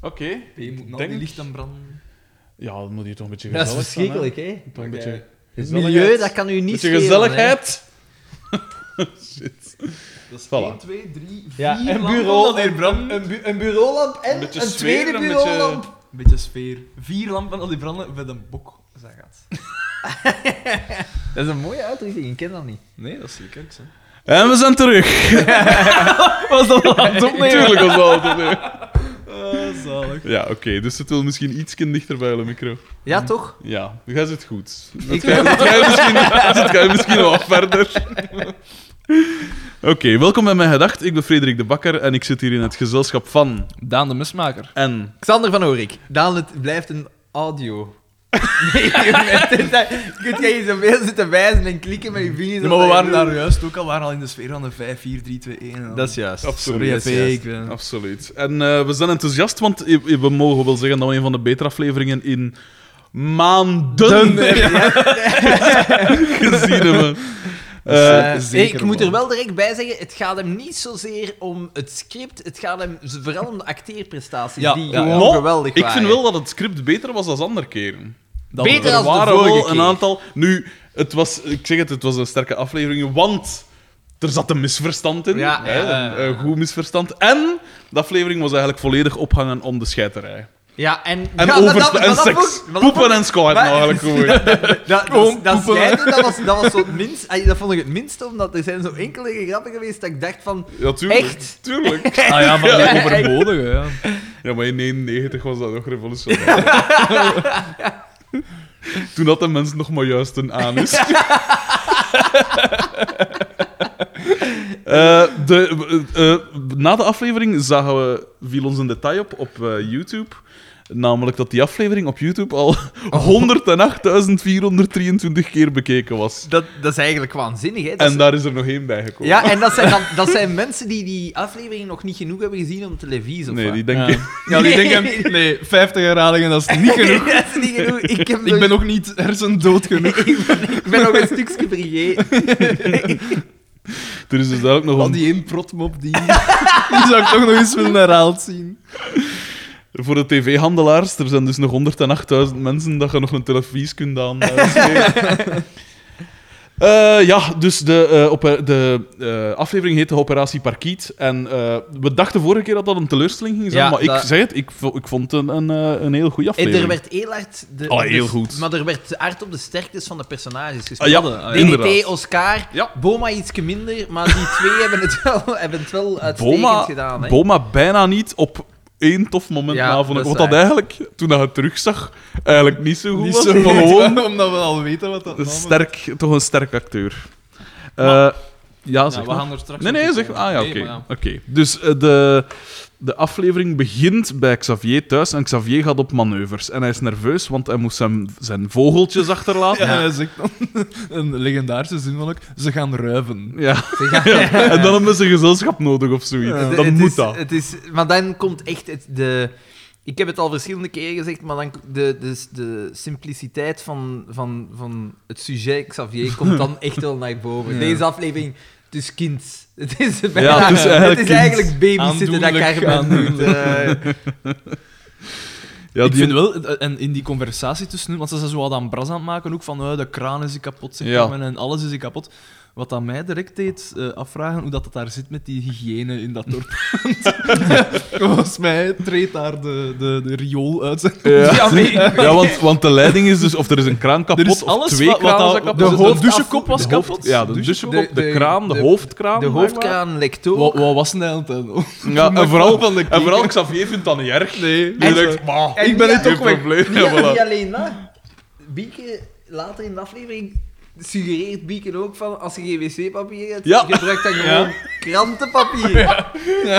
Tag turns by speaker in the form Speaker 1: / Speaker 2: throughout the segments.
Speaker 1: oké.
Speaker 2: P moet nog
Speaker 1: Denk-
Speaker 2: niet licht en branden.
Speaker 1: Ja, dan moet je toch een beetje
Speaker 3: Dat is
Speaker 1: gezellig zijn, hè.
Speaker 3: verschrikkelijk, hè?
Speaker 1: Toch een
Speaker 2: Maar
Speaker 1: beetje
Speaker 2: jij-
Speaker 3: Het
Speaker 1: Gezelligheid.
Speaker 3: milieu, dat kan u niet
Speaker 1: beetje
Speaker 3: schelen, hè.
Speaker 1: gezelligheid. Shit.
Speaker 2: Dat is
Speaker 1: Voilà.
Speaker 2: 1, 2, 3, 4
Speaker 3: Ja, een
Speaker 2: lampen
Speaker 3: bureau,
Speaker 2: dat hier
Speaker 3: een,
Speaker 2: branden.
Speaker 3: een,
Speaker 2: Een
Speaker 3: een, bu- een bureaulamp en
Speaker 1: Een beetje
Speaker 3: een,
Speaker 1: sfeer,
Speaker 3: tweede
Speaker 1: een
Speaker 3: bureaulamp.
Speaker 2: beetje sfeer. Vier lampen dat die branden met een bok, zeg gaat.
Speaker 3: Dat is een mooie uitdrukking, ik ken dat niet.
Speaker 2: Nee, dat is leuk, hè.
Speaker 1: En we zijn
Speaker 3: Oh,
Speaker 1: terug.
Speaker 2: Was dat al aan het opnemen?
Speaker 1: Tuurlijk was dat altijd leuk.
Speaker 2: Ah, zalig.
Speaker 1: Ja, oké. Dus het wil misschien iets dichter bij de micro.
Speaker 3: Ja, toch?
Speaker 1: Ja, nu gaat het goed.
Speaker 3: Ik-
Speaker 1: Dat ga, dat ga je misschien, dat ga je misschien wel wat verder. Oké, welkom bij Mijn Gedacht. Ik ben Frederik de Bakker en ik zit hier in het gezelschap van...
Speaker 2: Daan de Mismaker.
Speaker 1: En...
Speaker 3: Xander van Oorik, Daan, het blijft een audio. Nee, jongen, dit is dat- Kun jij hier zoveel zitten wijzen en klikken met je vingers?
Speaker 2: maar
Speaker 3: op
Speaker 2: we
Speaker 3: dat
Speaker 2: waren
Speaker 3: je-
Speaker 2: daar juist ook al, waren al in de sfeer van de 5, 4, 3, 2, 1. en dan-
Speaker 3: Dat is juist.
Speaker 1: Absoluut.
Speaker 2: Sorry,
Speaker 3: dat is
Speaker 2: P,
Speaker 3: juist.
Speaker 2: ik ben...
Speaker 1: Absoluut. En eh, we zijn enthousiast, want i- i- we mogen wel zeggen dat we een van de betere afleveringen in maanden gezien hebben. Eh,
Speaker 3: Eh,
Speaker 2: zeker
Speaker 3: ik moet er
Speaker 2: man.
Speaker 3: wel direct bij zeggen, het gaat hem niet zozeer om het script, het gaat hem z- vooral om de acteerprestaties,
Speaker 2: Ja,
Speaker 3: die
Speaker 2: ja, ja.
Speaker 3: gewoon
Speaker 1: Maar
Speaker 3: geweldig
Speaker 1: ik
Speaker 3: waren.
Speaker 1: vind wel dat het script beter was dan andere keren.
Speaker 2: Dat we-
Speaker 3: Beter
Speaker 1: er
Speaker 3: als de
Speaker 1: waren
Speaker 3: vorige
Speaker 1: wel
Speaker 3: keer.
Speaker 1: een aantal. Nu, het was, ik zeg het, het was een sterke aflevering, want er zat een misverstand in.
Speaker 3: Ja,
Speaker 1: hè,
Speaker 3: ja.
Speaker 1: een, eh, goed misverstand. En de aflevering was eigenlijk volledig ophangen om de scheiterij.
Speaker 3: Ja, en...
Speaker 1: En,
Speaker 3: ja,
Speaker 1: over,
Speaker 3: dat-
Speaker 1: en
Speaker 3: dat
Speaker 1: seks.
Speaker 3: vond ik- dat
Speaker 1: Poepen
Speaker 3: vond ik-
Speaker 1: en squat
Speaker 3: Maar-
Speaker 1: eigenlijk gewoon.
Speaker 3: Dat,
Speaker 2: Gewoon
Speaker 3: dat, dat
Speaker 2: poepen.
Speaker 3: snijden, dat was, dat was zo het minst... ay, Dat vond ik het minste, omdat er zijn zo enkele grappen geweest dat ik dacht van...
Speaker 1: Ja, tuurlijk.
Speaker 3: Echt?
Speaker 1: Tuurlijk.
Speaker 2: Ah ja, maar die overbodige, ja.
Speaker 1: Ja, maar in 99 was dat nog revolutionair. Toen had de mens nog maar juist een anus. Eh, de, eh, eh, na de aflevering zagen we, viel ons een detail op op eh, YouTube. Namelijk dat die aflevering op YouTube al 108.423 keer bekeken was.
Speaker 3: Dat, dat is eigenlijk waanzinnig, hè? Dat
Speaker 1: En
Speaker 3: is-
Speaker 1: daar is er nog één bijgekomen.
Speaker 3: Ja, en dat zijn, dan, dat zijn mensen die die aflevering nog niet genoeg hebben gezien om televisie of
Speaker 1: nee,
Speaker 3: wat.
Speaker 1: die denk ik.
Speaker 2: Ja, die denken, nee, 50 herhalingen, dat is niet genoeg.
Speaker 3: dat is niet genoeg. Ik, heb nog-
Speaker 2: Ik ben nog niet hersendood genoeg.
Speaker 3: ik ben nog een stukje vergeten.
Speaker 1: Er is dus duidelijk nog
Speaker 2: Al
Speaker 1: een
Speaker 2: die één protmop, die, die zou ik toch nog eens willen herhaald zien.
Speaker 1: Voor de tv-handelaars, er zijn dus nog 108.000 mensen dat je nog een televisie kunt aan. eh, Eh, ja, dus de, eh, ope- de eh, aflevering heette Operatie Parkiet. En eh, we dachten vorige keer dat dat een teleurstelling ging zijn,
Speaker 3: Ja,
Speaker 1: maar ik
Speaker 3: dat-
Speaker 1: zeg het, ik, vo- ik vond het een, een, eh, een heel goede
Speaker 3: En
Speaker 1: aflevering.
Speaker 3: er werd heel hard... De,
Speaker 1: Oh, heel
Speaker 3: de-
Speaker 1: goed.
Speaker 3: Maar er werd hard op de sterktes van de personages
Speaker 1: Ah,
Speaker 3: gespeeld.
Speaker 1: ja,
Speaker 3: DDT,
Speaker 1: inderdaad.
Speaker 3: Oscar,
Speaker 1: Ja.
Speaker 3: Boma iets minder, maar die twee hebben het wel, hebben het wel uitstekend
Speaker 1: Boma,
Speaker 3: gedaan. Hè?
Speaker 1: Boma bijna niet op één tof moment
Speaker 3: Ja,
Speaker 1: na. Vond ik,
Speaker 3: dat is
Speaker 1: wat dat
Speaker 3: waar.
Speaker 1: eigenlijk, toen dat je het terugzag, eigenlijk niet zo goed
Speaker 2: Niet
Speaker 1: was.
Speaker 2: zo
Speaker 1: maar gewoon
Speaker 2: gewoon, omdat we al weten wat dat
Speaker 1: een
Speaker 2: naam is.
Speaker 1: sterk, toch een sterk acteur. Eh, ja, zeg
Speaker 2: Ja, we
Speaker 1: maar.
Speaker 2: gaan er straks
Speaker 1: Nee,
Speaker 2: nog
Speaker 1: nee,
Speaker 2: op
Speaker 1: zeg.
Speaker 2: komen.
Speaker 1: Ah ja,
Speaker 2: Nee,
Speaker 1: oké.
Speaker 2: maar ja.
Speaker 1: Oké. Dus eh, de, de aflevering begint bij Xavier thuis en Xavier gaat op manoeuvres. En hij is nerveus, want hij moest zijn, zijn vogeltjes achterlaten.
Speaker 2: Ja,
Speaker 1: Ja.
Speaker 2: hij zegt dan een legendarische zin van ook, ze gaan ruiven.
Speaker 3: Ze gaan-
Speaker 1: En dan hebben ze gezelschap nodig of zoiets.
Speaker 2: Ja.
Speaker 1: Dan
Speaker 3: het
Speaker 1: moet
Speaker 3: is,
Speaker 1: dat.
Speaker 3: Het is, maar dan komt echt het, de... Ik heb het al verschillende keren gezegd, maar dan de, de, de simpliciteit van, van, van het sujet Xavier komt dan echt wel naar boven.
Speaker 2: Ja.
Speaker 3: Deze aflevering, het is kind. Het is, bijna,
Speaker 1: Ja, het is eigenlijk
Speaker 3: het
Speaker 1: kind.
Speaker 3: is eigenlijk babysitten dat
Speaker 2: Aandoenlijk,
Speaker 3: Carmen doet. eh.
Speaker 1: Ja,
Speaker 2: ik
Speaker 1: die-
Speaker 2: vind wel, eh, en in die conversatie tussen hun, want ze zijn zo wat aan bras aan het maken ook, van eh, de kraan is hier kapot, zeg
Speaker 1: Ja.
Speaker 2: maar, en alles is hier kapot. Wat dat mij direct deed eh, afvragen, hoe dat, dat daar zit met die hygiëne in dat dorp. Volgens mij treedt daar de, de, de riool uit. zijn-
Speaker 1: Ja,
Speaker 3: Ja, maar-
Speaker 1: Ja, want, want de leiding is dus... Of er is een kraan kapot,
Speaker 2: Er is
Speaker 1: of
Speaker 2: alles
Speaker 1: twee
Speaker 2: wat- wat
Speaker 1: kranen
Speaker 2: daar-
Speaker 1: zijn kapot.
Speaker 2: de
Speaker 1: Dus
Speaker 2: hoofd-
Speaker 1: douchekop
Speaker 2: de
Speaker 1: kapot.
Speaker 2: hoofd-
Speaker 1: ja, de
Speaker 2: de
Speaker 1: douchekop, de,
Speaker 3: douchekop, de-
Speaker 1: kraan, de,
Speaker 3: de-
Speaker 1: hoofdkraan.
Speaker 3: De
Speaker 1: blijkbaar.
Speaker 3: hoofdkraan lekt ook.
Speaker 2: Wat, wat was het eigenlijk dan?
Speaker 1: Ja, en vooral,
Speaker 2: van de
Speaker 1: en vooral Xavier vindt dat niet erg.
Speaker 2: Nee.
Speaker 1: Die
Speaker 3: En-
Speaker 1: denkt, "Bah,
Speaker 3: en
Speaker 1: ik ben
Speaker 3: ja,
Speaker 1: het ook
Speaker 3: geen
Speaker 1: probleem.
Speaker 3: Niet,
Speaker 1: Ja, voilà.
Speaker 3: niet alleen dat. Bieke, later in de aflevering suggereert Bieke ook van als je geen wc-papier hebt,
Speaker 1: Ja.
Speaker 3: gebruik dan gewoon
Speaker 2: Ja.
Speaker 3: krantenpapier.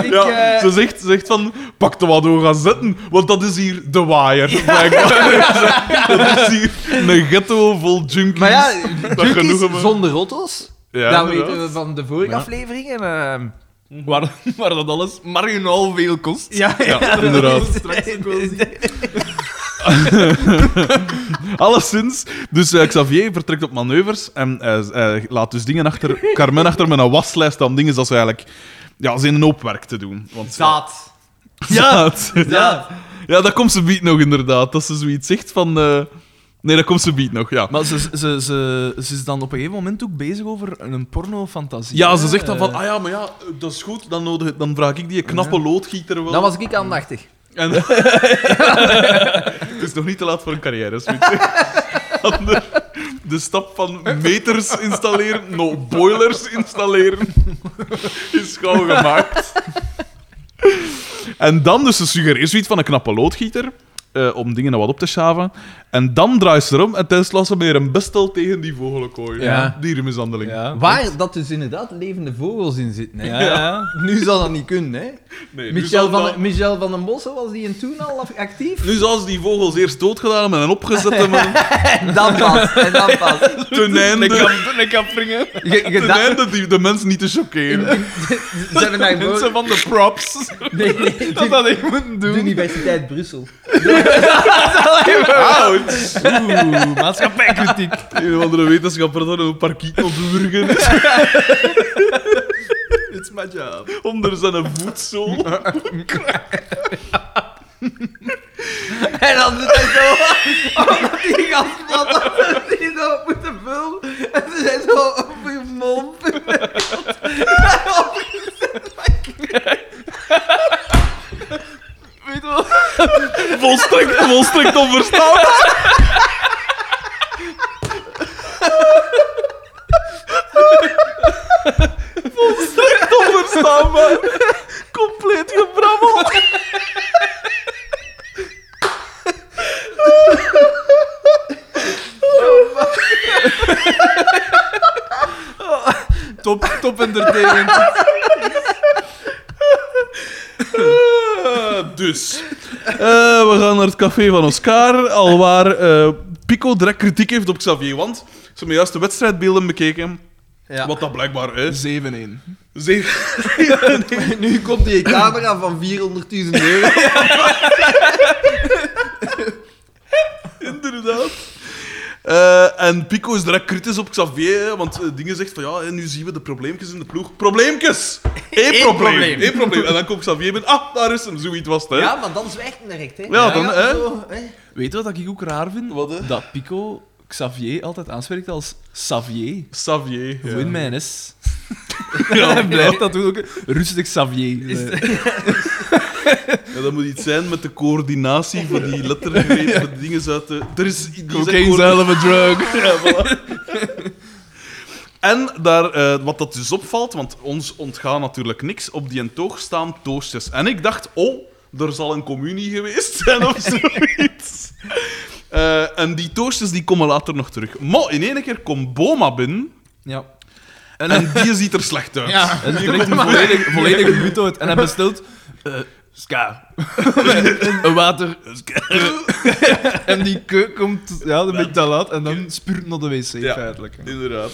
Speaker 3: Ik,
Speaker 1: Ja,
Speaker 3: eh,
Speaker 1: ze zegt, ze zegt van, pak de wat door gaan zitten, want dat is hier de waaier. blijkbaar. dat is hier een ghetto vol junkies.
Speaker 3: maar ja,
Speaker 1: Dat genoeg
Speaker 3: junkies
Speaker 1: hebben.
Speaker 3: zonder rottels,
Speaker 1: Ja,
Speaker 3: dat weten
Speaker 1: inderdaad.
Speaker 3: we van de vorige
Speaker 1: Ja.
Speaker 3: aflevering. En, ehm,
Speaker 2: Waar, waar dat alles marginaal veel kost.
Speaker 3: ja,
Speaker 1: Ja, inderdaad.
Speaker 3: dat is straks ook wel zien.
Speaker 1: Alleszins, dus eh, Xavier vertrekt op manoeuvres en eh, z- eh, laat dus dingen achter, Carmen achter met een waslijst aan dingen dat ze eigenlijk, ja, ze in een hoop werk te doen. Want,
Speaker 3: Zaad.
Speaker 1: Zaad.
Speaker 2: Ja,
Speaker 1: Ja, dat komt ze biedt nog, inderdaad. Dat ze zoiets zegt van... eh, Nee, dat komt ze biedt nog, ja.
Speaker 2: Maar ze, ze, ze, ze is dan op een gegeven moment ook bezig over een pornofantasie.
Speaker 1: Ja,
Speaker 2: hè?
Speaker 1: ze zegt dan van...
Speaker 2: Eh,
Speaker 1: Ah ja, maar ja, dat is goed. Dan, nodig, dan vraag ik die knappe loodgieter wel.
Speaker 3: Dan was ik aandachtig.
Speaker 1: En... het is nog niet te laat voor een carrière, zoiets. Ander, de stap van meters installeren, no boilers installeren, is gauw gemaakt. En dan dus ze suggereert zoiets van een knappe loodgieter eh, om dingen nou wat op te schaven. En dan draait ze erom en tenslotte ze weer een bestel tegen die vogelenkooi.
Speaker 3: Ja.
Speaker 1: Dierenmishandeling.
Speaker 2: ja.
Speaker 3: Waar dat dus inderdaad levende vogels in zitten. Hè.
Speaker 2: Ja, ja.
Speaker 3: Nu zal dat niet kunnen, hè?
Speaker 1: Nee, nu
Speaker 3: Michel
Speaker 1: zal
Speaker 3: van,
Speaker 1: dat-
Speaker 3: Michel van den Bossen was die in toen al af- actief?
Speaker 1: Nu zal ze die vogels eerst doodgedaan hebben en opgezet hebben.
Speaker 3: En dan pas, en dan pas.
Speaker 1: Ten
Speaker 2: Lekker
Speaker 1: einde,
Speaker 2: af- lekker afwringen.
Speaker 3: Je, je
Speaker 1: ten
Speaker 3: dacht-
Speaker 1: einde die, de mensen niet te choqueren.
Speaker 3: ze hebben daar gewoon-
Speaker 2: Mensen van de props.
Speaker 3: Nee, nee,
Speaker 2: Dat
Speaker 3: de,
Speaker 2: dat ik moeten
Speaker 3: de
Speaker 2: doen.
Speaker 3: Universiteit Brussel.
Speaker 1: Oud!
Speaker 2: Oeh, maatschappijkritiek.
Speaker 1: Een of andere wetenschapper dat een parkiet op Burgen is
Speaker 2: It's my job.
Speaker 1: onder zijn voetzool.
Speaker 3: En dan doet hij zo, omdat die gasplatten die zo moeten vullen. En ze zijn zo op je mond.
Speaker 2: Weet je wat?
Speaker 1: Volstrekt, volstrekt onverstaanbaar. volstrekt onverstaanbaar. Compleet gebrabbeld.
Speaker 2: Top, top entertainment.
Speaker 1: Eh, dus, Eh, we gaan naar het café van Oscar, alwaar eh Pico direct kritiek heeft op Xavier. Want ze hebben juist de wedstrijdbeelden bekeken.
Speaker 3: Ja.
Speaker 1: Wat dat blijkbaar is.
Speaker 2: 7-1.
Speaker 1: Zeven.
Speaker 3: Nu komt die camera van 400.000 euro.
Speaker 1: Inderdaad. Eh, en Pico is direct kritisch op Xavier, hè, want eh, dingen zegt van ja, hè, nu zien we de probleempjes in de ploeg. Probleempjes! Eén
Speaker 3: Eén
Speaker 1: probleem!
Speaker 3: probleem.
Speaker 1: Eén probleem. En dan komt Xavier binnen, ah, daar is hem, zoiets was het. Hè.
Speaker 3: Ja, maar dan zwijgt hij direct, hè?
Speaker 1: Ja, dan, hè.
Speaker 3: zo, hè.
Speaker 2: Weet je wat ik ook raar vind?
Speaker 1: Wat, hè?
Speaker 2: Dat Pico Xavier altijd aanspreekt als Xavier.
Speaker 1: Xavier.
Speaker 2: Win
Speaker 1: ja.
Speaker 2: mijn S.
Speaker 1: Ja,
Speaker 2: Hij blijft dat doen ook. Rustig Xavier.
Speaker 3: Is
Speaker 2: Nee.
Speaker 1: Ja, dat moet iets zijn met de coördinatie van die lettergrepen, van die dingen uit de... Er is... die zijn
Speaker 2: Cocaine is een hell of a drug.
Speaker 1: Ja, voilà. En daar, eh, wat dat dus opvalt, want ons ontgaan natuurlijk niks, op die toog staan toastjes. En ik dacht, oh, er zal een communie geweest zijn of zoiets. Eh, en die toastjes die komen later nog terug. Maar in één keer komt Boma binnen
Speaker 2: Ja.
Speaker 1: en die ziet er slecht uit.
Speaker 3: Ja.
Speaker 2: En direct volledig, volledig wit uit. En hij bestelt... eh, ska. een water. ska. en die keuk komt... Ja, dan ben ik te laat. En dan spuurt hij naar de wc,
Speaker 1: Ja.
Speaker 2: feitelijk.
Speaker 1: Inderdaad.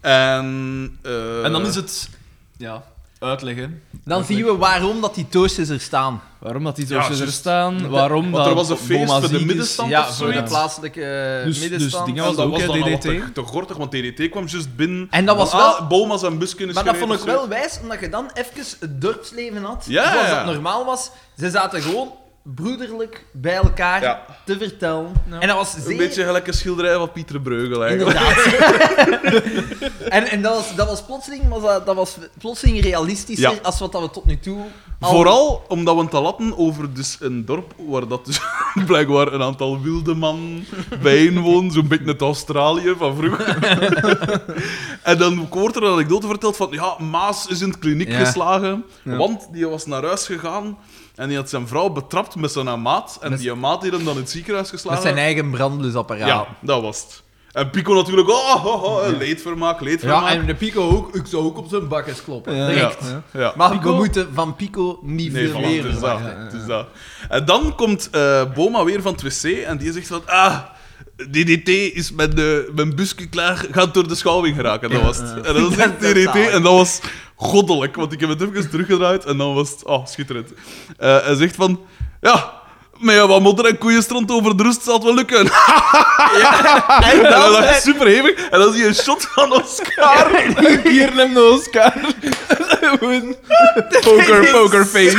Speaker 1: En, eh,
Speaker 2: En dan is het... Ja, uitleggen.
Speaker 3: Dan zien we waarom dat die toastjes er staan.
Speaker 2: Waarom dat die
Speaker 1: Ja,
Speaker 2: doosjes er
Speaker 1: juist.
Speaker 2: staan, waarom
Speaker 1: Want
Speaker 2: dat
Speaker 1: er was een feest voor
Speaker 2: Boma
Speaker 1: de
Speaker 2: ziek is.
Speaker 1: middenstand
Speaker 3: Ja,
Speaker 1: of
Speaker 3: voor de
Speaker 1: zoiets.
Speaker 3: plaatselijke eh,
Speaker 2: Dus- dus
Speaker 3: middenstand.
Speaker 2: dingen
Speaker 1: Ja,
Speaker 2: was
Speaker 1: dat
Speaker 2: ook,
Speaker 1: was
Speaker 2: hè,
Speaker 1: dan al wat
Speaker 2: DDT.
Speaker 1: te, te gortig, want DDT kwam juist binnen.
Speaker 3: En dat was
Speaker 1: Van,
Speaker 3: wel-
Speaker 1: ah, Boma's en busken is
Speaker 3: Maar dat vond
Speaker 1: gereden
Speaker 3: ik
Speaker 1: of zo.
Speaker 3: wel wijs, omdat je dan even het dorpsleven had,
Speaker 1: Ja,
Speaker 3: zoals
Speaker 1: ja.
Speaker 3: dat normaal was. Ze zaten gewoon broederlijk bij elkaar
Speaker 1: Ja.
Speaker 3: te vertellen.
Speaker 2: Ja.
Speaker 3: En dat was zeer...
Speaker 1: Een beetje gelijk een schilderij van Pieter Breugel, eigenlijk.
Speaker 3: Inderdaad. en en dat, was, dat was plotseling, was dat, dat was plotseling realistischer
Speaker 1: Ja.
Speaker 3: als wat dat we tot nu toe... al-
Speaker 1: Vooral omdat we het al hadden over dus een dorp waar dat dus blijkbaar een aantal wilde man bijeen wonen, zo'n beetje het Australië van vroeger. en dan wordt er een anekdote verteld van, ja, Maas is in de kliniek
Speaker 3: Ja.
Speaker 1: geslagen,
Speaker 2: Ja.
Speaker 1: want die was naar huis gegaan en die had zijn vrouw betrapt met zijn maat en
Speaker 3: Met-
Speaker 1: die maat heeft hem dan in het ziekenhuis geslagen.
Speaker 3: Met zijn eigen brandblusapparaat.
Speaker 1: Ja, dat was het. En Pico natuurlijk, oh, oh, oh, leedvermaak, leedvermaak. Ja,
Speaker 3: de Pico ook. Ik zou ook op zijn bakjes kloppen.
Speaker 2: Ja.
Speaker 3: Direct.
Speaker 2: Ja.
Speaker 1: ja.
Speaker 3: Maar
Speaker 2: Pico-
Speaker 3: we moeten van Pico niet
Speaker 1: Nee,
Speaker 3: veel
Speaker 1: voilà,
Speaker 3: leren.
Speaker 1: het is dat,
Speaker 3: wacht, hè.
Speaker 1: het is dat. En dan komt eh, Boma weer van het wc en die zegt van, ah, DDT is met de mijn busje klaar, gaat door de schouwing geraken. Dat was het. En dan
Speaker 3: Dat
Speaker 1: zegt
Speaker 3: is
Speaker 1: DDT
Speaker 3: zalig.
Speaker 1: en dat was ah, goddelijk, want ik heb het even teruggedraaid en dan was het, oh, schitterend. Eh, hij zegt van, ja... Met ja, wat modder en koeienstront over de rust zal het wel lukken. en dan dat is super hevig. En dan zie je een shot van Oscar.
Speaker 2: Hier neem de Oscar.
Speaker 1: Poker, pokerface.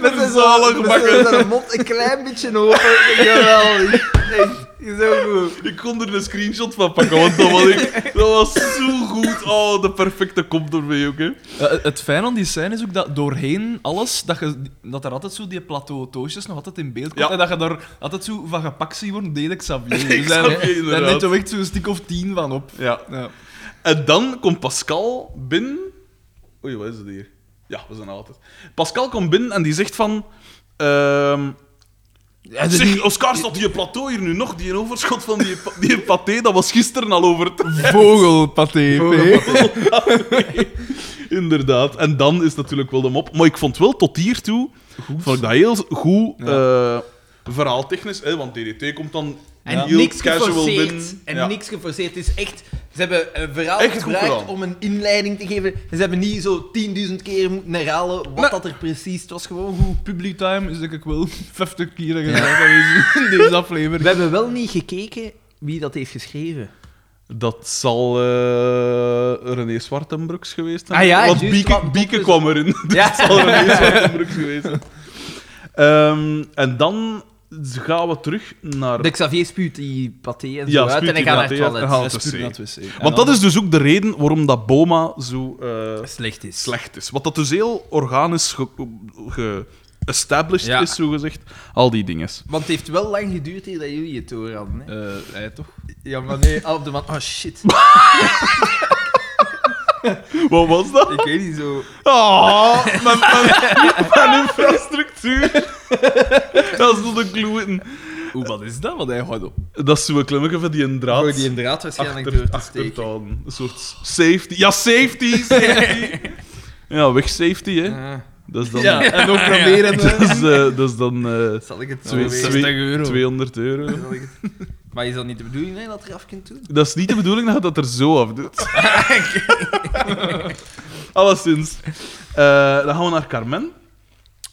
Speaker 3: Met zijn
Speaker 1: Zalig
Speaker 3: zalig
Speaker 1: bakken.
Speaker 3: met zijn mond een klein beetje open. Jawel. Echt, zo goed.
Speaker 1: Ik kon er een screenshot van pakken, want dat was, ik, dat was zo goed. Oh, de perfecte kop ermee, oké.
Speaker 2: het fijn aan die scène is ook dat doorheen alles, dat, je, dat er altijd zo die plateau-toosjes nog altijd in beeld komt.
Speaker 1: Ja.
Speaker 2: En dat je daar altijd zo van gepakt ziet worden, deed ik Xavier.
Speaker 1: Xavier,
Speaker 2: Dus daar- Daar
Speaker 1: inderdaad.
Speaker 2: neemt je echt zo'n stuk of tien van op.
Speaker 1: Ja.
Speaker 2: Ja.
Speaker 1: En dan komt Pascal binnen. Oei, wat is het hier? Ja, we zijn er altijd. Pascal komt binnen en die zegt van... ehm, zeg, Oscar, staat die plateau hier nu nog? Die overschot van die, pa- die paté, dat was gisteren al over het...
Speaker 2: Vogelpaté.
Speaker 3: Vogelpaté.
Speaker 1: Inderdaad. En dan is natuurlijk wel de mop. Maar ik vond wel tot hiertoe... Vond ik dat heel goed... eh, verhaaltechnisch, hè, want DDT komt dan
Speaker 3: En
Speaker 1: heel
Speaker 3: niks
Speaker 1: casual binnen.
Speaker 3: geforceerd. En
Speaker 1: Ja.
Speaker 3: niks geforceerd. Het is echt... Ze hebben een verhaal
Speaker 1: Echt goed
Speaker 3: gebruikt
Speaker 1: gedaan.
Speaker 3: om een inleiding te geven. En ze hebben niet zo 10.000 keer moeten herhalen wat
Speaker 2: Nee.
Speaker 3: dat er precies... Het was gewoon goed.
Speaker 2: Public time is denk ik wel 50 keer gedaan in deze aflevering.
Speaker 3: We hebben wel niet gekeken wie dat heeft geschreven.
Speaker 1: Dat zal eh, René Zwartenbroeks geweest zijn.
Speaker 3: Ah ja,
Speaker 1: Want
Speaker 3: juist,
Speaker 1: Bieke,
Speaker 3: want-
Speaker 1: Bieke kwam erin. Dus
Speaker 3: Ja.
Speaker 1: dat zal René Zwartenbroeks geweest zijn. Ehm, en dan gaan we terug naar...
Speaker 3: De Xavier spuut die paté en zo
Speaker 1: Ja,
Speaker 3: uit
Speaker 1: spuut
Speaker 3: en hij
Speaker 1: die
Speaker 3: gaat naar
Speaker 1: paté
Speaker 3: het
Speaker 1: uit en
Speaker 3: toilet.
Speaker 1: haalt-
Speaker 2: Dat is puur naar het wc. En
Speaker 1: Want dat is dus ook de reden waarom dat Boma zo eh,
Speaker 3: Slecht is.
Speaker 1: slecht is. Wat dat dus heel organisch ge-established
Speaker 3: Ja.
Speaker 1: is, zogezegd. Al die dingen.
Speaker 3: Want het heeft wel lang geduurd hier dat jullie het door hadden. Hè?
Speaker 2: Eh, hij toch?
Speaker 3: Ja, maar nee, op de man. Oh shit.
Speaker 1: Wat was dat?
Speaker 3: Ik weet niet zo.
Speaker 1: Ah, mijn, mijn, mijn infrastructuur. Dat is de clue in.
Speaker 2: Hoe, wat is dat? Wat hij gaat op.
Speaker 1: Dat is zo'n klemmetje van die een draad.
Speaker 3: Gooi die een draad waarschijnlijk
Speaker 1: achter,
Speaker 3: door te
Speaker 1: achter het
Speaker 3: steken.
Speaker 1: aan. Een soort safety. Ja, safety! safety. ja, weg safety, hè.
Speaker 3: Ah.
Speaker 1: Dat is dan,
Speaker 2: Ja, en ook proberen.
Speaker 1: dat is, eh, dat is dan eh,
Speaker 3: Zal ik het zo
Speaker 1: twee-
Speaker 3: weer-
Speaker 1: twee-
Speaker 2: 60 euro.
Speaker 1: 200 euro.
Speaker 3: Zal ik het- Maar is dat niet de bedoeling hè, dat je af kunt doen?
Speaker 1: Dat is niet de bedoeling dat je dat er zo af doet. Alleszins. Eh, dan gaan we naar Carmen.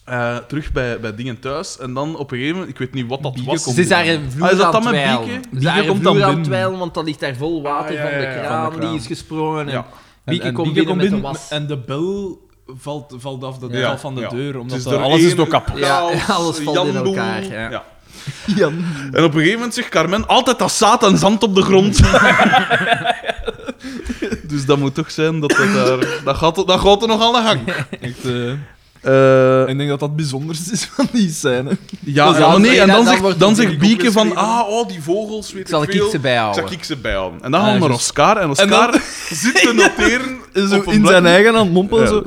Speaker 1: Eh, terug bij, bij dingen thuis. En dan op een gegeven moment, ik weet niet wat dat
Speaker 2: Bieke
Speaker 1: was.
Speaker 2: komt
Speaker 3: Ze is daar een vloer
Speaker 1: Ah, is dat dan
Speaker 3: aan het
Speaker 1: met
Speaker 3: dweilen.
Speaker 1: Bieke?
Speaker 3: Ze is daar
Speaker 2: Bieke
Speaker 3: een
Speaker 2: komt dan
Speaker 3: vloer aan het
Speaker 2: binnen.
Speaker 3: dwijlen, want dat ligt daar vol water
Speaker 2: Ah, ja,
Speaker 3: van,
Speaker 2: ja,
Speaker 3: de
Speaker 2: ja, van de
Speaker 3: kraan,
Speaker 2: kraan.
Speaker 3: die is gesprongen. En
Speaker 1: Ja.
Speaker 3: Bieke
Speaker 2: en,
Speaker 3: komt
Speaker 2: Bieke
Speaker 3: binnen
Speaker 2: komt
Speaker 3: met de
Speaker 2: binnen
Speaker 3: was.
Speaker 2: En de bel valt, valt af de,
Speaker 1: Ja.
Speaker 2: valt van de
Speaker 1: Ja.
Speaker 2: deur.
Speaker 1: Het
Speaker 2: Omdat
Speaker 1: door
Speaker 2: dat- alles is
Speaker 1: één
Speaker 2: door kapot.
Speaker 3: Ja,
Speaker 1: chaos,
Speaker 3: alles valt in
Speaker 1: jamboe.
Speaker 3: elkaar, ja.
Speaker 1: En op een gegeven moment zegt Carmen altijd dat zaad en zand op de grond. dus dat moet toch zijn dat dat daar... Dat gaat, dat gaat er nog aan de gang.
Speaker 2: Echt, eh,
Speaker 1: Eh,
Speaker 2: ik denk dat dat het bijzonderste is van die scène.
Speaker 1: ja,
Speaker 3: Dus
Speaker 1: ja,
Speaker 3: dan-
Speaker 1: nee, en
Speaker 3: dan
Speaker 1: dan
Speaker 3: wordt
Speaker 1: zegt, dan
Speaker 3: het
Speaker 1: zegt
Speaker 3: in die
Speaker 1: Bieke van...
Speaker 3: groep
Speaker 1: Ah, oh, die vogels, weet
Speaker 3: Zal
Speaker 1: ik
Speaker 3: ik
Speaker 1: veel.
Speaker 3: ik ze bijhouden?
Speaker 1: Zal ik ze bijhouden. En dan gaan we
Speaker 2: Ah,
Speaker 1: naar
Speaker 2: juist.
Speaker 1: Oscar. En
Speaker 2: En dan-
Speaker 1: Oscar zit te noteren
Speaker 2: Zo
Speaker 1: op een
Speaker 2: in
Speaker 1: blad.
Speaker 2: zijn eigen hand mompelen.
Speaker 1: Ja.
Speaker 2: Zo,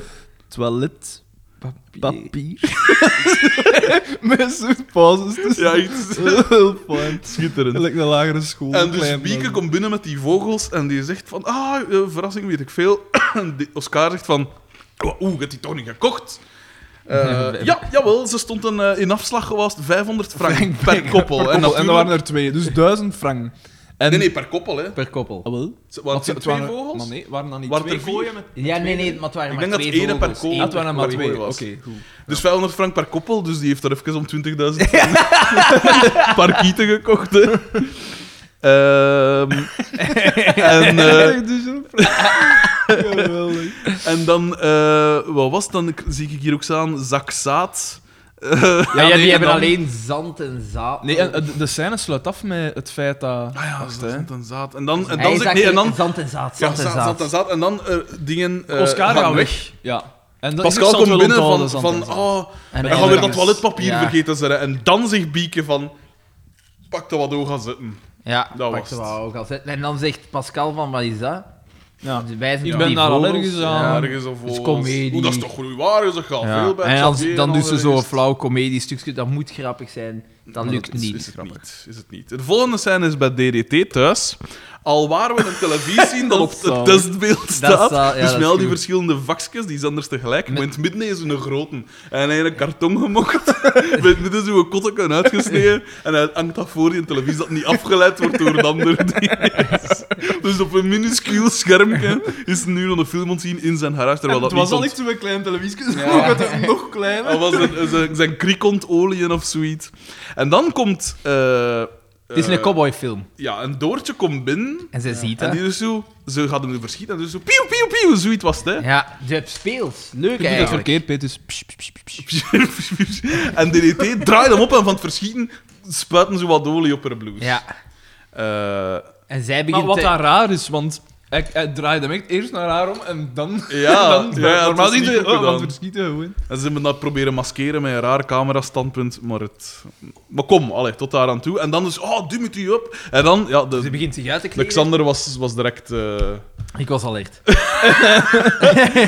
Speaker 2: toilet,
Speaker 3: Papier.
Speaker 2: papier. Met zo'n pauzes tussen.
Speaker 1: Ja, iets
Speaker 2: Heel fijn.
Speaker 1: schitterend.
Speaker 2: Gelijk een lagere school.
Speaker 1: En dus
Speaker 2: klein
Speaker 1: Bieke
Speaker 2: man.
Speaker 1: komt binnen met die vogels en die zegt van... Ah, eh, verrassing, weet ik veel. En die- Oscar zegt van... "Oh, Oeh, je hebt die toch niet gekocht? Eh ja, jawel, ze stonden eh, in afslag gewaast 500 frank per koppel.
Speaker 2: Per koppel,
Speaker 1: En,
Speaker 2: En,
Speaker 1: natuurlijk-
Speaker 2: er waren er twee, dus duizend frank. En...
Speaker 1: Nee, nee, per koppel, hè.
Speaker 3: Per koppel.
Speaker 2: Ah, wel?
Speaker 1: Ze- Waren het
Speaker 2: Want
Speaker 1: geen
Speaker 2: het
Speaker 1: twee
Speaker 2: waren-
Speaker 1: vogels?
Speaker 2: Maar nee, waren dat niet
Speaker 1: Waren
Speaker 2: twee
Speaker 1: er vier?
Speaker 2: kooien met...
Speaker 3: Ja, nee, nee, maar het waren
Speaker 1: Ik
Speaker 3: maar
Speaker 1: denk dat
Speaker 3: twee
Speaker 1: het ene per
Speaker 3: vogels.
Speaker 1: kool-
Speaker 3: Eén
Speaker 1: Ah,
Speaker 2: het waren er maar
Speaker 3: kool.
Speaker 2: twee. Oké,
Speaker 1: was.
Speaker 2: goed.
Speaker 1: Dus 500 frank per koppel, dus die heeft er even om 20.000 frank paar kieten gekocht, hè. Ehm, en... eh,
Speaker 2: Dus, Geweldig.
Speaker 1: En dan, eh, wat was het dan? Ik- Zie ik hier ook staan, zak zaad. Eh,
Speaker 3: Ja,
Speaker 2: Ja,
Speaker 3: ja,
Speaker 2: nee,
Speaker 3: die hebben
Speaker 2: dan-
Speaker 3: alleen zand en zaad.
Speaker 2: Nee, en, eh, de- de scène sluit af met het feit dat...
Speaker 1: ah ja,
Speaker 2: Wacht, hè.
Speaker 1: zand en zaad. En dan, en
Speaker 3: Hij
Speaker 1: dan
Speaker 3: is
Speaker 1: zeg ik, nee, en dan...
Speaker 3: eigenlijk zand en zaad.
Speaker 1: Ja,
Speaker 3: Zand en
Speaker 1: zaad,
Speaker 3: zaad.
Speaker 1: zand en zaad. En dan eh, dingen... eh,
Speaker 2: Oscar
Speaker 1: gaan
Speaker 2: gaat weg. Ja. En dat
Speaker 1: Pascal
Speaker 2: ik zal het
Speaker 1: komt
Speaker 2: wel
Speaker 1: binnen
Speaker 2: onthouden,
Speaker 1: van,
Speaker 2: zand en
Speaker 1: van
Speaker 2: zaad.
Speaker 1: oh,
Speaker 3: En
Speaker 1: hij
Speaker 2: en
Speaker 1: gaat weer
Speaker 2: dan
Speaker 1: dat
Speaker 3: is-
Speaker 1: toiletpapier
Speaker 3: ja.
Speaker 1: vergeten zetten. En dan zegt Bieke van, pak dat wat door gaan zitten.
Speaker 3: Ja,
Speaker 1: Dat
Speaker 3: pak
Speaker 1: was
Speaker 3: ze
Speaker 1: het.
Speaker 3: wel ook al zet- En dan zegt Pascal van, wat is dat?
Speaker 2: Ja.
Speaker 3: Dus wij zijn
Speaker 1: Ik
Speaker 3: toch
Speaker 1: ben
Speaker 3: die
Speaker 2: daar
Speaker 3: vogels?
Speaker 2: allergisch aan.
Speaker 3: Ja.
Speaker 2: Ja.
Speaker 1: Ergens of
Speaker 3: is
Speaker 1: wat.
Speaker 3: comedie.
Speaker 1: Oeh, dat is toch goed waar, dat gaat
Speaker 3: Ja.
Speaker 1: veel bij
Speaker 3: En als,
Speaker 1: Xavier
Speaker 3: dan
Speaker 1: en
Speaker 3: doen ze
Speaker 1: al
Speaker 3: zo'n
Speaker 1: ergens.
Speaker 3: flauw comediestukje, dat moet grappig zijn.
Speaker 4: Dat
Speaker 1: Maar
Speaker 4: lukt
Speaker 1: is-
Speaker 4: niet.
Speaker 1: Is het niet, is het niet. De volgende scène is bij DDT thuis. Al waar we een televisie dat op
Speaker 2: is
Speaker 1: het
Speaker 2: zalig.
Speaker 1: testbeeld
Speaker 4: Dat is
Speaker 1: staat.
Speaker 4: zaal- ja,
Speaker 1: dus
Speaker 4: dat
Speaker 1: met
Speaker 4: is
Speaker 1: al die
Speaker 4: cool.
Speaker 1: verschillende vakjes, die is anders tegelijk. Maar
Speaker 4: Met-
Speaker 1: in het midden is een grote. En hij heeft een karton gemokt. Met het midden is een kotteken uitgesneden. En hij hangt dat voor die televisie dat niet afgeleid wordt door een ander. ding. Dus op een minuscuul schermpje is nu nog een film ontzien in zijn huis. Terwijl dat
Speaker 2: het was
Speaker 1: niet
Speaker 2: al
Speaker 1: ont-
Speaker 2: echt zo'n klein televisie,
Speaker 4: Ja.
Speaker 2: maar met een nog kleiner.
Speaker 1: dat was een, zijn, zijn kriekontolieën of zoiets. En dan komt... eh,
Speaker 4: Het is
Speaker 1: eh,
Speaker 4: een cowboyfilm.
Speaker 1: Ja, een doortje komt binnen.
Speaker 4: En zij ziet
Speaker 1: En
Speaker 4: dat.
Speaker 1: die dus zo... Ze gaat hem nu verschieten. En dus zo... Pieuw, pieuw, pieuw. Zoiets was het, hè.
Speaker 4: Ja, je hebt speels. Leuk
Speaker 2: Ik doe dat
Speaker 4: eigenlijk.
Speaker 2: verkeerd, Peter. Dus psh, psh, psh, psh.
Speaker 1: en DDT draait hem op en van het verschieten spuiten ze wat olie op haar blouse.
Speaker 4: Ja.
Speaker 1: Eh,
Speaker 4: En zij
Speaker 2: Maar
Speaker 4: begint
Speaker 2: wat
Speaker 4: te-
Speaker 2: daar raar is, want hij, hij draaide hem echt eerst naar haar om en dan...
Speaker 1: Ja,
Speaker 2: dan,
Speaker 1: ja, het was
Speaker 2: normaal
Speaker 1: niet
Speaker 2: niet
Speaker 1: goed
Speaker 2: oh,
Speaker 1: gedaan.
Speaker 2: want we schieten gewoon.
Speaker 1: en ze hebben dat proberen maskeren met een raar camerastandpunt, maar het... Maar kom, allee, tot daar aan toe. En dan dus... Oh, Dimitri op. En dan... Ja, de,
Speaker 4: Ze begint zich uit te kleden.
Speaker 1: Alexander was, was direct... eh,
Speaker 4: Ik was alert.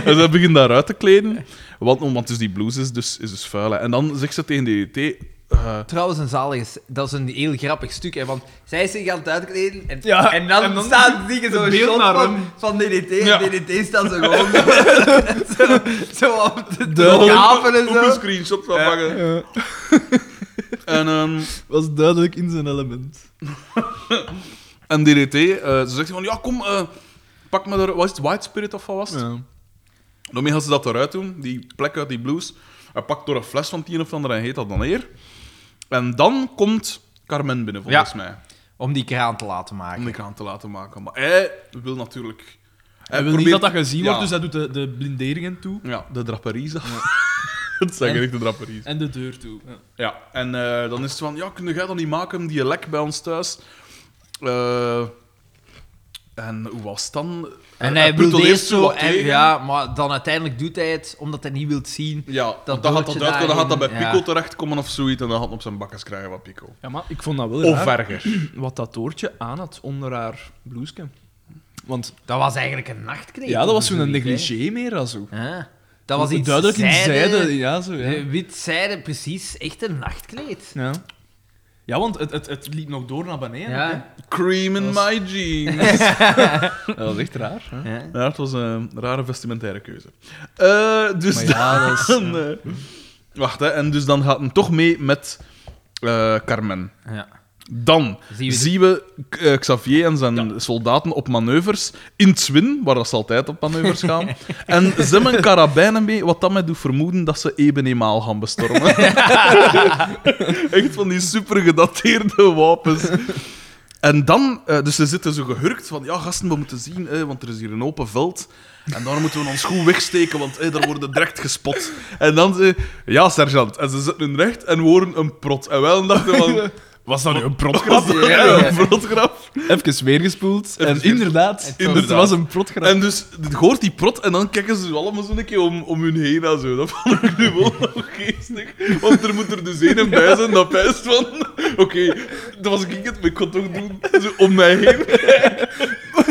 Speaker 1: En ze begint daar uit te kleden. Want, want dus die blouse is dus, is dus vuil. hè. En dan zegt ze tegen DDT... eh,
Speaker 4: Trouwens, een zalige... s- Dat is een heel grappig stuk, hè, want zij is zich aan het uitkleden en,
Speaker 2: Ja,
Speaker 4: en, dan,
Speaker 2: en dan
Speaker 4: staat dingen zo'n
Speaker 2: beeld
Speaker 4: shot
Speaker 2: naar
Speaker 4: van,
Speaker 2: hem.
Speaker 4: van DDT
Speaker 1: Ja.
Speaker 4: en DDT staat zo gewoon... zo, zo op de,
Speaker 1: Ja,
Speaker 4: de kapen en
Speaker 1: om een
Speaker 4: zo.
Speaker 1: screenshot van pakken. En, ehm,
Speaker 2: was duidelijk in zijn element.
Speaker 1: en DDT, eh, ze zegt van, ja, kom, eh, pak me er... Wat is het? White Spirit of wat was het? Daarmee gaan ze dat eruit doen, die plek uit die blues. Hij pakt door een fles van tien of ander en heet dat dan neer. En dan komt Carmen binnen, volgens mij.
Speaker 4: Om die kraan te laten maken.
Speaker 1: Om die kraan te laten maken. Maar hij wil natuurlijk...
Speaker 2: Hij wil
Speaker 1: probeert-
Speaker 2: niet dat dat gezien
Speaker 1: Ja.
Speaker 2: wordt, dus hij doet de, de blinderingen toe
Speaker 1: Ja, de draperies af. Het zijn
Speaker 2: En-
Speaker 1: echt de draperies.
Speaker 2: en de deur toe.
Speaker 1: Ja, en eh, dan is het van, ja, kun jij dat niet maken, die lek bij ons thuis? Eh, en hoe was het dan? Eh,
Speaker 4: En hij wil
Speaker 1: pruttelt
Speaker 4: eerst zo...
Speaker 1: wat
Speaker 4: En,
Speaker 1: tegen.
Speaker 4: ja, maar dan uiteindelijk doet hij het, omdat hij niet wilt zien.
Speaker 1: Ja,
Speaker 4: dat
Speaker 1: want dan gaat
Speaker 4: doortje
Speaker 1: dat uitkomen, dan gaat dat bij
Speaker 4: daarin,
Speaker 1: Pico
Speaker 4: ja.
Speaker 1: terechtkomen of zoiets, en dan gaat hij op zijn bakkes krijgen wat Pico.
Speaker 2: Ja, maar ik vond dat wel
Speaker 1: Of
Speaker 2: raar,
Speaker 1: erger.
Speaker 2: wat dat toortje aan had onder haar blouse. Want
Speaker 4: Dat was eigenlijk een nachtkleed.
Speaker 2: ja, dat was zo'n
Speaker 4: zoiets, hè.
Speaker 2: negligé meer dan zo.
Speaker 4: Ja. Dat was iets
Speaker 2: duidelijk in zijde.
Speaker 4: zijde.
Speaker 2: Ja, zo, ja.
Speaker 4: Eh, Wit zijde, precies. Echt een nachtkleed.
Speaker 2: Ja. Ja, want het, het, het liep nog door naar beneden.
Speaker 4: Ja.
Speaker 1: Cream in my jeans.
Speaker 2: hè. Dat was echt raar. Hè?
Speaker 4: ja.
Speaker 1: ja, het was een rare vestimentaire keuze. Eh, dus
Speaker 2: Maar ja, dat is-
Speaker 1: dan, eh, Wacht, hè, en dus dan gaat hem toch mee met eh, Carmen.
Speaker 4: Ja.
Speaker 1: Dan
Speaker 4: Zien we de-
Speaker 1: zien we eh, Xavier en zijn soldaten op manoeuvres in Twin, waar dat ze altijd op manoeuvres gaan. en ze hebben karabijnen mee, wat dat mij doet vermoeden dat ze ebenemaal gaan bestormen. Echt van die super gedateerde wapens. En dan, eh, dus ze zitten zo gehurkt van, ja gasten, we moeten zien, eh, want er is hier een open veld. En daar moeten we ons goed wegsteken, want eh, daar worden direct gespot. En dan ze, ja sergeant. En ze zitten hun recht en horen een prot. En wij dachten van,
Speaker 2: Was dat nu een
Speaker 1: was dat
Speaker 4: Ja,
Speaker 1: nou
Speaker 4: ja.
Speaker 1: een protgraf?
Speaker 2: Even weer gespoeld.
Speaker 1: Even
Speaker 2: En
Speaker 1: weer-
Speaker 2: inderdaad,
Speaker 1: Inderdaad.
Speaker 2: het was een protgraf.
Speaker 1: En dus je hoort die prot en dan kijken ze allemaal zo'n keer om, om hun heen en zo. Dat vond ik nu wel nog geestig. Want er moet er dus één bij zijn dat pijst van... Oké, dat was ik het, maar ik kon het toch doen. Zo om mij heen.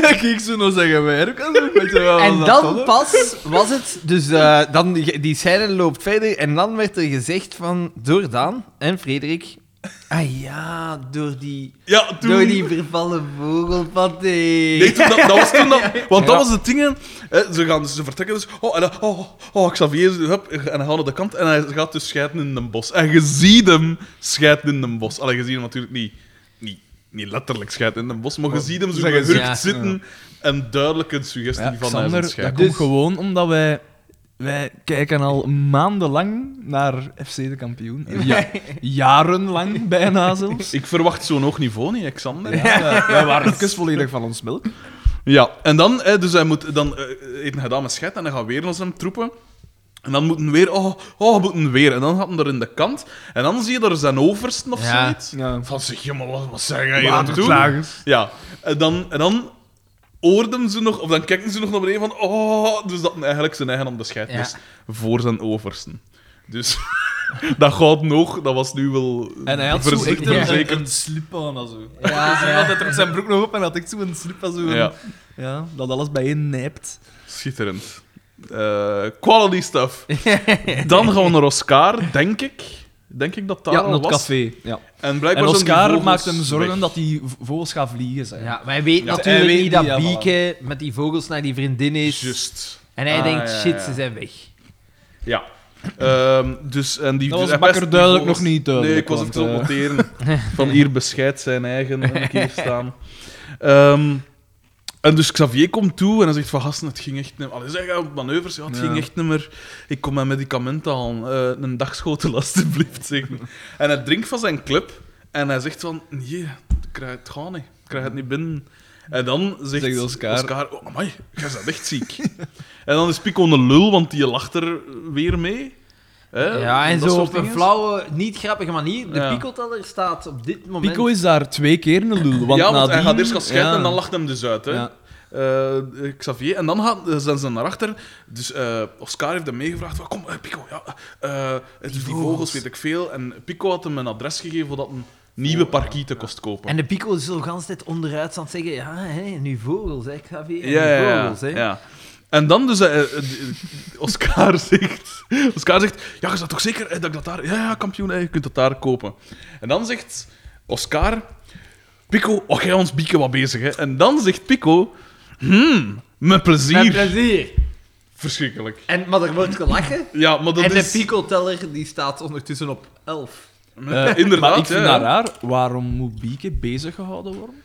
Speaker 2: Dan ging ik zo nog zeggen, wij ook al zo'n beetje, wat
Speaker 4: En
Speaker 2: was Oh, dat
Speaker 4: dan
Speaker 2: hè?
Speaker 4: pas was het, dus eh, dan, die scène loopt verder en dan werd er gezegd van, door Daan en Frederik, ah ja, door die,
Speaker 1: Ja, toen...
Speaker 4: door die vervallen vogelpaté.
Speaker 1: Nee, toen dat, dat was toen dat... Want dat
Speaker 4: Ja.
Speaker 1: was het ding, hè. hè. Ze, gaan, ze vertrekken dus... Oh, en dan, oh, oh, Xavier, ze- hup, en hij gaat naar de kant en hij gaat dus scheiden in een bos. En je ziet hem scheiden in een bos. Allee, je ziet hem natuurlijk niet... niet niet letterlijk scheiden in een bos, maar je ziet hem zo
Speaker 2: Oh, zeg eens,
Speaker 1: gehurkt
Speaker 4: ja.
Speaker 1: zitten en duidelijk een suggestie
Speaker 2: Ja,
Speaker 1: van
Speaker 2: Xander,
Speaker 1: hij is een
Speaker 2: dat
Speaker 1: scheid.
Speaker 2: komt
Speaker 4: Dus-
Speaker 2: gewoon omdat wij... Wij kijken al maandenlang naar FC de kampioen. Ja, jarenlang bijna zelfs.
Speaker 1: Ik verwacht zo'n hoog niveau niet, hè, Xander. Ja,
Speaker 2: Ja, wij waren even volledig van ons melk.
Speaker 1: en dan... hè, Dus hij moet... Dan eh, eet hij dat met scheid en dan gaat weer naar zijn troepen. En dan moeten weer... Oh, oh, moeten weer. En dan gaat hij er in de kant. En dan zie je er zijn oversten of
Speaker 4: Ja.
Speaker 1: zoiets.
Speaker 2: Ja.
Speaker 1: Van zeg, jongen, wat, wat zijn jij hier aan het doen? Ja, en dan, en dan oorden ze nog, of dan kijken ze nog naar beneden van, oh, dus dat hij eigenlijk zijn eigen onderscheid
Speaker 4: Ja.
Speaker 1: is voor zijn oversten. Dus dat gaat nog, dat was nu wel
Speaker 2: En hij had zo
Speaker 1: verze-
Speaker 2: echt een,
Speaker 1: verzekerd.
Speaker 2: een, een slip aan. en Zo.
Speaker 4: Ja,
Speaker 2: Hij
Speaker 4: ja.
Speaker 2: had er zijn broek nog op en had echt zo'n slip aan. Zo een-
Speaker 1: Ja.
Speaker 2: ja. dat alles bijeen nijpt.
Speaker 1: Schitterend. Eh, quality stuff. Dan gaan we naar Oscar, denk ik. Denk ik dat daar
Speaker 2: Ja,
Speaker 1: al
Speaker 2: in het
Speaker 1: was.
Speaker 2: café. Ja.
Speaker 1: En
Speaker 2: En
Speaker 1: blijkbaar zijn die
Speaker 2: Oscar
Speaker 1: vogels
Speaker 2: maakt hem zorgen
Speaker 1: weg.
Speaker 2: dat die v- vogels gaan vliegen zijn.
Speaker 3: Ja, wij weten
Speaker 1: Ja,
Speaker 3: natuurlijk
Speaker 2: hij weet
Speaker 3: niet
Speaker 2: niet,
Speaker 3: dat
Speaker 2: ja, voilà.
Speaker 3: Bieke met die vogels naar die vriendin is.
Speaker 1: Just.
Speaker 3: En hij
Speaker 1: Ah,
Speaker 3: denkt,
Speaker 1: ja,
Speaker 3: shit,
Speaker 1: ja.
Speaker 3: ze zijn weg.
Speaker 1: Ja. Ehm, dus, en die,
Speaker 2: Dat
Speaker 1: dus hij
Speaker 2: was Bakker
Speaker 1: pest die
Speaker 2: duidelijk
Speaker 1: vogels.
Speaker 2: nog niet duidelijk.
Speaker 1: Nee, ik was
Speaker 2: want,
Speaker 1: even aan
Speaker 2: eh,
Speaker 1: het noteren. Van hier bescheidt zijn eigen en ik hier staan. Ehm, en dus Xavier komt toe en hij zegt van gasten, het ging echt... Allee, zeg, ja, op manoeuvres, ja, het
Speaker 2: Ja.
Speaker 1: ging echt niet meer... Ik kom mijn medicament aan. eh, een dagschotel, alstublieft, zeg. En hij drinkt van zijn club en hij zegt van... Nee, ik krijg het gewoon niet. Ik krijg het niet binnen. En dan zegt,
Speaker 2: Zegt Oscar-
Speaker 1: Oscar... oh, amai, jij bent echt ziek. en dan is Pico een lul, want die lacht er weer mee. Hè,
Speaker 3: ja, en
Speaker 1: dat
Speaker 3: zo
Speaker 1: soort
Speaker 3: op een
Speaker 1: dingen.
Speaker 3: flauwe, niet grappige manier. De
Speaker 1: Ja.
Speaker 3: picoteller staat op dit moment...
Speaker 2: Pico is daar twee keer een lul. Want
Speaker 1: ja, want hij
Speaker 2: nadien-
Speaker 1: gaat eerst gaan scheiden
Speaker 2: Ja.
Speaker 1: en dan lacht hem dus uit. Hè?
Speaker 2: Ja.
Speaker 1: Eh, Xavier. En dan gaat, eh, zijn ze naar achter. Dus eh, Oscar heeft hem meegevraagd. van, Kom, eh, Pico, ja, eh, het is die
Speaker 3: vogels.
Speaker 1: vogels, weet ik veel. En Pico had hem een adres gegeven voordat een nieuwe
Speaker 3: Oh,
Speaker 1: parkieten kost kopen.
Speaker 3: En de pico is zo de hele tijd onderuit aan het zeggen, ja, hè, nu vogels, hè, Xavier,
Speaker 1: ja, ja,
Speaker 3: nu
Speaker 1: ja,
Speaker 3: vogels, hè.
Speaker 1: ja. En dan dus eh, eh, eh, Oscar zegt... Oscar zegt, ja, je staat toch zeker eh, dat ik dat daar... Ja, ja, kampioen, eh, je kunt dat daar kopen. En dan zegt Oscar... Pico, och, jij ons bieken wat bezig, hè. En dan zegt Pico... Hmm, met plezier.
Speaker 3: Met plezier.
Speaker 1: Verschrikkelijk.
Speaker 3: En, maar er wordt gelachen.
Speaker 1: Ja, maar dat
Speaker 3: en
Speaker 1: is...
Speaker 3: de picoteller, die staat ondertussen op 11.
Speaker 1: Eh,
Speaker 2: Eh,
Speaker 1: inderdaad,
Speaker 2: Maar ik vind
Speaker 1: ja, ja.
Speaker 2: dat raar. Waarom moet Bieke bezig gehouden worden?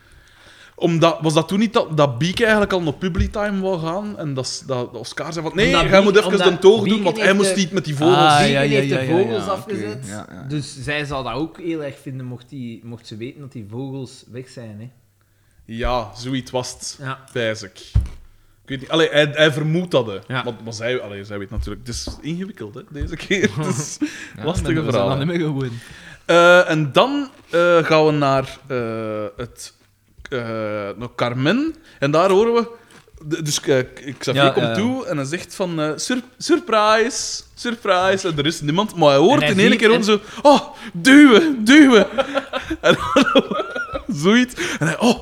Speaker 1: Omdat, was dat toen niet dat, dat Bieke eigenlijk al naar Publitime wou gaan? En dat, s- dat dat Oscar zei van... Nee,
Speaker 3: Omdat
Speaker 1: hij moet
Speaker 3: Bieke-
Speaker 1: even
Speaker 3: omdat
Speaker 1: de toog doen,
Speaker 3: Bieke
Speaker 1: want hij
Speaker 3: heeft
Speaker 1: moest
Speaker 3: de-
Speaker 1: niet met die vogels...
Speaker 2: Ah,
Speaker 3: Bieke
Speaker 2: ja, ja,
Speaker 3: heeft
Speaker 2: ja,
Speaker 3: de
Speaker 2: ja, ja,
Speaker 3: vogels
Speaker 2: oké,
Speaker 3: afgezet.
Speaker 2: ja, ja.
Speaker 3: Dus zij zou dat ook heel erg vinden mocht, die, mocht ze weten dat die vogels weg zijn. Hè.
Speaker 1: Ja, zoiets was het.
Speaker 3: Ja.
Speaker 1: Bijzek. Ik weet niet. Allee, hij, hij vermoedt dat, hè.
Speaker 3: Ja.
Speaker 1: Want, maar zij, allee, zij weet natuurlijk... Het is ingewikkeld, hè, deze keer. Het is
Speaker 2: We
Speaker 1: lastige
Speaker 2: zijn
Speaker 1: verhaal.
Speaker 2: dan niet meer gewoon.
Speaker 1: Eh, en dan eh, gaan we naar eh, het... eh, naar Carmen. En daar horen we... de- Dus eh, Xavier
Speaker 2: Ja,
Speaker 1: komt
Speaker 2: ja.
Speaker 1: toe en hij zegt van... eh, sur- surprise! Surprise! En er is niemand, maar hij hoort
Speaker 3: En hij
Speaker 1: in één
Speaker 3: ziet-
Speaker 1: keer om zo... Oh, duwen! Duwen! en dan zoiets. En hij... Oh,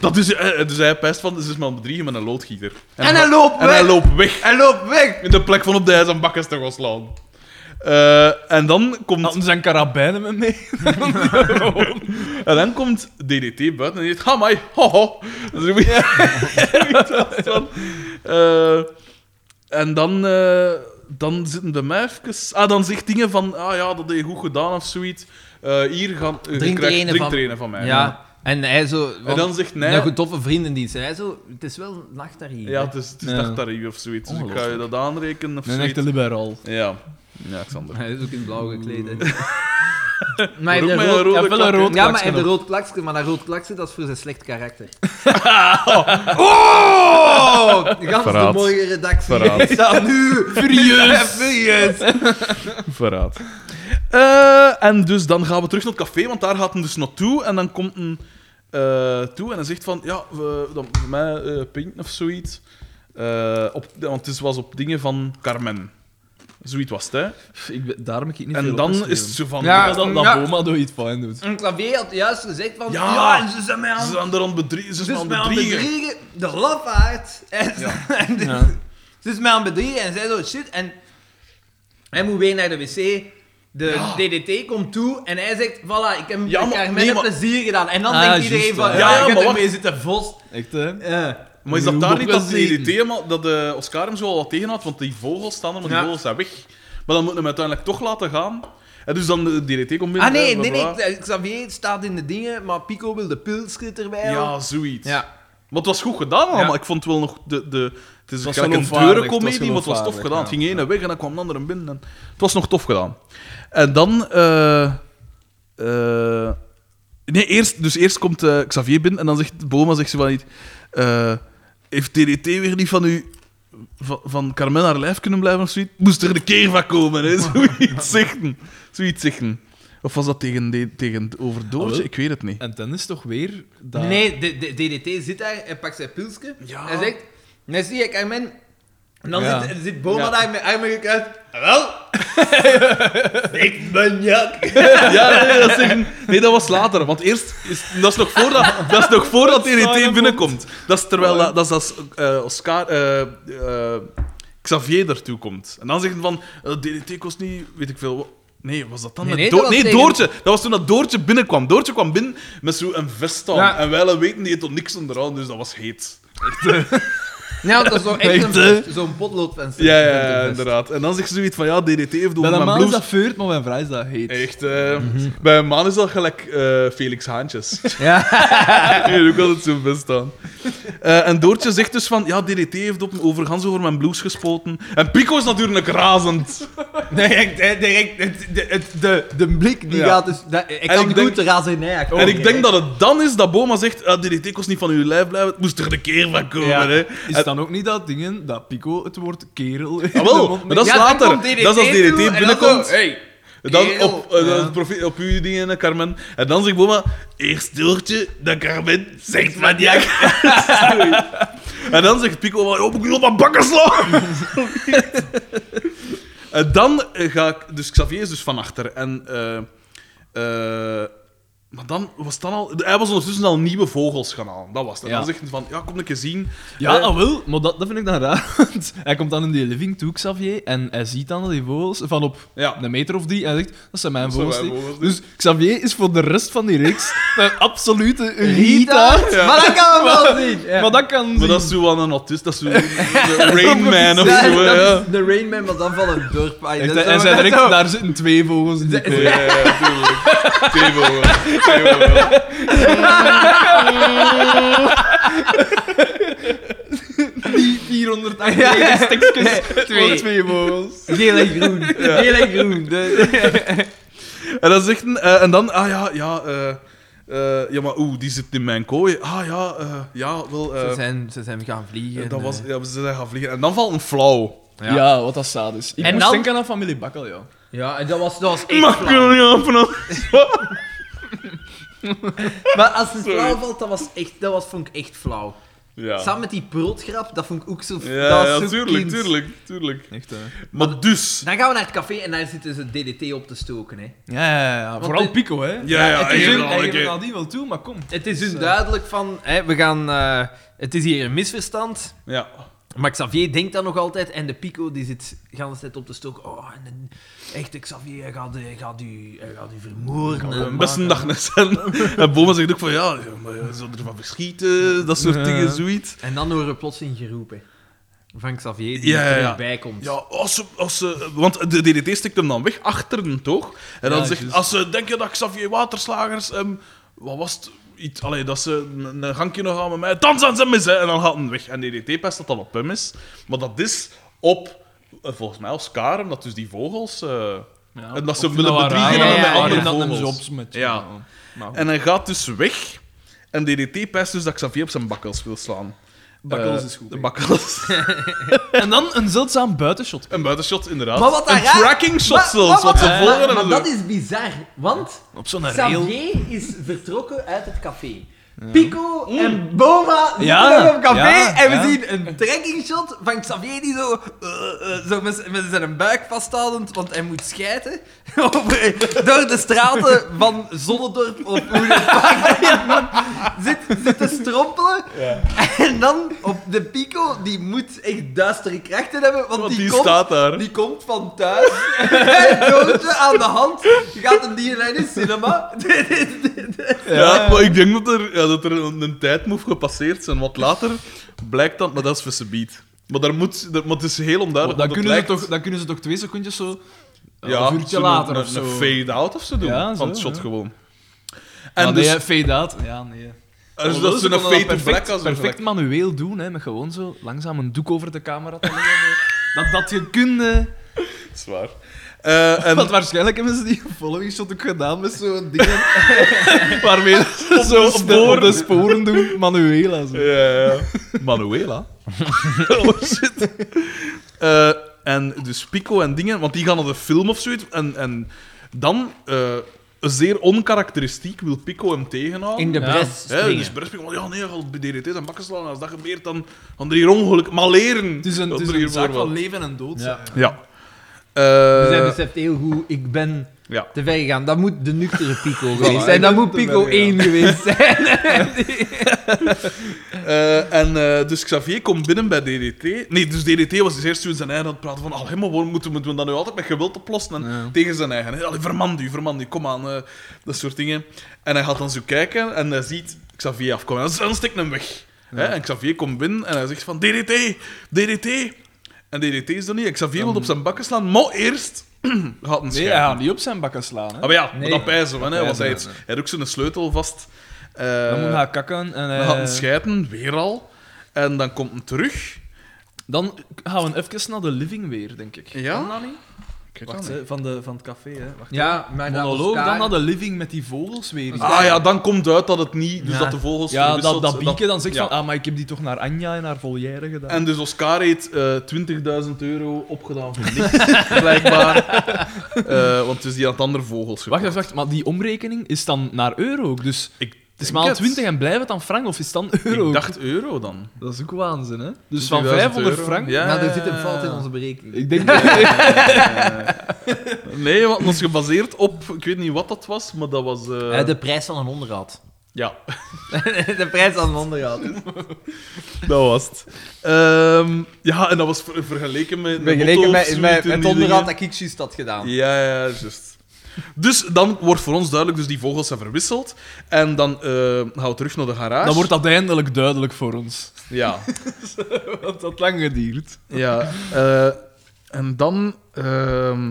Speaker 1: dat is... eh, Dus hij pijst van... Dus is maar bedriegen met een loodgieter.
Speaker 3: En hij loopt
Speaker 1: En hij
Speaker 3: weg.
Speaker 1: loopt weg.
Speaker 3: Hij loopt weg!
Speaker 1: In de plek van op de hij zijn bakkes te gaan slaan. Eh, en dan komt...
Speaker 2: Hadden zijn karabijnen met mee?
Speaker 1: En dan komt DDT buiten en die zegt: Hamai, hoho. Dat is een beetje- dat is van, eh, En dan, eh, dan zitten de mij even. Ah, dan zegt dingen van: Ah ja, dat heb je goed gedaan of zoiets. Eh, hier gaan. eh, je
Speaker 3: Drink er
Speaker 1: krijgt-
Speaker 3: een
Speaker 1: drink
Speaker 3: van-
Speaker 1: er een van mij.
Speaker 3: Ja, en hij zo... want
Speaker 1: dan zegt hij-
Speaker 3: Een toffe vriendendienst. En hij zo... Het is wel een nacht daar hier.
Speaker 1: Ja, het is, het is
Speaker 2: Ja.
Speaker 1: dagtarief of zoiets. Dus ik ga je
Speaker 2: Ongelooflijk.
Speaker 1: dat aanrekenen of
Speaker 2: Een
Speaker 1: zoiets.
Speaker 2: echte liberaal.
Speaker 1: Ja. Ja, Xander.
Speaker 3: Hij is ook in blauw gekleed. hè.
Speaker 1: Maar
Speaker 3: maar hij
Speaker 1: ook
Speaker 3: heeft
Speaker 1: met een
Speaker 3: een rood...
Speaker 1: rode
Speaker 2: ja, wel een
Speaker 1: klak, hè.
Speaker 2: rood-
Speaker 3: Ja, maar
Speaker 2: klaksken
Speaker 3: hij heeft een
Speaker 2: op.
Speaker 3: rood klaksken, maar dat rood klaksken, dat is voor zijn slecht karakter.
Speaker 1: Oh!
Speaker 3: Oh, gans
Speaker 1: Verraad.
Speaker 3: de mooie redactie.
Speaker 1: Verraad.
Speaker 3: Is dat nu? Furieus. Furieus.
Speaker 1: Verraad. Eh, en dus dan gaan we terug naar het café, want daar gaat hem dus naartoe. En dan komt hem eh, toe en hij zegt van, ja, we, dan, voor mij eh pinten of zoiets. Eh, op, want het was op dingen van Carmen. Zoiets was het, hè.
Speaker 2: Ik ben, daarom heb ik niet
Speaker 1: En
Speaker 2: veel
Speaker 1: dan
Speaker 2: opgeschreven.
Speaker 1: is het zo van...
Speaker 3: Ja,
Speaker 2: Ja, dat, dat
Speaker 3: ja.
Speaker 2: Boma door iets fijn doet.
Speaker 3: Een klavier had juist gezegd van... Ja,
Speaker 1: Ja.
Speaker 3: en ze zijn mij
Speaker 1: Ze
Speaker 3: aan...
Speaker 1: zijn er aan het bedrie- ze
Speaker 3: Ze
Speaker 1: zijn
Speaker 3: is
Speaker 1: aan
Speaker 3: mij
Speaker 1: het
Speaker 3: aan
Speaker 1: bedriegen.
Speaker 3: bedriegen. De lafaard. En, en dit-
Speaker 2: Ja.
Speaker 3: Ze is mij aan bedriegen en zij zo shit. En hij moet weer naar de wc. De DDT komt toe en hij zegt: Voilà, ik heb
Speaker 1: Ja,
Speaker 3: ja,
Speaker 1: maar-
Speaker 3: met
Speaker 1: nee, maar-
Speaker 3: plezier gedaan. En dan
Speaker 2: Ah,
Speaker 3: denkt
Speaker 2: juist,
Speaker 3: iedereen: van,
Speaker 2: ja.
Speaker 3: Ja,
Speaker 1: Ja, ja,
Speaker 3: je hebt
Speaker 1: maar
Speaker 3: ermee zitten vos.
Speaker 2: Echt, hè?
Speaker 3: Eh.
Speaker 1: Maar is dat daar niet dat
Speaker 2: Opgezeten.
Speaker 1: DDT helemaal- dat de Oscar hem zo al wat tegen had? Want die vogels staan er, maar die
Speaker 3: Ja.
Speaker 1: vogels zijn weg. Maar dan moet hij hem uiteindelijk toch laten gaan. En dus dan de DDT komt binnen.
Speaker 3: Ah nee,
Speaker 1: eh,
Speaker 3: nee,
Speaker 1: blablabla.
Speaker 3: nee, Xavier staat in de dingen, maar Pico wil de pilskrit erbij.
Speaker 1: Ja,
Speaker 3: houden.
Speaker 1: zoiets.
Speaker 3: ja.
Speaker 1: Maar het was goed gedaan allemaal.
Speaker 3: Ja.
Speaker 1: Ik vond wel nog de... de het is
Speaker 2: was
Speaker 1: eigenlijk een
Speaker 2: geloofwaardig,
Speaker 1: treurencomedie,
Speaker 2: het was
Speaker 1: maar het was tof
Speaker 2: geloofwaardig,
Speaker 1: gedaan. Het
Speaker 2: ja.
Speaker 1: ging ene weg en dan kwam de andere binnen. En het was nog tof gedaan. En dan... eh, eh, nee, eerst, dus eerst komt eh, Xavier binnen en dan zegt Boma zegt ze van niet... eh, heeft TDT weer niet van u... Van, van Carmen haar lijf kunnen blijven of zoiets? Moest er een keer van komen, hè? Zoiets zeggen. Zoiets zeggen. Of was dat tegen, de- tegen over Doortje?
Speaker 2: Ah, wel.
Speaker 1: Ik weet het niet.
Speaker 2: En dan is toch weer dat...
Speaker 3: Nee, de, de- DDT zit daar en pakt zijn pilsje.
Speaker 1: Ja.
Speaker 3: En zegt: Nee, zie ik Armin. En dan
Speaker 2: Ja.
Speaker 3: zit, zit Boma
Speaker 1: Ja.
Speaker 3: daar met armen gekruist. Wel? ik ben jak.
Speaker 1: Ja, nee, dat, is een- nee, dat was later. Want eerst is, dat is nog voordat, dat is nog voordat DDT binnenkomt. Dat is terwijl dat, dat is als eh, Oscar, eh, eh, Xavier daartoe komt. En dan zeggen van eh, DDT kost E niet, weet ik veel. wat. Nee, was dat dan?
Speaker 5: Nee,
Speaker 1: met
Speaker 5: nee,
Speaker 1: Door-
Speaker 5: dat was
Speaker 1: nee
Speaker 5: tegen-
Speaker 1: Doortje. Dat was toen dat Doortje binnenkwam. Doortje kwam binnen met zo'n vest aan.
Speaker 5: Ja.
Speaker 1: En wij weten die tot niks onderaan, dus dat was heet.
Speaker 5: Ja, want dat is zo echt een vest, zo'n potloodvenster.
Speaker 1: Ja, ja, ja, inderdaad. En dan zegt ze zoiets van, ja, DDT heeft
Speaker 2: Bij
Speaker 1: over
Speaker 2: een
Speaker 1: mijn
Speaker 2: man is dat
Speaker 1: blouse.
Speaker 2: veurt, maar bij een vrouw is dat heet.
Speaker 1: Echt, eh, bij een man is dat gelijk eh, Felix Haantjes.
Speaker 3: Ja.
Speaker 1: Nee, ook altijd zo best aan. Eh, en Doortje zegt dus van, ja, DDT heeft op, overgans over mijn blouse gespoten. En Pico is natuurlijk razend.
Speaker 3: Direct, hè, direct. Het, de, het- de, de blik die
Speaker 1: Ja.
Speaker 3: gaat dus... Dat, ik kan
Speaker 1: ik
Speaker 3: goed
Speaker 1: denk-
Speaker 3: de razernij
Speaker 2: Oh,
Speaker 1: en ik denk dat het dan is dat Boma zegt, ah, DDT kost niet van uw lijf blijven, het moest er een keer van komen.
Speaker 2: Ja.
Speaker 1: Hè.
Speaker 2: Is het dan ook niet dat dingen, dat Pico het woord kerel... in
Speaker 1: Ah,
Speaker 2: de
Speaker 1: wel,
Speaker 2: mond
Speaker 1: maar dat is
Speaker 5: Ja, dan
Speaker 1: later.
Speaker 5: komt
Speaker 1: Dat is als
Speaker 5: toe en
Speaker 1: DDT
Speaker 5: dan
Speaker 1: binnenkomt.
Speaker 5: zo, hey.
Speaker 1: Dan
Speaker 5: Kerel.
Speaker 1: op, eh, dat profi- op uw dingen, eh, Carmen. En dan zegt Boma, eerst Doortje, dan Carmen, zegt maar ja. en dan zegt Pico, oh, moet ik nu op mijn bakken slaan? en dan eh, ga ik... Dus Xavier is dus van achter. En... eh, eh, maar dan was het dan al... Hij was ondertussen al nieuwe vogels gaan halen. Dat was het.
Speaker 2: Ja.
Speaker 1: Dan zegt hij van, ja, kom een keer zien.
Speaker 2: Ja,
Speaker 1: Eh,
Speaker 2: ah, wel, maar dat, dat vind ik dan raar. want hij komt dan in die living toe, Xavier, en hij ziet dan die vogels van op
Speaker 1: Ja.
Speaker 2: een meter of die. En hij zegt, dat zijn mijn
Speaker 1: Dat zijn
Speaker 2: vogels.
Speaker 1: mijn
Speaker 2: die."
Speaker 1: vogels,
Speaker 2: dus Xavier is voor de rest van die reeks een absolute
Speaker 3: Rita?
Speaker 2: Rita.
Speaker 1: Ja.
Speaker 3: Maar dat kan we wel zien. Ja.
Speaker 2: Maar dat kan
Speaker 1: Maar dat is
Speaker 2: zien.
Speaker 1: zo wel een autist, dat is zo een Rain Man of
Speaker 3: Ja,
Speaker 1: zo.
Speaker 3: dat
Speaker 1: ja.
Speaker 3: is de Rainman, maar dan van een dorp. Ah,
Speaker 2: Echt,
Speaker 3: dat is
Speaker 2: en
Speaker 3: wel-
Speaker 2: zij direct, daar zitten twee vogels in die kooi.
Speaker 1: Ja, ja, ja, tuurlijk. Tuurlijk. Tuurlijk.
Speaker 2: Die 400
Speaker 3: Ja, ja.
Speaker 2: stukjes
Speaker 5: twee.
Speaker 2: voor twee vogels.
Speaker 3: Geel en groen. Geel en groen. De-
Speaker 1: En dan zegt hij, eh, en dan, ah ja, ja, eh, eh, ja, maar oeh, die zit in mijn kooi. Ah ja, eh, ja, wel, eh,
Speaker 3: Ze zijn, ze zijn gaan vliegen.
Speaker 1: dat was,
Speaker 3: eh.
Speaker 1: ja, ze zijn gaan vliegen. En dan valt een flauw.
Speaker 2: Ja, wat dat sad is. Ik
Speaker 5: En
Speaker 2: moest
Speaker 5: dan-
Speaker 2: denken aan familie Bakkel, ja.
Speaker 3: Ja, en dat was, dat was echt
Speaker 1: Mag ik
Speaker 3: flauw.
Speaker 1: er niet aanvangen?
Speaker 3: Maar als het
Speaker 1: Sorry.
Speaker 3: flauw valt, dat, was echt, dat was, vond ik echt flauw.
Speaker 1: Ja.
Speaker 3: Samen met die prultgrap, dat vond ik ook zo... dat
Speaker 1: Ja,
Speaker 3: was
Speaker 1: ja,
Speaker 3: zo
Speaker 1: tuurlijk,
Speaker 3: kind.
Speaker 1: tuurlijk, tuurlijk.
Speaker 2: Echt, eh. hè.
Speaker 1: Maar dus...
Speaker 3: Dan gaan we naar het café en daar zitten ze DDT op te stoken. Hè.
Speaker 2: Ja, ja, ja, ja. Vooral
Speaker 3: dit-
Speaker 2: Pico, hè.
Speaker 1: Ja, ja,
Speaker 2: Het is hun,
Speaker 1: eigenlijk wel
Speaker 2: hij
Speaker 1: een
Speaker 2: geeft
Speaker 1: keer.
Speaker 2: nadien wel toe, maar kom.
Speaker 3: Het is hun
Speaker 2: Dus, eh,
Speaker 3: duidelijk van, hè, we gaan, eh, het is hier een misverstand.
Speaker 1: Ja.
Speaker 3: Maar Xavier denkt dat nog altijd en de Pico die zit de hele tijd op te stoken. Oh, en de- echt, Xavier, hij gaat, eh, hij gaat, u, hij gaat u vermoorden. eh,
Speaker 1: Best een dag
Speaker 3: maken.
Speaker 1: naar zijn. En Boma zegt ook van ja, ja, maar ja, ze zullen ervan verschieten, dat soort
Speaker 2: Ja.
Speaker 1: dingen, zoiets.
Speaker 3: En dan horen we plotseling geroepen van Xavier die
Speaker 1: Ja, ja,
Speaker 3: er
Speaker 1: ja.
Speaker 3: erbij komt.
Speaker 1: Ja, als ze, als ze, want de DDT stikt hem dan weg achter de toog. En dan
Speaker 2: Ja,
Speaker 1: zegt,
Speaker 2: juist.
Speaker 1: als ze denken dat Xavier Waterslagers, ehm, wat was het? Iets, allee, dat ze een, een gangje nog gaan met mij, dan zijn ze mis, hè. En dan gaat hij weg. En DDT pest dat dan op hem is. Maar dat is op, eh, volgens mij, als Karim, dat dus die vogels... eh,
Speaker 2: Ja,
Speaker 1: En dat ze
Speaker 2: of
Speaker 1: willen
Speaker 2: dat
Speaker 1: bedriegen
Speaker 2: waren-
Speaker 5: en dan
Speaker 2: ja,
Speaker 5: met
Speaker 2: ja,
Speaker 5: andere
Speaker 2: en dan
Speaker 1: vogels.
Speaker 2: hem zo opsmet.
Speaker 1: Ja.
Speaker 2: Maar goed.
Speaker 1: en hij gaat dus weg. En DDT pest dus dat Xavier op zijn bakkels wil slaan.
Speaker 2: Bakkels
Speaker 1: Eh,
Speaker 2: is goed,
Speaker 1: De
Speaker 2: hè.
Speaker 1: bakkels.
Speaker 2: En dan een zeldzaam buitenshot.
Speaker 1: een buitenshot, inderdaad.
Speaker 3: Maar wat
Speaker 1: een
Speaker 3: daar raar-
Speaker 1: tracking shot
Speaker 3: Maar-
Speaker 1: zelfs,
Speaker 3: maar
Speaker 1: wat ze
Speaker 3: maar-
Speaker 1: volgen. en
Speaker 3: maar
Speaker 1: zo.
Speaker 3: dat is bizar, want
Speaker 2: Op zo'n rail. Hm.
Speaker 3: Xavier is vertrokken uit het café. Pico en Boma zitten
Speaker 2: Ja,
Speaker 3: nog op café
Speaker 2: ja,
Speaker 3: en we
Speaker 2: ja.
Speaker 3: zien een tracking shot van Xavier die zo, eh, eh, zo met, met zijn buik vasthoudend, want hij moet schijten over- door de straten van Zonnedorp of hoe dat park dat je noemt, zit, zit te strompelen. En dan op de Pico, die moet echt duistere krachten hebben, want,
Speaker 1: Want
Speaker 3: die,
Speaker 1: die
Speaker 3: komt,
Speaker 1: staat daar.
Speaker 3: die komt van thuis. en Doodje aan de hand gaat hem die lijn in cinema.
Speaker 1: Ja, maar ik denk dat er, ja, dat er een, een tijd moet gepasseerd zijn. Want later blijkt dat, maar dat is voor ze beat. Maar, daar moet, daar, maar het is heel onduidelijk.
Speaker 2: Dan
Speaker 1: want het
Speaker 2: kunnen, ze
Speaker 1: lijkt-
Speaker 2: toch, dan kunnen ze toch twee secondjes zo...
Speaker 1: ja,
Speaker 2: een uurtje
Speaker 1: zo'n-
Speaker 2: later
Speaker 1: een,
Speaker 2: of zo.
Speaker 1: Een fade-out of zo doen.
Speaker 2: Ja,
Speaker 1: van
Speaker 2: zo,
Speaker 1: het shot
Speaker 2: ja.
Speaker 1: gewoon.
Speaker 2: En
Speaker 1: En
Speaker 2: dus...
Speaker 1: dus,
Speaker 2: nee, fade out. Ja, nee. Oh,
Speaker 1: er is
Speaker 2: Ze
Speaker 1: dat ze een
Speaker 2: konden dat
Speaker 1: fade to black als
Speaker 2: perfect,
Speaker 1: een
Speaker 2: perfect
Speaker 1: vlek.
Speaker 2: manueel doen, hè, met gewoon zo langzaam een doek over de camera te leggen. dat, dat je kunt... eh,
Speaker 1: Zwaar. Eh, en
Speaker 2: Want waarschijnlijk hebben ze die following shot ook gedaan met zo'n dingen. waarmee ze zo op de, op de sporen doen, manueel. en Zo.
Speaker 1: Ja, ja. Manuela. oh shit. Eh, en dus Pico en dingen, want die gaan naar de film of zoiets. En, en dan, eh, zeer onkarakteristiek, wil Pico hem tegenhouden.
Speaker 3: de
Speaker 2: Ja. bres
Speaker 1: Hè, dus Bersping, van, ja, nee, hij gaat bij DDT zijn bakken slaan. Als dat gebeurt, dan gaan er hier ongeluk. Maar leren.
Speaker 2: Het is een,
Speaker 1: Dat
Speaker 2: het is
Speaker 1: er
Speaker 2: een
Speaker 1: hier
Speaker 2: zaak
Speaker 1: voorbeeld.
Speaker 2: van leven en dood.
Speaker 3: Ja.
Speaker 2: zeg.
Speaker 1: Ja. Eh,
Speaker 3: Zij beseft heel goed, ik ben
Speaker 1: Ja.
Speaker 3: te ver gegaan. Dat moet de nuchtere Pico geweest
Speaker 2: ik
Speaker 3: zijn. Dat
Speaker 2: ben
Speaker 3: moet
Speaker 2: te ver
Speaker 3: Pico
Speaker 2: gegaan.
Speaker 3: 1 geweest zijn.
Speaker 1: Eh, en eh, dus Xavier komt binnen bij DDT. Nee, dus DDT was dus eerst zo in zijn eigen aan het praten van allee, maar waarom moeten we, moeten we dat nu altijd met geweld oplossen? En tegen zijn eigen. hè. Allee, vermand u, vermand u, kom aan. eh, dat soort dingen. En hij gaat dan zo kijken en hij ziet Xavier afkomen. En dan stikt hem weg. Hè? En Xavier komt binnen en hij zegt van DDT, DDT. En DDT is er niet. En Xavier wil op zijn bakken slaan, maar eerst gaat een
Speaker 2: Nee,
Speaker 1: schijn.
Speaker 2: hij gaat niet op zijn bakken slaan. Hè.
Speaker 1: Ah, maar ja, maar
Speaker 3: Nee.
Speaker 1: dat pijzen we. hè, want
Speaker 2: pijzen
Speaker 1: hij
Speaker 2: we,
Speaker 1: heeft hij had ook zijn sleutel vast. Eh,
Speaker 2: Dan moet hij kakken en eh,
Speaker 1: we
Speaker 2: hij...
Speaker 1: hadden scheiden, weer al. En dan komt hem terug.
Speaker 2: Dan gaan we even naar de living weer, denk ik.
Speaker 1: Ja?
Speaker 2: Kan dat niet? Wacht, hè, van, de, van het café, hè. Wacht.
Speaker 3: Ja, maar dat
Speaker 2: Monoloog,
Speaker 3: was
Speaker 2: dan
Speaker 3: daar-
Speaker 2: naar de living met die vogels weer.
Speaker 1: Ah ja, dan komt uit dat het niet... Dus
Speaker 3: Ja.
Speaker 1: dat de vogels
Speaker 2: ja, dat,
Speaker 1: gewisseld-
Speaker 2: dat bieke dan zegt
Speaker 1: ja.
Speaker 2: van, ah, maar ik heb die toch naar Anja en haar volière gedaan.
Speaker 1: En dus Oscar heeft eh 20.000 euro opgedaan voor niks, blijkbaar. Eh, want dus die had andere vogels gekocht.
Speaker 2: wacht, wacht, wacht, maar die omrekening is dan naar euro ook, dus...
Speaker 1: Ik
Speaker 2: Het is
Speaker 1: denk
Speaker 2: maal
Speaker 1: het.
Speaker 2: 20 en blijft het dan frank, of is het dan euro?
Speaker 1: Ik dacht euro dan.
Speaker 2: Dat is ook waanzin, hè? Dus van
Speaker 1: 20.000
Speaker 2: 500
Speaker 1: euro.
Speaker 2: frank...
Speaker 1: Ja, ja,
Speaker 3: Maar Nou, er zit hem
Speaker 1: ja,
Speaker 3: valt in
Speaker 1: ja.
Speaker 3: onze berekening.
Speaker 2: Ik denk... dat-
Speaker 1: Nee, want dat is gebaseerd op... Ik weet niet wat dat was, maar dat was... eh,
Speaker 3: Eh, de prijs van een onderhoud.
Speaker 1: Ja,
Speaker 3: de prijs van een onderhoud.
Speaker 1: dat was het. Ehm, ja, en dat was ver- vergeleken met...
Speaker 3: Vergeleken
Speaker 1: Lotto of
Speaker 3: met,
Speaker 1: zoiets
Speaker 3: met
Speaker 1: in
Speaker 3: het
Speaker 1: die dingen.
Speaker 3: onderhoud dat ik juist had gedaan.
Speaker 1: Ja, ja, juist. Dus dan wordt voor ons duidelijk, dus die vogels zijn verwisseld. En dan eh gaan we terug naar de garage.
Speaker 2: Dan wordt dat eindelijk duidelijk voor ons.
Speaker 1: Ja.
Speaker 2: Want dat had lang geduurd.
Speaker 1: ja eh, en dan... ehm,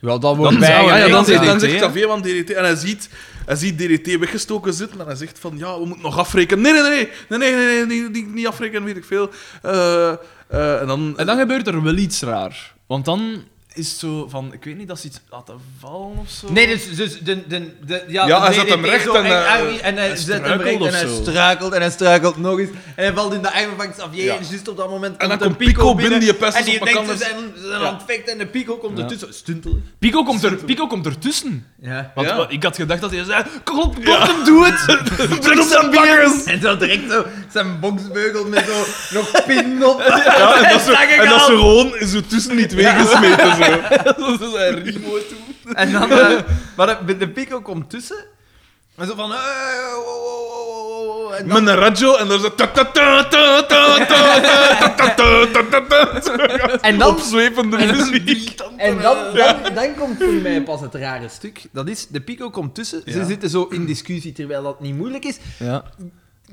Speaker 3: Ja, dat
Speaker 2: wordt
Speaker 1: ja,
Speaker 2: wij
Speaker 1: ja,
Speaker 2: gaan
Speaker 1: dan,
Speaker 2: DDT,
Speaker 1: zegt- dan zegt
Speaker 2: hè?
Speaker 1: Xavier van DDT... En hij ziet, hij ziet DDT weggestoken zitten en hij zegt van... Ja, we moeten nog afrekenen. Nee, nee, nee. Nee, nee, nee, nee, niet- niet, niet afrekenen, weet ik veel. Eh, eh, en dan...
Speaker 2: En dan gebeurt er wel iets raar. Want dan is het zo van, ik weet niet, dat ze iets laten vallen of zo.
Speaker 3: Nee, dus, dus de, de, de, ja,
Speaker 1: Ja,
Speaker 3: de
Speaker 1: hij zet
Speaker 3: DDT
Speaker 1: hem recht
Speaker 3: zo
Speaker 1: en, eh,
Speaker 3: Harry, en hij,
Speaker 2: hij
Speaker 3: zet hem recht
Speaker 2: struikelt of
Speaker 3: en hij
Speaker 2: zo.
Speaker 3: struikelt en hij struikelt nog eens. En hij valt in de armen van Xavier.
Speaker 1: Ja.
Speaker 3: En juist op dat moment
Speaker 1: En dan
Speaker 3: een
Speaker 1: komt Pico binnen, die pest
Speaker 3: En
Speaker 1: ons
Speaker 3: die
Speaker 1: op
Speaker 3: denkt, ze
Speaker 1: elkaar.
Speaker 3: zijn, ze zijn
Speaker 1: Ja.
Speaker 3: aan het vechten en de Pico komt
Speaker 2: Ja.
Speaker 3: ertussen. Stuntelen.
Speaker 2: Pico komt, er, Pico komt ertussen.
Speaker 3: Ja.
Speaker 2: Want
Speaker 1: Ja.
Speaker 2: ik had gedacht dat hij zei, klop, klop hem, doe het. Druk zijn bakkers.
Speaker 3: En dan direct zo zijn boksbeugel met zo nog pin op.
Speaker 1: ja, en dat ze,
Speaker 3: Zakken
Speaker 1: en dat ze
Speaker 3: gehaald.
Speaker 1: gewoon zo tussen niet weggesmeten. Zo.
Speaker 3: En dan, eh, maar de, de Pico komt tussen. En zo van... eh, oh, oh, oh, oh, oh, en dan-
Speaker 1: Met een radio en dan zo... ta, ta, ta, ta, ta, ta, ta, ta, ta, ta, ta, ta.
Speaker 3: En dan
Speaker 1: Opzwepende muziek.
Speaker 3: En dan, dan, dan komt voor mij pas het rare stuk. Dat is, de Pico komt tussen. Ze zitten zo in discussie, terwijl dat niet moeilijk is.
Speaker 2: Ja.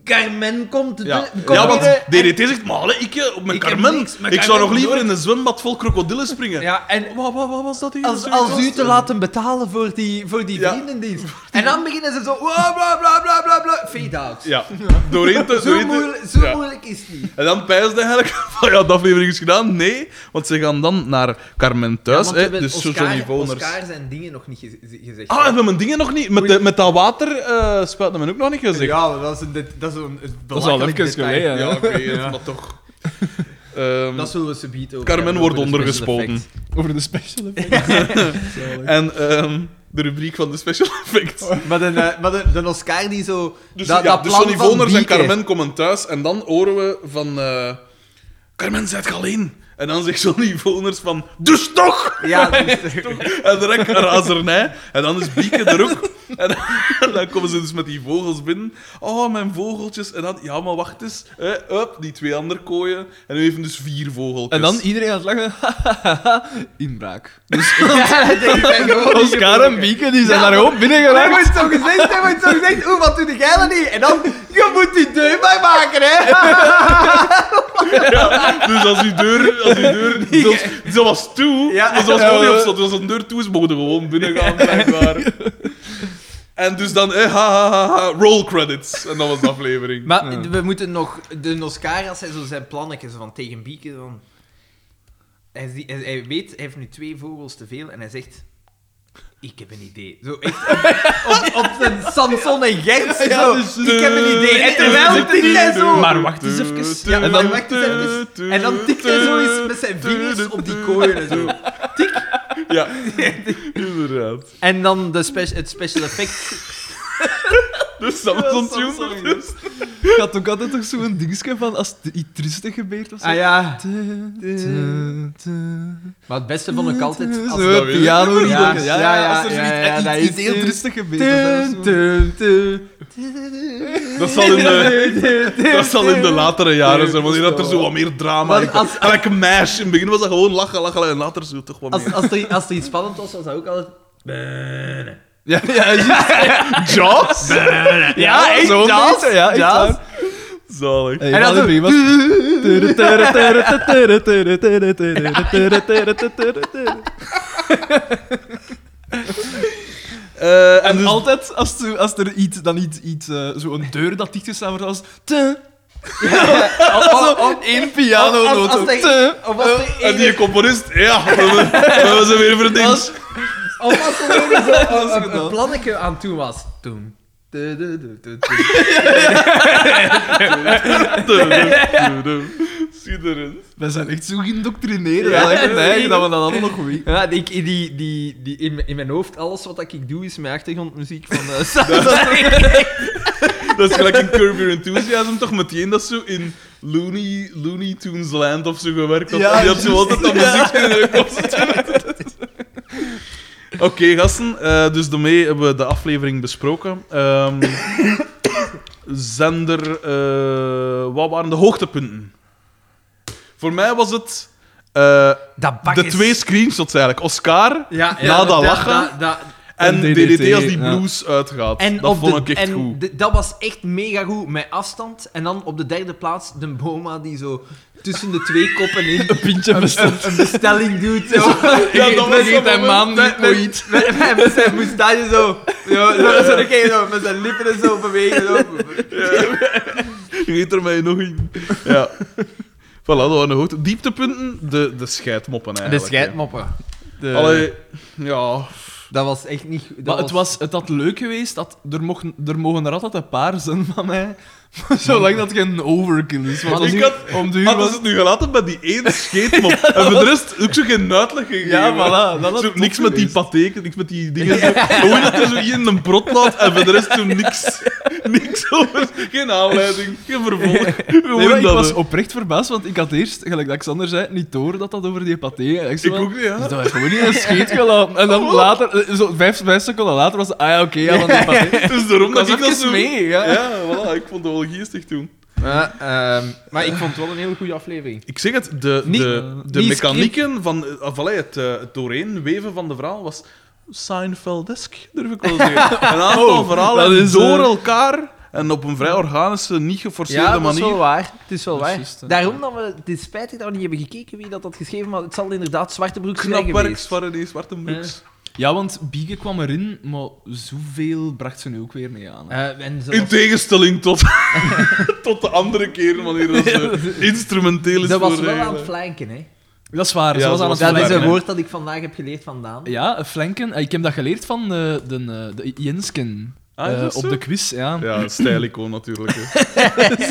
Speaker 3: Carmen komt te
Speaker 1: Ja.
Speaker 3: komt
Speaker 1: ja, want
Speaker 3: binnen en-
Speaker 1: DDT zegt, maar allee, ik, eh, op mijn
Speaker 3: Ik heb
Speaker 1: Carmen,
Speaker 3: niks met
Speaker 1: ik zou
Speaker 3: Carmen
Speaker 1: nog liever
Speaker 3: nooit.
Speaker 1: in een zwembad vol krokodillen springen.
Speaker 3: Ja, en
Speaker 1: Wat, wat, wat Oh, was dat hier?
Speaker 3: als,
Speaker 1: Zoiets
Speaker 3: als
Speaker 1: was
Speaker 3: u
Speaker 1: het.
Speaker 3: te laten betalen voor die, voor die
Speaker 1: Ja.
Speaker 3: vriendendienst. En dan beginnen ze zo... Bla, bla, bla, bla, bla, bla, fade out.
Speaker 1: Ja, doorheen te...
Speaker 3: Zo,
Speaker 1: doorheen te-
Speaker 3: moeilijk, zo
Speaker 1: ja.
Speaker 3: moeilijk is het niet.
Speaker 1: En dan pijst hij eigenlijk van, ja, de aflevering is gedaan. Nee, want ze gaan dan naar Carmen thuis,
Speaker 3: Want we
Speaker 1: hè,
Speaker 3: hebben
Speaker 1: dus zo
Speaker 3: Oscar,
Speaker 1: Johnny Voners.
Speaker 3: Oscar zijn dingen nog niet ge- ge- gezegd.
Speaker 1: Ah, hebben we mijn dingen nog niet... Met, de, met dat water eh spuiten men ook nog niet gezegd.
Speaker 3: ja, maar dat is een, dit- dat is een een
Speaker 2: Dat is al
Speaker 3: belachelijk
Speaker 2: even
Speaker 3: detail.
Speaker 2: geleden.
Speaker 1: Ja,
Speaker 2: hè.
Speaker 1: oké, maar toch. Ehm,
Speaker 3: Dat zullen we subiet over
Speaker 1: Carmen
Speaker 3: hebben,
Speaker 1: wordt
Speaker 3: over de special
Speaker 1: ondergespoten.
Speaker 3: effects.
Speaker 2: Over de special effects. Zalig.
Speaker 1: En ehm, de rubriek van de special effects.
Speaker 3: Maar de, eh, maar de, de Oscar die zo...
Speaker 1: Dus,
Speaker 3: dat,
Speaker 1: ja,
Speaker 3: dat
Speaker 1: dus
Speaker 3: plan
Speaker 1: Sonny
Speaker 3: van
Speaker 1: Voners en
Speaker 3: Bieke.
Speaker 1: Carmen komen thuis en dan horen we van... eh, Carmen, zijt je alleen? En dan zegt Sonny Voners van... Dus toch!
Speaker 3: Ja, dus,
Speaker 1: En direct een razernij. En dan is Bieke er ook. En dan, en dan komen ze dus met die vogels binnen. Oh, mijn vogeltjes. En dan... Ja, maar wacht eens. Eh, up, die twee andere kooien. En nu even dus vier vogeltjes.
Speaker 2: En dan iedereen gaat lachen. Inbraak. Dus
Speaker 3: ja, die zijn gewoon niet
Speaker 2: Oscar en
Speaker 3: gebroken.
Speaker 2: Bieke die zijn
Speaker 3: Ja,
Speaker 2: daar gewoon
Speaker 3: Hij
Speaker 2: binnengeraakt.
Speaker 3: wordt zo gezegd, hij wordt zo gezegd. Oeh, wat doe de geile niet? En dan, je moet die deur bij maken, hè.
Speaker 1: Dus als die deur, als die deur zelfs, ze was toe,
Speaker 3: Ja.
Speaker 1: maar ze was gewoon niet op slot. Dus als een deur toe is, mogen we gewoon binnen gaan, blijkbaar. En dus dan, eh, ha, ha, ha, ha, roll credits. En dat was de aflevering.
Speaker 3: Maar we moeten nog... De Oscar, als hij zo zijn plannetjes van tegen Bieke, dan... Hij, zie- hij, hij weet, hij heeft nu twee vogels te veel en hij zegt... Ik heb een idee. Zo echt op, op, op zijn Samson en Gert. zo,
Speaker 2: Ja, dus,
Speaker 3: ik heb
Speaker 1: eh,
Speaker 3: een idee. En terwijl tikt hij zo...
Speaker 2: Maar wacht eens even.
Speaker 3: Ja,
Speaker 2: En
Speaker 3: en
Speaker 2: dan-
Speaker 3: dan, wacht eens even. En dan tikt hij zo eens met zijn vingers op die kooien en zo.
Speaker 1: Ja, inderdaad.
Speaker 3: En dan de spe- het special effect.
Speaker 1: Dus Samson Tune. dus.
Speaker 2: Ik had ook altijd toch zo'n Ah, dingetje van als het iets tristig gebeurt of zo.
Speaker 3: ja.
Speaker 2: Tu, tu, tu.
Speaker 3: Maar het beste vond ik altijd... Als
Speaker 1: Zo,
Speaker 3: dat-
Speaker 1: weet ik.
Speaker 2: piano ja,
Speaker 3: Ja,
Speaker 2: ja,
Speaker 3: ja,
Speaker 2: ja, als er
Speaker 3: ja,
Speaker 2: zoiets
Speaker 3: ja,
Speaker 2: iets-
Speaker 3: dat
Speaker 2: iets
Speaker 3: is-
Speaker 2: heel tristig gebeurd is, dat is. zo-
Speaker 1: Dat zal in de, dat zal in de latere jaren zijn, wanneer dat er zo wat meer drama
Speaker 3: Want
Speaker 1: in komt.
Speaker 3: als-
Speaker 1: Gelijk MASH. In het begin was dat gewoon lachen, lachen, en later zo toch wat
Speaker 3: Als,
Speaker 1: meer...
Speaker 3: als, er, als er iets spannend was, was dat ook altijd...
Speaker 2: Ja, ja, juist.
Speaker 1: Jaws?
Speaker 2: ja,
Speaker 3: echt,
Speaker 2: zo'n
Speaker 3: Jaws?
Speaker 2: beetje, ja, echt
Speaker 3: Jaws?
Speaker 2: waar.
Speaker 1: Zalig.
Speaker 2: Hey, en dan prima.
Speaker 1: Eh, en
Speaker 2: En
Speaker 1: dus...
Speaker 2: altijd als, er- als er iets, dan iets, iets eh, zo'n deur dat dichtgestaan wordt, als te,
Speaker 3: Of, of,
Speaker 2: één piano
Speaker 3: als- als
Speaker 2: noot,
Speaker 3: hij-
Speaker 2: te.
Speaker 3: of als er
Speaker 1: En
Speaker 3: één-
Speaker 1: die componist, ja, we, we hebben ze weer verdiend.
Speaker 2: Als-
Speaker 3: Of als er ergens een- een- een,
Speaker 2: gedaan.
Speaker 3: een plannetje aan toe was. Toen. Du- du- du- du- du.
Speaker 1: Schitterend.
Speaker 2: Wij zijn echt zo geïndoctrineerd dat ik het eigen dat we dat allemaal nog weten.
Speaker 3: Ja, ik, die, die, die, in, mijn- in mijn hoofd, alles wat ik doe is mijn achtergrondmuziek van... eh, Sa-
Speaker 1: Dat is gelijk in Curb Your Enthusiasm toch meteen dat zo in Looney, Looney Tunes Land of zo gewerkt had.
Speaker 2: Ja,
Speaker 1: en die had zo
Speaker 2: juist.
Speaker 1: altijd dat muziekje in de kop Oké, gasten. eh, dus daarmee hebben we de aflevering besproken. Ehm, zender, eh, wat waren de hoogtepunten? Voor mij was het eh,
Speaker 3: dat bak
Speaker 1: de
Speaker 3: is-
Speaker 1: twee screenshots eigenlijk. Oscar
Speaker 3: Ja,
Speaker 1: na dat lachen.
Speaker 3: da- da-
Speaker 1: en
Speaker 2: en
Speaker 1: DDT,
Speaker 2: DDT,
Speaker 1: als die
Speaker 2: ja.
Speaker 1: blues uitgaat.
Speaker 3: en
Speaker 1: dat
Speaker 3: op
Speaker 1: vond
Speaker 3: de,
Speaker 1: ik echt
Speaker 3: en
Speaker 1: goed.
Speaker 3: de- dat was echt mega goed, met afstand. En dan op de derde plaats de Boma die zo tussen de twee koppen in
Speaker 2: Een pintje besteld.
Speaker 3: een bestelling doet. Zo.
Speaker 1: Ja, dat was
Speaker 2: Vergeet
Speaker 1: dat
Speaker 2: een man
Speaker 1: moment.
Speaker 2: niet ooit.
Speaker 3: Met, met, met zijn moustache zo. Zo, zo, zo, dan kan je zo. Met zijn lippen en zo bewegen. Zo.
Speaker 1: Je weet er mij nog in. Ja. Voilà, dat waren de hoogte. Dieptepunten, de, de scheidmoppen eigenlijk.
Speaker 3: scheidmoppen.
Speaker 1: hè. Allee, ja.
Speaker 3: Dat was echt niet goed.
Speaker 2: eh, Maar
Speaker 3: Dat
Speaker 2: het, was, het had leuk geweest, dat er, mochten, er mogen er altijd een paar zijn van mij. Maar Zolang dat geen overkill is. Want
Speaker 1: Ik
Speaker 2: nu-
Speaker 1: had-
Speaker 2: om de uur
Speaker 1: Hadden
Speaker 2: was
Speaker 1: ze het nu gelaten bij die één scheetmop. en voor de rest ook zo geen uitleg gegeven.
Speaker 2: Ja, voilà. Dat had
Speaker 1: Zo,
Speaker 2: top
Speaker 1: niks met die
Speaker 2: geweest.
Speaker 1: patheken, niks met die dingen. Zo, Gewoon dat er zo in een prot laat en voor de rest zo niks. Niks over. Geen aanleiding, geen vervolg. Gewoon
Speaker 2: Nee, maar ik
Speaker 1: dat. eh,
Speaker 2: was
Speaker 1: hè.
Speaker 2: oprecht verbaasd, want ik had eerst, gelijk dat Xander zei, niet door dat dat over die paté ging. Ik,
Speaker 1: Ik ook niet, Oh. ja.
Speaker 2: Dus dat was gewoon niet een scheet gelaten. En dan later, eh, zo vijf, vijf seconden later, was het, ah ja, oké, ja, van die paté.
Speaker 1: Dus daarom dat ik dat zo...
Speaker 2: mee, ja.
Speaker 1: Ja, voilà, ik vond het wel geestig toen.
Speaker 3: Ja, ehm, maar ik vond het wel een hele goede aflevering.
Speaker 1: Ik zeg het, de,
Speaker 2: Niet-
Speaker 1: de, de
Speaker 2: niet
Speaker 1: mechanieken van eh, of, allee, het, eh, het doorheenweven van de verhaal was Seinfeldesk, durf ik wel te zeggen. Een aantal verhalen
Speaker 2: Oh, dat is,
Speaker 1: door
Speaker 2: eh,
Speaker 1: elkaar en op een vrij organische, niet geforceerde
Speaker 3: Ja, dat is
Speaker 1: manier.
Speaker 3: wel waar. Het is wel
Speaker 2: Dat is
Speaker 3: waar.
Speaker 2: juist, hè.
Speaker 3: Daarom dat we... Het is spijtig dat we niet hebben gekeken wie dat had geschreven, maar het zal inderdaad Zwarte Broek zijn
Speaker 1: Knap werk,
Speaker 3: geweest.
Speaker 1: Zwarte die Zwarte Broeks.
Speaker 2: Ja, want Bieke kwam erin, maar zoveel bracht ze nu ook weer mee aan. hè.
Speaker 3: Eh, en zo
Speaker 1: In tegenstelling tot, tot de andere keren wanneer dat ze instrumenteel is
Speaker 3: dat was
Speaker 1: voor
Speaker 3: wel aan
Speaker 1: regelen.
Speaker 3: het flanken, hè.
Speaker 2: Dat is waar,
Speaker 1: Ja,
Speaker 2: ze was
Speaker 1: ze
Speaker 2: aan
Speaker 1: was
Speaker 2: het
Speaker 1: aan
Speaker 3: Dat
Speaker 1: het
Speaker 2: flanken,
Speaker 3: is een
Speaker 1: flanken,
Speaker 2: hè.
Speaker 3: woord dat ik vandaag heb geleerd vandaan.
Speaker 2: Ja, eh, flanken. Eh, Ik heb dat geleerd van eh, de, eh, de Jensken.
Speaker 1: Ah, is
Speaker 2: Eh,
Speaker 1: dat
Speaker 2: op
Speaker 1: zo?
Speaker 2: de quiz, ja.
Speaker 1: Ja, stijlico natuurlijk. hè.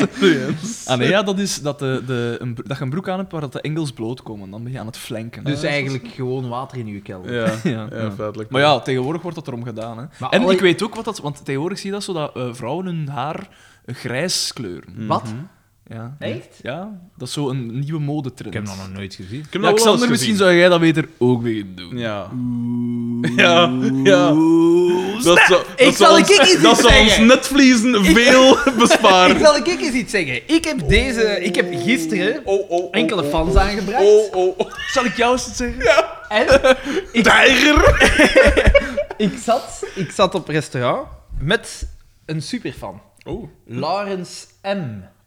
Speaker 2: Ah nee, ja, dat is dat, de, de, een, bro- dat je een broek aan hebt waar dat de engels bloot komen. Dan ben je aan het flanken.
Speaker 3: Dus
Speaker 2: Ah,
Speaker 3: eigenlijk gewoon water in uw kelder.
Speaker 1: Ja, ja,
Speaker 2: ja.
Speaker 1: feitelijk.
Speaker 2: Maar ja, tegenwoordig wordt dat erom gedaan. Hè.
Speaker 3: Maar
Speaker 2: en
Speaker 3: alle-
Speaker 2: ik weet ook wat dat... Want tegenwoordig zie je dat zo, dat eh, vrouwen hun haar grijs kleuren.
Speaker 1: Hmm.
Speaker 3: Wat?
Speaker 1: Mhm.
Speaker 2: Ja.
Speaker 3: Echt?
Speaker 2: Ja, dat is zo een nieuwe modetrend.
Speaker 3: nooit gezien.
Speaker 1: Ik heb dat
Speaker 2: Ja,
Speaker 1: wel eens
Speaker 2: Xander, misschien
Speaker 1: gezien.
Speaker 2: zou jij dat beter ook beginnen doen.
Speaker 1: Ja. Ja, ja. Dat zou,
Speaker 3: Ik
Speaker 1: dat
Speaker 3: zal
Speaker 1: zou
Speaker 3: een
Speaker 1: ons-
Speaker 3: kikkie zien
Speaker 1: Dat zou ons
Speaker 3: zeggen.
Speaker 1: netvliezen veel
Speaker 3: Ik
Speaker 1: besparen.
Speaker 3: zal ik eens iets zeggen. Ik heb deze... Ik heb gisteren
Speaker 1: Oh, oh, oh,
Speaker 3: enkele
Speaker 1: oh,
Speaker 3: fans aangebracht.
Speaker 1: Oh, oh, oh.
Speaker 2: Zal ik jou eens iets zeggen?
Speaker 3: En
Speaker 1: Tijger!
Speaker 3: ik zat, ik zat op restaurant met een superfan.
Speaker 1: Oh,
Speaker 3: Laurens M.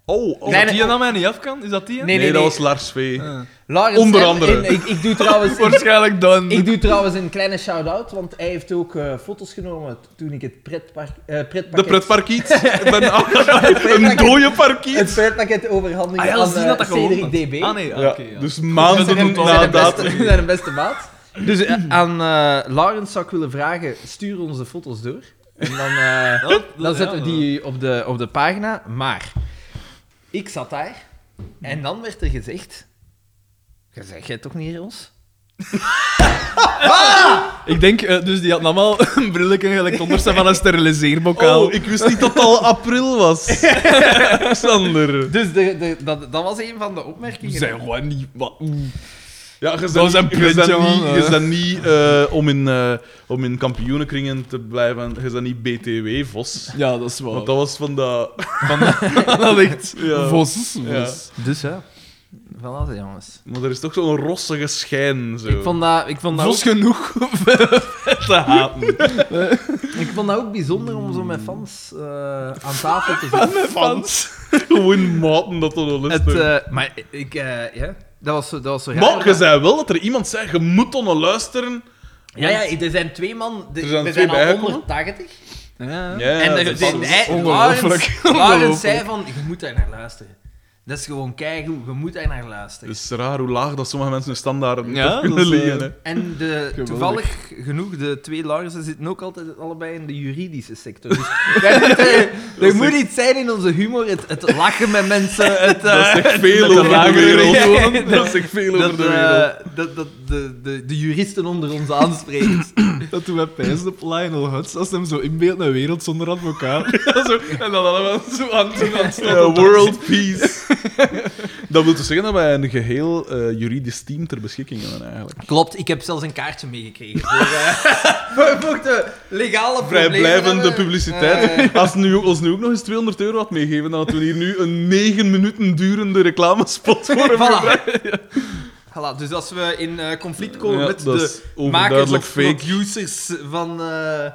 Speaker 1: oh. oh.
Speaker 2: Is
Speaker 3: Nee,
Speaker 2: dat
Speaker 3: nee.
Speaker 2: die aan mij niet af kan? Is dat die? hè?
Speaker 3: Nee,
Speaker 1: Nee,
Speaker 3: nee,
Speaker 1: dat
Speaker 3: nee.
Speaker 1: was Lars V.
Speaker 2: Ah.
Speaker 3: Laurens
Speaker 1: Onder
Speaker 3: M.
Speaker 1: andere.
Speaker 3: En ik, ik doe trouwens... ik,
Speaker 2: Waarschijnlijk dan.
Speaker 3: ik doe trouwens een kleine shout-out, want hij heeft ook eh, foto's genomen toen ik het pretpark... eh pretpakket,
Speaker 1: De pretparkiet. Ik ben een dode parkiet.
Speaker 3: Het pretpakket overhandigde
Speaker 2: Ah, ja,
Speaker 3: aan
Speaker 2: dat is die
Speaker 3: eh,
Speaker 2: dat dat gewoon-
Speaker 3: Cedric DB.
Speaker 2: Ah nee, ah,
Speaker 1: Ja,
Speaker 2: oké. ja.
Speaker 1: Dus
Speaker 3: Ze
Speaker 1: maanden
Speaker 3: zijn,
Speaker 1: na
Speaker 3: hem- zijn, hem
Speaker 1: dat.
Speaker 3: beste, zijn hem beste maat. Dus
Speaker 2: Mm.
Speaker 3: eh, aan eh Laurens zou ik willen vragen, stuur ons de foto's door. En dan, eh,
Speaker 2: Dat- dat-
Speaker 3: dan zetten
Speaker 2: ja,
Speaker 3: we die op de, op de pagina. Maar, ik zat daar en dan werd er gezegd... Je zegt jij toch niet, Ros?
Speaker 2: Ik denk, eh, dus die had allemaal een brilletje gelijk onderste van een steriliseerbokaal.
Speaker 1: Oh, ik wist niet dat het al april was. Xander.
Speaker 3: Dus de, de, dat, dat was een van de opmerkingen.
Speaker 2: Zijn gewoon niet... Wat? oeh.
Speaker 1: Ja, je bent
Speaker 2: Dat was een
Speaker 1: niet- je
Speaker 2: punt,
Speaker 1: bent
Speaker 2: jongen.
Speaker 1: niet, je bent niet eh, om, in, eh, om in kampioenenkringen te blijven, je bent niet BTW-vos.
Speaker 2: Ja, dat is waar.
Speaker 3: Oh.
Speaker 1: Want dat was van dat...
Speaker 2: dat ligt.
Speaker 1: Ja.
Speaker 2: Vos.
Speaker 1: Ja.
Speaker 2: vos.
Speaker 3: Dus ja. Voilà, jongens.
Speaker 1: Maar er is toch zo'n rossige schijn, zo.
Speaker 3: Ik vond dat, ik vond dat,
Speaker 2: Nou. Vos
Speaker 3: ook,
Speaker 2: genoeg.
Speaker 1: te haten.
Speaker 3: ik vond dat ook bijzonder om zo met fans eh, aan tafel te zitten.
Speaker 1: Fans. Gewoon maten dat dat al is.
Speaker 3: Het,
Speaker 1: toch.
Speaker 3: eh, maar ik, eh, ja, dat was, zo- dat was zo raar.
Speaker 1: maar je zei wel dat er iemand zei, je moet dan wel luisteren.
Speaker 3: Ja, ja, er zijn twee man, de-
Speaker 1: Er
Speaker 3: er
Speaker 1: zijn twee
Speaker 3: zijn, al
Speaker 1: bijgekomen.
Speaker 3: 180.
Speaker 2: Ja.
Speaker 1: Ja,
Speaker 3: en
Speaker 1: dat
Speaker 3: de,
Speaker 1: is
Speaker 3: de,
Speaker 1: fans.
Speaker 3: hij-
Speaker 2: Ongelooflijk.
Speaker 3: Laurens- Laurens
Speaker 2: Ongelooflijk.
Speaker 3: zei van, je moet daar naar luisteren. Dat is gewoon keigoed, je moet daar naar luisteren.
Speaker 1: Het is raar hoe laag dat sommige mensen hun standaarden
Speaker 2: Ja,
Speaker 1: toch kunnen
Speaker 2: dat is, eh,
Speaker 1: liggen. hè.
Speaker 3: En de,
Speaker 2: Geweldig.
Speaker 3: toevallig genoeg, de twee Larsen zitten ook altijd allebei in de juridische sector. Dus daar moet- er moet iets zijn in onze humor, het, het lachen met mensen, het...
Speaker 1: Dat
Speaker 3: eh,
Speaker 1: zegt veel
Speaker 3: de
Speaker 1: over de
Speaker 3: lagere
Speaker 1: wereld.
Speaker 3: wereld.
Speaker 1: Dat zegt veel over
Speaker 3: dat,
Speaker 1: de
Speaker 3: eh,
Speaker 1: wereld.
Speaker 3: dat, dat de, de, de juristen onder ons aanspreken.
Speaker 2: Dat doet mij pijs op Lionel Hutz als hij hem zo inbeeldt naar wereld zonder advocaat. zo, en dan allemaal zo aan het doen aan het
Speaker 1: Ja, world peace. dat wil dus zeggen dat wij een geheel eh, juridisch team ter beschikking hebben, eigenlijk.
Speaker 3: Klopt, ik heb zelfs een kaartje meegekregen. Voor, eh, voor de legale
Speaker 1: Vrijblijvende
Speaker 3: problemen.
Speaker 1: publiciteit.
Speaker 3: Eh,
Speaker 1: Als ze nu, ook- ons nu ook nog eens 200 euro had meegegeven, dan hadden we hier nu een 9 minuten durende reclamespot voor hem
Speaker 3: Voilà.
Speaker 1: gebruikt.
Speaker 3: Voilà, dus als we in eh, conflict komen
Speaker 1: Ja,
Speaker 3: met
Speaker 1: dat
Speaker 3: de
Speaker 1: is
Speaker 3: makers
Speaker 1: overduidelijk
Speaker 3: of
Speaker 1: fake.
Speaker 3: producers van, eh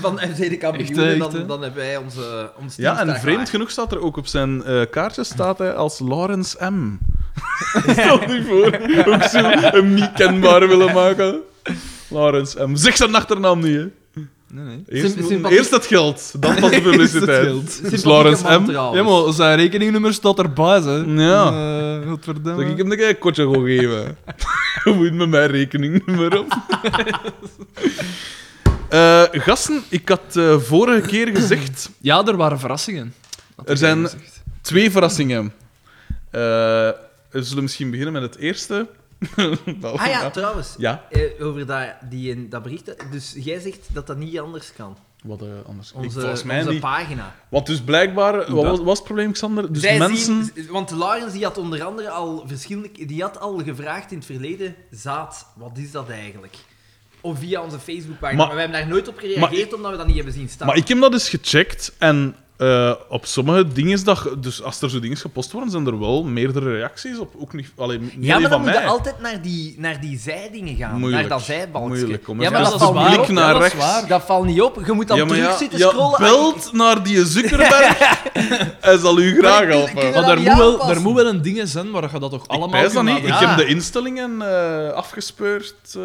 Speaker 3: van FC de
Speaker 2: Echt,
Speaker 3: Kampioenen,
Speaker 2: hè, echt, hè?
Speaker 3: dan, dan hebben wij onze, ons team
Speaker 1: Ja, en
Speaker 3: sterk
Speaker 1: vreemd
Speaker 3: gemaakt.
Speaker 1: genoeg staat er ook op zijn eh, kaartje staat hij als Lawrence M. Stel nu voor, ook zo een mie kenbaar willen maken. Lawrence M. Zeg zijn achternaam niet, hè.
Speaker 2: Nee, nee.
Speaker 1: Eerst,
Speaker 3: Symp-
Speaker 1: moeten-
Speaker 3: sympathie-
Speaker 1: eerst het geld, dan pas de
Speaker 2: Eerst het
Speaker 1: publiciteit.
Speaker 2: geld.
Speaker 1: Dus Lawrence
Speaker 3: man
Speaker 1: M.
Speaker 3: trouwens.
Speaker 2: Ja, dus- maar zijn rekeningnummer staat erbij, hè.
Speaker 1: Ja.
Speaker 2: Eh, godverdomme.
Speaker 1: Zeg, ik hem een kotje gewoon geven. Moet met mijn rekeningnummer op. Eh, gasten, ik had eh, vorige keer gezegd...
Speaker 2: Ja, er waren verrassingen. Had
Speaker 1: Er
Speaker 2: ik
Speaker 1: zijn-
Speaker 2: al gezegd.
Speaker 1: Twee verrassingen. Eh, we zullen misschien beginnen met het eerste.
Speaker 3: Ah ja, trouwens.
Speaker 1: Ja.
Speaker 3: eh, over dat, die, in dat bericht. Dus jij zegt dat dat niet anders kan.
Speaker 1: Wat eh, anders.
Speaker 3: Onze,
Speaker 1: volgens mij
Speaker 3: onze
Speaker 1: niet.
Speaker 3: pagina.
Speaker 1: Want dus blijkbaar... Wat
Speaker 2: Dat.
Speaker 1: was, was het probleem, Xander? Dus
Speaker 3: Zij
Speaker 1: mensen...
Speaker 3: zien- want Laurens die had onder andere al verschillende... Die had al gevraagd in het verleden... Zaad, wat is dat eigenlijk? Of via onze Facebookpagina.
Speaker 1: Maar-
Speaker 3: Maar, we hebben daar nooit op gereageerd, omdat we dat niet hebben zien staan.
Speaker 1: Maar ik heb dat eens gecheckt en eh, op sommige dingen is dat... Dus als er zo dingen gepost worden, zijn er wel meerdere reacties op. Ook niet, alleen, niet
Speaker 3: ja,
Speaker 1: alleen
Speaker 3: maar dan
Speaker 1: van
Speaker 3: moet je
Speaker 1: mij.
Speaker 3: altijd naar die, naar die zijdingen gaan.
Speaker 1: Moeilijk.
Speaker 3: Naar dat zijbalkje.
Speaker 1: Moeilijk, kom
Speaker 3: ja,
Speaker 1: eens.
Speaker 3: maar
Speaker 1: Ja,
Speaker 3: dat,
Speaker 1: dat is
Speaker 3: valt niet
Speaker 1: blik
Speaker 3: op.
Speaker 1: naar
Speaker 3: dat is
Speaker 1: rechts.
Speaker 3: waar. Dat valt niet op. Je moet dan terug zitten scrollen. Ah,
Speaker 1: belt naar die Zuckerberg. Hij zal u graag
Speaker 3: Maar ik- ik-
Speaker 1: helpen.
Speaker 3: ik-
Speaker 2: Maar er
Speaker 3: Ja,
Speaker 2: moet, wel,
Speaker 3: aanpassen.
Speaker 2: er moet wel een ding zijn waar je dat toch
Speaker 1: Ik
Speaker 2: allemaal
Speaker 1: pijs dat niet. Ik
Speaker 2: nadenken.
Speaker 1: heb
Speaker 3: Ja.
Speaker 1: de instellingen eh, afgespeurd. eh,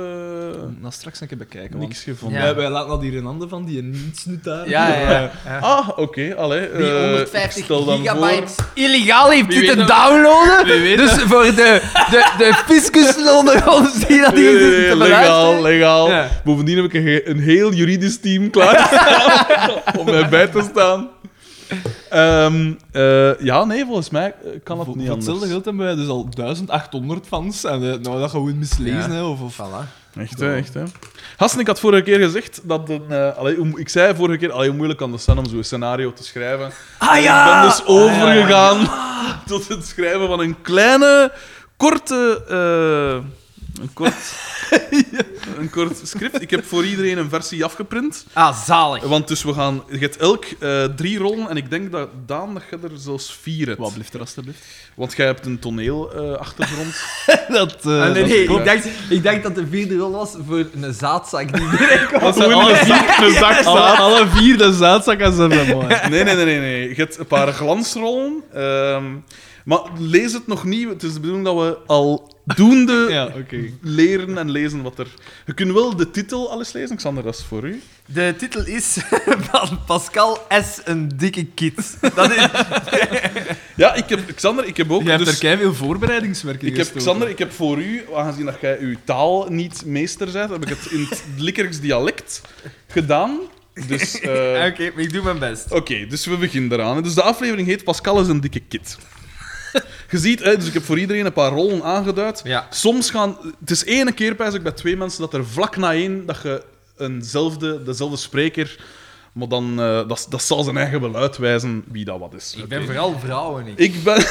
Speaker 2: Nou, straks een keer bekijken, want...
Speaker 1: niks gevonden.
Speaker 3: Ja.
Speaker 2: Wij, wij laten dat hier in handen van die niets nu daar. Eh,
Speaker 3: Ja, ja, ja.
Speaker 1: Ah, oké. allee,
Speaker 3: Die
Speaker 1: eh,
Speaker 3: 150
Speaker 1: ik stel dan
Speaker 3: gigabyte
Speaker 1: voor-
Speaker 3: illegaal heeft
Speaker 2: Wie weet
Speaker 3: zitten
Speaker 2: dat-
Speaker 3: downloaden.
Speaker 2: Wie weet
Speaker 3: Dus voor de, de, de fiscussen onder ons die dat
Speaker 1: Nee,
Speaker 3: hier
Speaker 1: nee,
Speaker 3: zitten
Speaker 1: nee,
Speaker 3: te
Speaker 1: Eh, legaal,
Speaker 3: beluisteren.
Speaker 1: legaal.
Speaker 3: Ja.
Speaker 1: Bovendien heb ik een, ge- een heel juridisch team klaar om mij bij te staan. Ehm, eh, ja, nee, volgens mij eh, kan dat
Speaker 2: Voor-
Speaker 1: niet
Speaker 2: voor
Speaker 1: anders.
Speaker 2: hetzelfde geld hebben wij dus al 1800 fans. En eh, nou, dat gaan we mislezen,
Speaker 3: Ja.
Speaker 2: hè. Of, of...
Speaker 1: Echt, hè, echt, hè. Hassen, ik had vorige keer gezegd dat... Een, eh, allee, hoe- ik zei vorige keer, allee, hoe moeilijk kan dat zijn om zo'n scenario te schrijven.
Speaker 3: Ah
Speaker 1: Ik ben
Speaker 3: ja!
Speaker 1: dus overgegaan tot het schrijven van een kleine, korte... eh, een, kort, een kort script. Ik heb voor iedereen een versie afgeprint.
Speaker 3: Ah, zalig.
Speaker 1: Want dus we gaan... Je hebt elk eh, drie rollen en ik denk dat Daan, dat je er zelfs vier hebt.
Speaker 2: Wat blijft er alstublieft?
Speaker 1: Want jij hebt een eh, toneelachtergrond.
Speaker 2: dat, eh,
Speaker 3: Ah,
Speaker 2: dat-
Speaker 3: nee, nee, ik, dacht, ik dacht dat de vierde rol was voor een zaadzak die binnenkomt.
Speaker 1: dat zijn alle vier een zak
Speaker 2: alle, alle vier de zaadzakken zijn er mooi.
Speaker 1: Nee, nee, nee, nee, nee. Je hebt een paar glansrollen. ehm, maar lees het nog niet. Het is de bedoeling dat we al doende
Speaker 2: Ja, oké.
Speaker 1: leren en lezen wat er. Je kunt wel de titel alles lezen, Xander, dat is voor u.
Speaker 3: De titel is van Pascal S. Een dikke kid. Dat is... Ah,
Speaker 1: Ja, ik heb Xander, ik heb ook.
Speaker 2: Jij hebt
Speaker 1: dus-
Speaker 2: er keiveel voorbereidingswerk in
Speaker 1: ik heb,
Speaker 2: gestoken.
Speaker 1: Xander, ik heb voor u, aangezien dat jij uw taal niet meester bent, heb ik het in het Likkerks dialect gedaan. Dus, eh,
Speaker 3: Oké,
Speaker 1: Oké,
Speaker 3: maar ik doe mijn best.
Speaker 1: dus we beginnen eraan. Dus de aflevering heet Pascal is een dikke kid. Je ziet, hè, dus ik heb voor iedereen een paar rollen aangeduid.
Speaker 3: Ja.
Speaker 1: Soms gaan... Het is ene keer, pijs ik, bij twee mensen dat er vlak na één dat je eenzelfde, dezelfde spreker Maar dan, eh, dat, dat zal zijn eigen wel uitwijzen wie dat wat is.
Speaker 3: Ik ben vooral vrouwen, ik.
Speaker 1: Ik ben...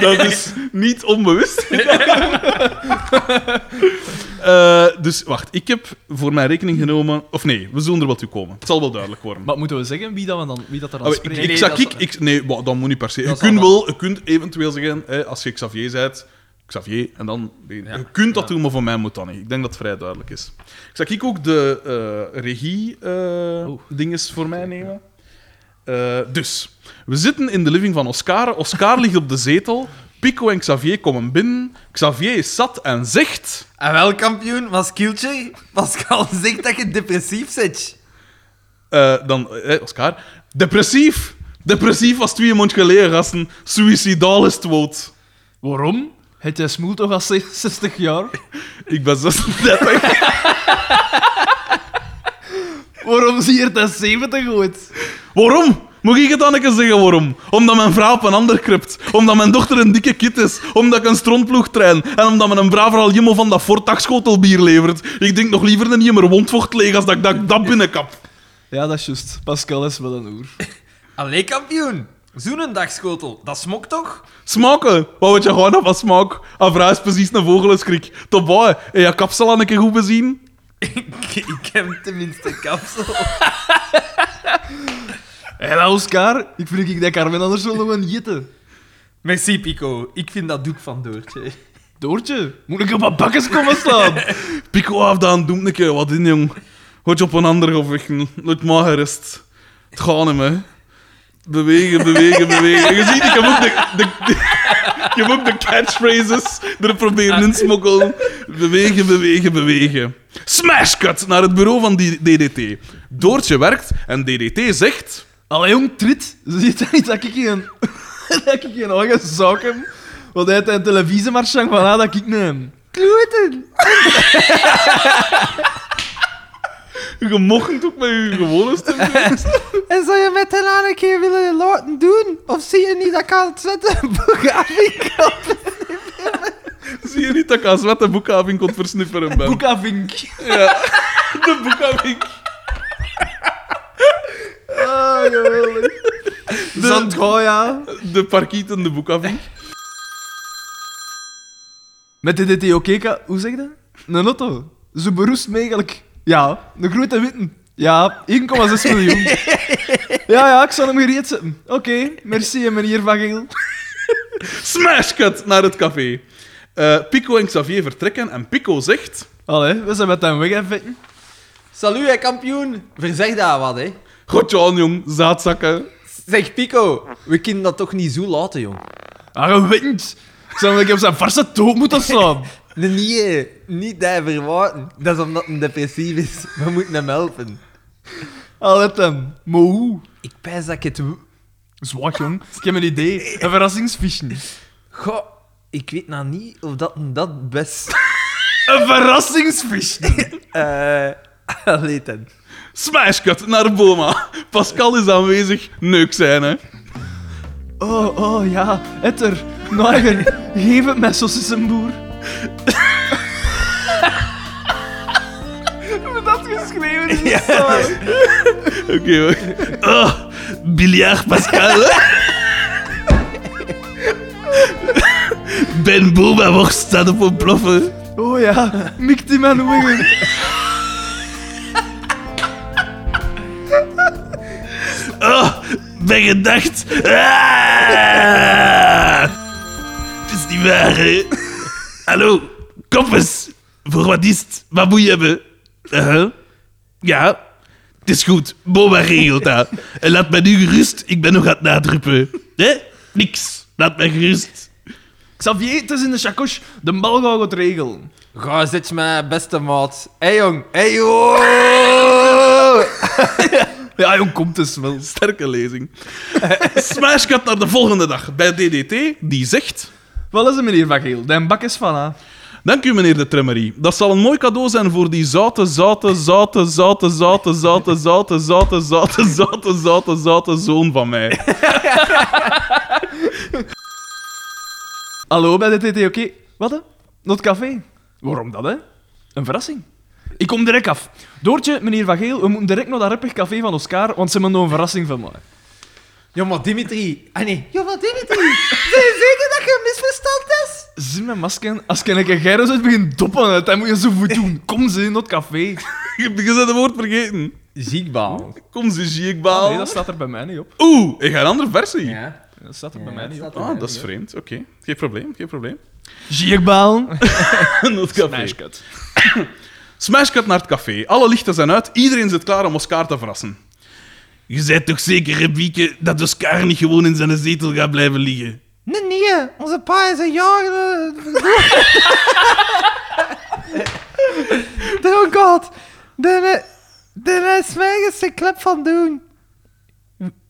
Speaker 1: dat is niet onbewust. Eh, dus wacht, ik heb voor mijn rekening genomen... Of nee, we zullen er wel toe komen. Het zal wel duidelijk worden.
Speaker 2: Maar moeten we zeggen wie dat, we dan, wie dat er dan
Speaker 1: Ah, ik,
Speaker 2: spreekt?
Speaker 1: ik,
Speaker 3: nee,
Speaker 1: zag
Speaker 3: dat
Speaker 1: ik,
Speaker 3: zal-
Speaker 1: ik- nee, wauw, dat moet niet per se. Je
Speaker 3: Dat
Speaker 1: kunt,
Speaker 3: zal
Speaker 1: wel, je kunt eventueel zeggen, hè, als je Xavier bent, Xavier, en dan... je kunt dat doen, maar voor mij moet dat niet. Ik denk dat het vrij duidelijk is. Ik zag ik ook de eh regie eh, dinges voor mij nemen. Eh, dus, we zitten in de living van Oscar. Oscar ligt op de zetel. Pico en Xavier komen binnen. Xavier is zat en zegt...
Speaker 3: Ah,
Speaker 4: En wel, kampioen, was Kieltje? Pascal zegt dat je depressief bent.
Speaker 1: eh, dan, eh, Oscar... Depressief! Depressief was twee maanden geleden, gasten. Suicidaal is het woord.
Speaker 2: Waarom? Het is smoel toch al 60 jaar?
Speaker 1: Ik ben 36.
Speaker 2: Waarom zie je het als 70 ooit?
Speaker 1: waarom? Moet ik het dan een keer zeggen waarom? Omdat mijn vrouw op een ander kript. Omdat mijn dochter een dikke kit is. Omdat ik een strontploeg train. En omdat mijn braver al jimmer van dat voortagschotelbier levert. Ik denk nog liever een jimmer wondvocht leeg als dat ik dat, dat binnenkap.
Speaker 2: Ja, dat is juist. Pascal is wel een oer.
Speaker 3: Allee, kampioen. Zo'n dagschotel, dat smokt toch?
Speaker 1: Smaken. Wat weet je gewoon af van smaak? Afra is precies een vogelskrik. Tot boy. En je kapsel aan een keer goed bezien?
Speaker 3: ik heb tenminste kapsel.
Speaker 2: Hela Oscar, ik vind ik dat Carmen anders wel nog een jitte.
Speaker 3: Merci, Pico. Ik vind dat doek van Doortje.
Speaker 2: Doortje, moet ik op mijn bakkes komen staan?
Speaker 1: Pico af dan, doe een keer wat in, jong. Hoort je op een ander gevechten. Laat maar gerust. Het gaat hem, hè. Bewegen, bewegen, bewegen. Je ziet, ik heb ook de, de, ik heb ook de catchphrases er proberen in te smokkelen. Bewegen, bewegen, bewegen. Smash cut naar het bureau van die DDT. Doortje werkt en DDT zegt...
Speaker 2: Allee jong, trit, ziet dat niet dat ik geen... dat ik geen eigen zak heb? Want hij heeft een televisiemarchang van ah, dat ik neem. Kloeten!
Speaker 1: Je mocht ook met je gewone stem doen."
Speaker 4: En zou je met hen aan een keer willen laten doen? Of zie je niet dat ik aan het zetten
Speaker 1: Zie je niet dat ik aan zwette boekhaving kon versnipperen ben?
Speaker 2: Boekavink.
Speaker 1: De boekhaving.
Speaker 2: Ah, geweldig. Zandgoya.
Speaker 1: De parkieten, de boekhaving.
Speaker 2: Met de DTOK, hoe zeg je dat? Een auto. Ze beroest megelijk. Ja, een grote witte. Ja, 1,6 miljoen. Ja, ja, ik zal hem gereed zetten. Oké, merci meneer Van Geel.
Speaker 1: Smash cut naar het café. Eh, Pico en Xavier vertrekken en Pico zegt...
Speaker 2: Allee, we zijn met hem weg en vetten.
Speaker 3: Salut, hè, kampioen. Verzeg daar wat, hè.
Speaker 1: Godje aan, jong, zaadzakken.
Speaker 3: Zeg, Pico, we kunnen dat toch niet zo laten, jong?
Speaker 2: Ah, gewend. Ik zou hem op zijn verse toon moeten slaan.
Speaker 3: Nee, niet daar verwachten. Dat is omdat hij depressief is. We moeten hem helpen.
Speaker 2: Allee, hem. Maar hoe?
Speaker 3: Ik pijs dat ik het... w-
Speaker 2: Zwak, jong. Ik heb een idee. Een verrassingsvisje.
Speaker 3: Goh, ik weet nou niet of dat hem dat best...
Speaker 2: Een verrassingsvisje.
Speaker 3: Eh... Allee, dan.
Speaker 1: Smash cut naar Boma. Pascal is aanwezig, neuk zijn, hè.
Speaker 2: Oh, oh, ja. Nou, Etter. Noiger. Geef het mij, sausissenboer. Hoe dat geschreven is, is zalig.
Speaker 1: Oké, hoor. Oh, biljart Pascal. ben Boma wordt staat op een ploffen.
Speaker 2: Oh ja, mikt die man wingen.
Speaker 1: Oh, ben gedacht. Ah! Het is niet waar, hè? Hallo, kom eens. Voor wat is het? Wat moet je hebben? Uh-huh. Ja, het is goed. Boba regelt dat. En laat mij nu gerust. Ik ben nog aan het nadruppen. Hè? Niks. Laat mij gerust.
Speaker 2: Xavier, het is in de chakos. De bal gaat het regelen.
Speaker 3: Goh, zit je mijn beste maat. Hé, hey, jong. Hé, hey, joh.
Speaker 2: Ja, jong, komt dus wel.
Speaker 1: Sterke lezing. Smash gaat naar de volgende dag bij DDT. Die zegt...
Speaker 2: Wat is het, meneer Van Geel? De bak is van, hè?
Speaker 1: Dank u, meneer de Tremmerie. Dat zal een mooi cadeau zijn voor die zoute, zoute, zoute, zoute, zoute, zoute, zoute, zoute, zoute, zoute, zoute, zoute zoon van mij.
Speaker 2: Hallo bij de TTOK. Wat hè? Not café. Waarom dat hè? Een verrassing. Ik kom direct af. Doortje, meneer Van Geel, we moeten direct naar dat rappig café van Oscar, want ze hebben nog een verrassing van mij.
Speaker 3: Ja, maar Dimitri. Ah nee. Ja, maar Dimitri. Zijn je zeker dat je een misverstand is?
Speaker 2: Zin met masken, als ik een gyros uit begin doppen, dan moet je zo goed doen. Kom ze in dat café.
Speaker 1: Je hebt gezet het woord vergeten.
Speaker 3: Ziekbaal.
Speaker 1: Kom ze, zie ik
Speaker 2: Ah,
Speaker 1: baal.
Speaker 2: nee, dat staat er bij mij niet op.
Speaker 1: Oeh, ik ga een andere versie.
Speaker 3: Ja.
Speaker 2: Dat staat er bij
Speaker 3: Ja,
Speaker 2: mij
Speaker 3: dat
Speaker 2: niet op.
Speaker 3: staat
Speaker 1: Ah, dat is vreemd. Oké, geen probleem, geen probleem.
Speaker 2: Gierbaan.
Speaker 1: Not café. Smashcut naar het café. Alle lichten zijn uit. Iedereen zit klaar om Oscar te verrassen. Je zei toch zeker, hè, Bieke, dat Oscar niet gewoon in zijn zetel gaat blijven liggen?
Speaker 3: Nee, nee. Onze pa is een jaar... eh, Droom Oh God. De, de lijst zijn klep van doen.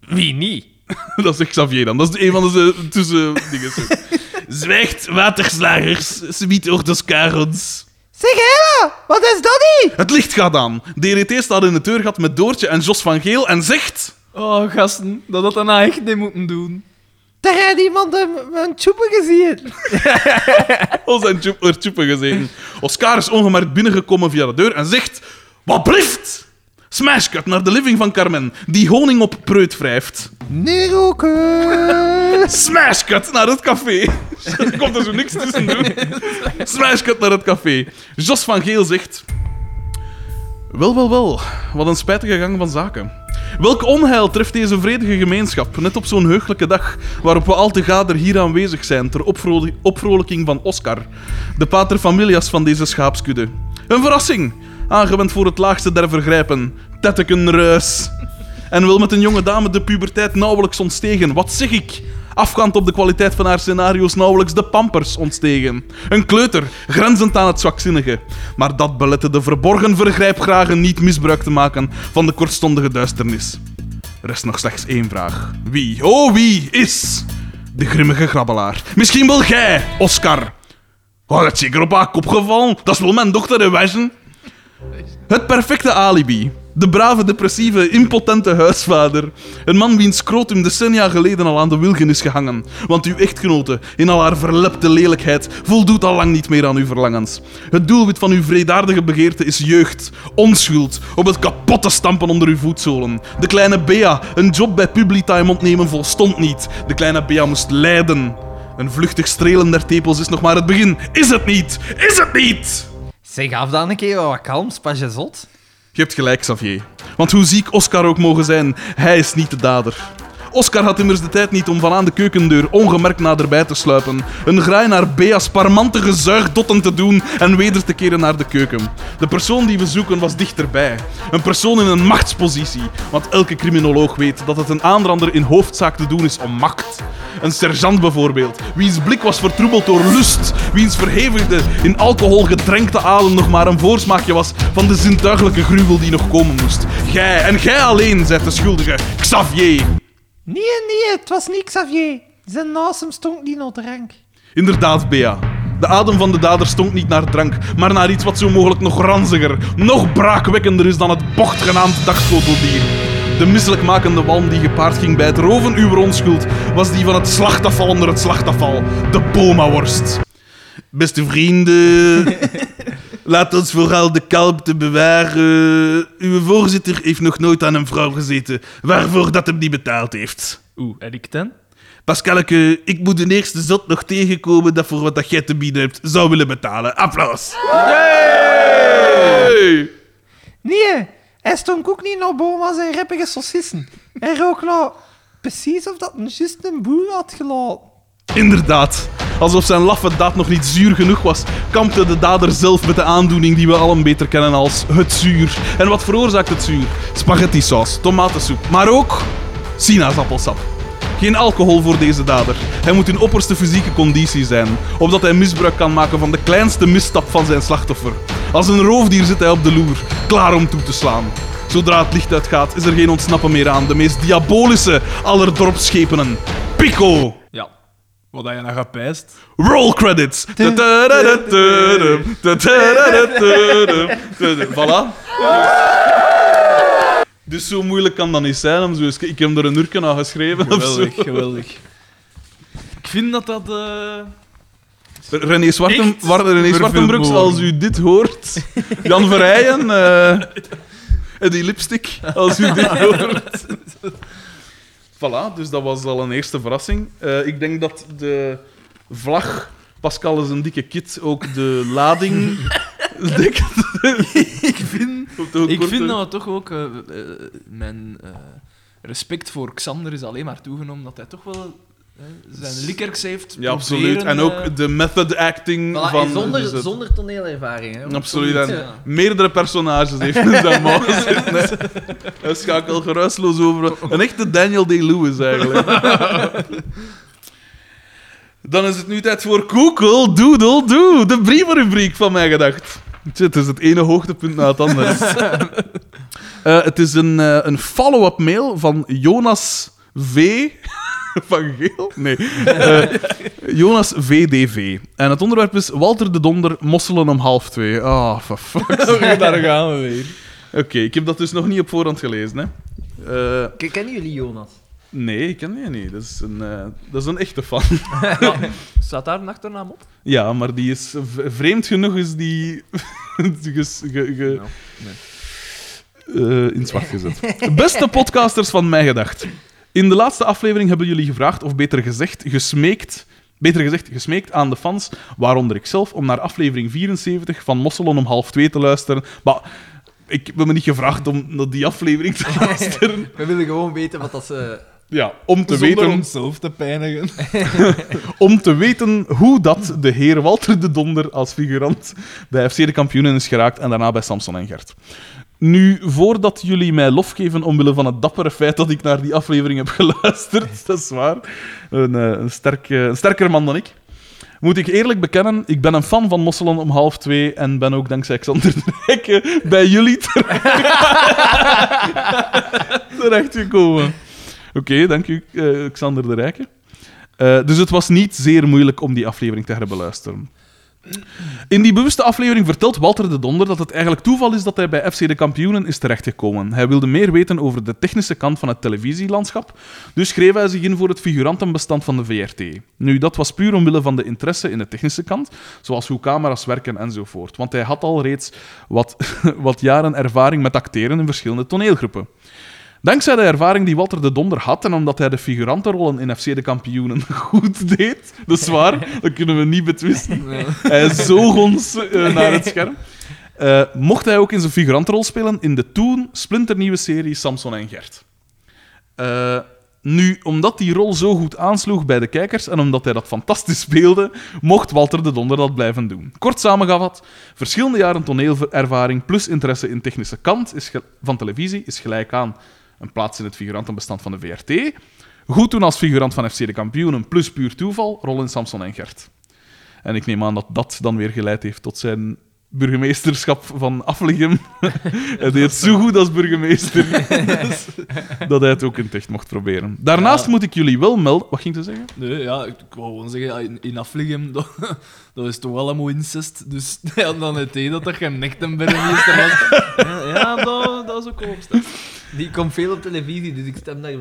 Speaker 3: Wie niet?
Speaker 1: Dat is Xavier dan. Dat is een van de eh, tussen dingen. Zwijgt, waterslagers. Ze biedt hoort Oscar ons.
Speaker 3: Zeg, Hela, wat is dat niet?
Speaker 1: Het licht gaat aan. DRT staat in het deurgat met Doortje en Jos van Geel en zegt...
Speaker 2: Oh, gasten, dat had dat nou echt niet moeten doen.
Speaker 3: Daar heeft iemand een, een tjoepen gezien.
Speaker 1: Ons oh, zijn tjoep- er tjoepen gezeten. Oscar is ongemerkt binnengekomen via de deur en zegt... Wat blieft? Smashcut naar de living van Carmen, die honing op preut wrijft.
Speaker 3: Nee, roken.
Speaker 1: Smashcut naar het café. Er komt er zo niks tussen doen. Smashcut naar het café. Jos van Geel zegt... Wel, wel, wel. Wat een spijtige gang van zaken. Welk onheil treft deze vredige gemeenschap net op zo'n heugelijke dag waarop we al te gader hier aanwezig zijn ter opvro- opvrolijking van Oscar, de pater familias van deze schaapskudde. Een verrassing, aangewend voor het laagste der vergrijpen. Tetteken ruis. En wil met een jonge dame de puberteit nauwelijks ontstegen. Wat zeg ik? Afgaand op de kwaliteit van haar scenario's nauwelijks de pampers ontstegen. Een kleuter, grenzend aan het zwakzinnige. Maar dat belette de verborgen vergrijpgragen niet misbruik te maken van de kortstondige duisternis. Er is nog slechts één vraag. Wie, oh wie, is de grimmige grabbelaar? Misschien wel jij, Oscar. Oh, dat is zeker op haar kop gevallen. Dat is wel mijn dochter, hè, wijzen. Het perfecte alibi. De brave, depressieve, impotente huisvader. Een man wiens krotum decennia geleden al aan de wilgen is gehangen. Want uw echtgenote, in al haar verlepte lelijkheid, voldoet al lang niet meer aan uw verlangens. Het doelwit van uw vreedaardige begeerte is jeugd, onschuld, op het kapotte stampen onder uw voetzolen. De kleine Bea, een job bij Publitime ontnemen volstond niet. De kleine Bea moest lijden. Een vluchtig strelen der tepels is nog maar het begin. Is het niet? Is het niet?
Speaker 4: Zeg af dan een keer wat kalm, pas je zot.
Speaker 1: Je hebt gelijk, Xavier. Want hoe ziek Oscar ook mogen zijn, hij is niet de dader. Oscar had immers de tijd niet om van aan de keukendeur ongemerkt naderbij te sluipen, een graai naar Bea's parmantige zuigdotten te doen en weder te keren naar de keuken. De persoon die we zoeken was dichterbij. Een persoon in een machtspositie, want elke criminoloog weet dat het een aanrander in hoofdzaak te doen is om macht. Een sergeant bijvoorbeeld, wiens blik was vertroebeld door lust, wiens verhevigde, in alcohol gedrenkte adem nog maar een voorsmaakje was van de zintuiglijke gruwel die nog komen moest. Gij en gij alleen zijt de schuldige, Xavier.
Speaker 3: Nee, nee, het was niet Xavier. Zijn naast hem stond niet naar drank.
Speaker 1: Inderdaad, Bea. De adem van de dader stonk niet naar drank, maar naar iets wat zo mogelijk nog ranziger, nog braakwekkender is dan het bocht genaamd dagschoteldier. De misselijkmakende walm die gepaard ging bij het roven uw onschuld was die van het slachtafval onder het slachtafval, de bomaworst. Beste vrienden, laat ons vooral de kalmte bewaren. Uw voorzitter heeft nog nooit aan een vrouw gezeten, waarvoor dat hem niet betaald heeft.
Speaker 2: Oeh, en ik ten?
Speaker 1: Pascalke, ik moet de eerste zot nog tegenkomen dat voor wat dat jij te bieden hebt zou willen betalen. Applaus. Hey.
Speaker 3: Nee, hij stond ook niet naar Boma zijn rippige saucissen. Hij rook nou precies of dat een juist een boer had gelaten.
Speaker 1: Inderdaad. Alsof zijn laffe daad nog niet zuur genoeg was, kampte de dader zelf met de aandoening die we allen beter kennen als het zuur. En wat veroorzaakt het zuur? Spaghettisaus, tomatensoep, maar ook sinaasappelsap. Geen alcohol voor deze dader. Hij moet in opperste fysieke conditie zijn, opdat hij misbruik kan maken van de kleinste misstap van zijn slachtoffer. Als een roofdier zit hij op de loer, klaar om toe te slaan. Zodra het licht uitgaat, is er geen ontsnappen meer aan. De meest diabolische aller dorpsschepenen. Pico!
Speaker 2: Ja. Wat dat je nou gaat pijst.
Speaker 1: Roll credits. Tadadadadadum, tadadadadadum, tadadum. Voilà. Dus zo moeilijk kan dat niet zijn. om zo eens- Ik heb er een uurken aan geschreven. of zo.
Speaker 2: geweldig. Ik vind dat dat... eh,
Speaker 1: René, Zwarten,
Speaker 2: Echt?
Speaker 1: War- René
Speaker 2: Verveel
Speaker 1: Zwartenbroeks,
Speaker 2: mogen.
Speaker 1: als u dit hoort. Jan Verrijen. eh, en die lipstick, als u dit hoort. voilà, dus dat was al een eerste verrassing. Eh, ik denk dat de vlag Pascal is een dikke kit ook de lading dekt.
Speaker 2: Ik vind,
Speaker 1: Op de hoek
Speaker 2: ik
Speaker 1: wordt er-
Speaker 2: vind dat toch ook... eh, eh, mijn eh, respect voor Xander is alleen maar toegenomen dat hij toch wel eh, zijn likkerks heeft.
Speaker 1: Ja, absoluut.
Speaker 2: proberen,
Speaker 1: En
Speaker 2: eh,
Speaker 1: ook de method acting
Speaker 4: Voilà,
Speaker 1: van...
Speaker 4: en zonder,
Speaker 1: dus het-
Speaker 4: zonder toneelervaring. Hè?
Speaker 1: Absoluut. En
Speaker 4: Ja.
Speaker 1: meerdere personages heeft in zijn mouw zitten. hè. Hij schakelt geruisloos over.
Speaker 4: Oh,
Speaker 1: Een echte Daniel Day-Lewis, eigenlijk. Dan is het nu tijd voor Google Doodle Doe, de brievenrubriek van mij gedacht. Tja, Het is het ene hoogtepunt na het andere. Eh, het is een, eh, een follow-up mail van Jonas V. Van Geel? Nee. Eh, Jonas VDV. En het onderwerp is Walter de Donder, mosselen om half twee. Ah, for fuck. Oké,
Speaker 2: Daar gaan we weer.
Speaker 1: ik heb dat dus nog niet op voorhand gelezen, hè. Eh,
Speaker 4: K- Kennen jullie Jonas?
Speaker 1: nee, ik ken die niet. Dat is een, eh, dat is een echte fan.
Speaker 2: Staat daar een achternaam op?
Speaker 1: Ja, maar die is v- vreemd genoeg is die ges- ge- ge-
Speaker 2: Nou,
Speaker 1: eh, in zwart gezet. Beste podcasters van mij gedacht. In de laatste aflevering hebben jullie gevraagd, of beter gezegd, gesmeekt. Beter gezegd, gesmeekt aan de fans, waaronder ikzelf, om naar aflevering 74 van Mosselon om half twee te luisteren. Maar ik heb me niet gevraagd om naar die aflevering
Speaker 2: Ah.
Speaker 1: te luisteren.
Speaker 4: We willen gewoon weten wat dat ze...
Speaker 1: Ja, om te
Speaker 2: Zonder
Speaker 1: weten
Speaker 2: onszelf te pijnigen.
Speaker 1: om te weten hoe dat de heer Walter de Donder als figurant bij FC de Kampioenen is geraakt en daarna bij Samson en Gert. Nu, voordat jullie mij lof geven omwille van het dappere feit dat ik naar die aflevering heb geluisterd, dat is waar, een, eh, een, sterk, eh, een sterker man dan ik, moet ik eerlijk bekennen, ik ben een fan van Mosselen om half twee en ben ook dankzij Xander de Rijke bij jullie terecht- terechtgekomen. Oké, dank u, eh, Xander de Rijke. Eh, dus het was niet zeer moeilijk om die aflevering te herbeluisteren. In die bewuste aflevering vertelt Walter de Donder dat het eigenlijk toeval is dat hij bij FC de Kampioenen is terechtgekomen. Hij wilde meer weten over de technische kant van het televisielandschap, dus schreef hij zich in voor het figurantenbestand van de VRT. Nu, dat was puur omwille van de interesse in de technische kant, zoals hoe camera's werken enzovoort, want hij had al reeds wat, wat jaren ervaring met acteren in verschillende toneelgroepen. Dankzij de ervaring die Walter de Donder had en omdat hij de figurantenrollen in FC de Kampioenen goed deed, dat is waar, dat kunnen we niet betwisten. Hij zoog ons eh, naar het scherm. Eh, mocht hij ook in zijn figurantenrol spelen in de toen splinternieuwe serie Samson en Gert. Eh, nu, omdat die rol zo goed aansloeg bij de kijkers en omdat hij dat fantastisch speelde, mocht Walter de Donder dat blijven doen. Kort samengevat, verschillende jaren toneelervaring plus interesse in technische kant is ge- van televisie is gelijk aan een plaats in het figurantenbestand van de VRT. Goed doen als figurant van FC de Kampioenen plus puur toeval, rol in Samson en Gert. En ik neem aan dat dat dan weer geleid heeft tot zijn burgemeesterschap van Afligem. hij deed het zo goed als burgemeester Dus dat hij het ook in ticht mocht proberen. Daarnaast
Speaker 2: Ja.
Speaker 1: moet ik jullie wel melden... Wat ging ik te zeggen?
Speaker 2: Nee, ja, ik, ik wou gewoon zeggen, ja, in, in Afligem, dat, dat is toch wel allemaal incest. Dus ja, dan het idee dat dat geen Nechtenberg is. dan was- Ja, ja, dat, dat is ook wel opstand.
Speaker 4: Die komt veel op televisie, dus ik stem daar.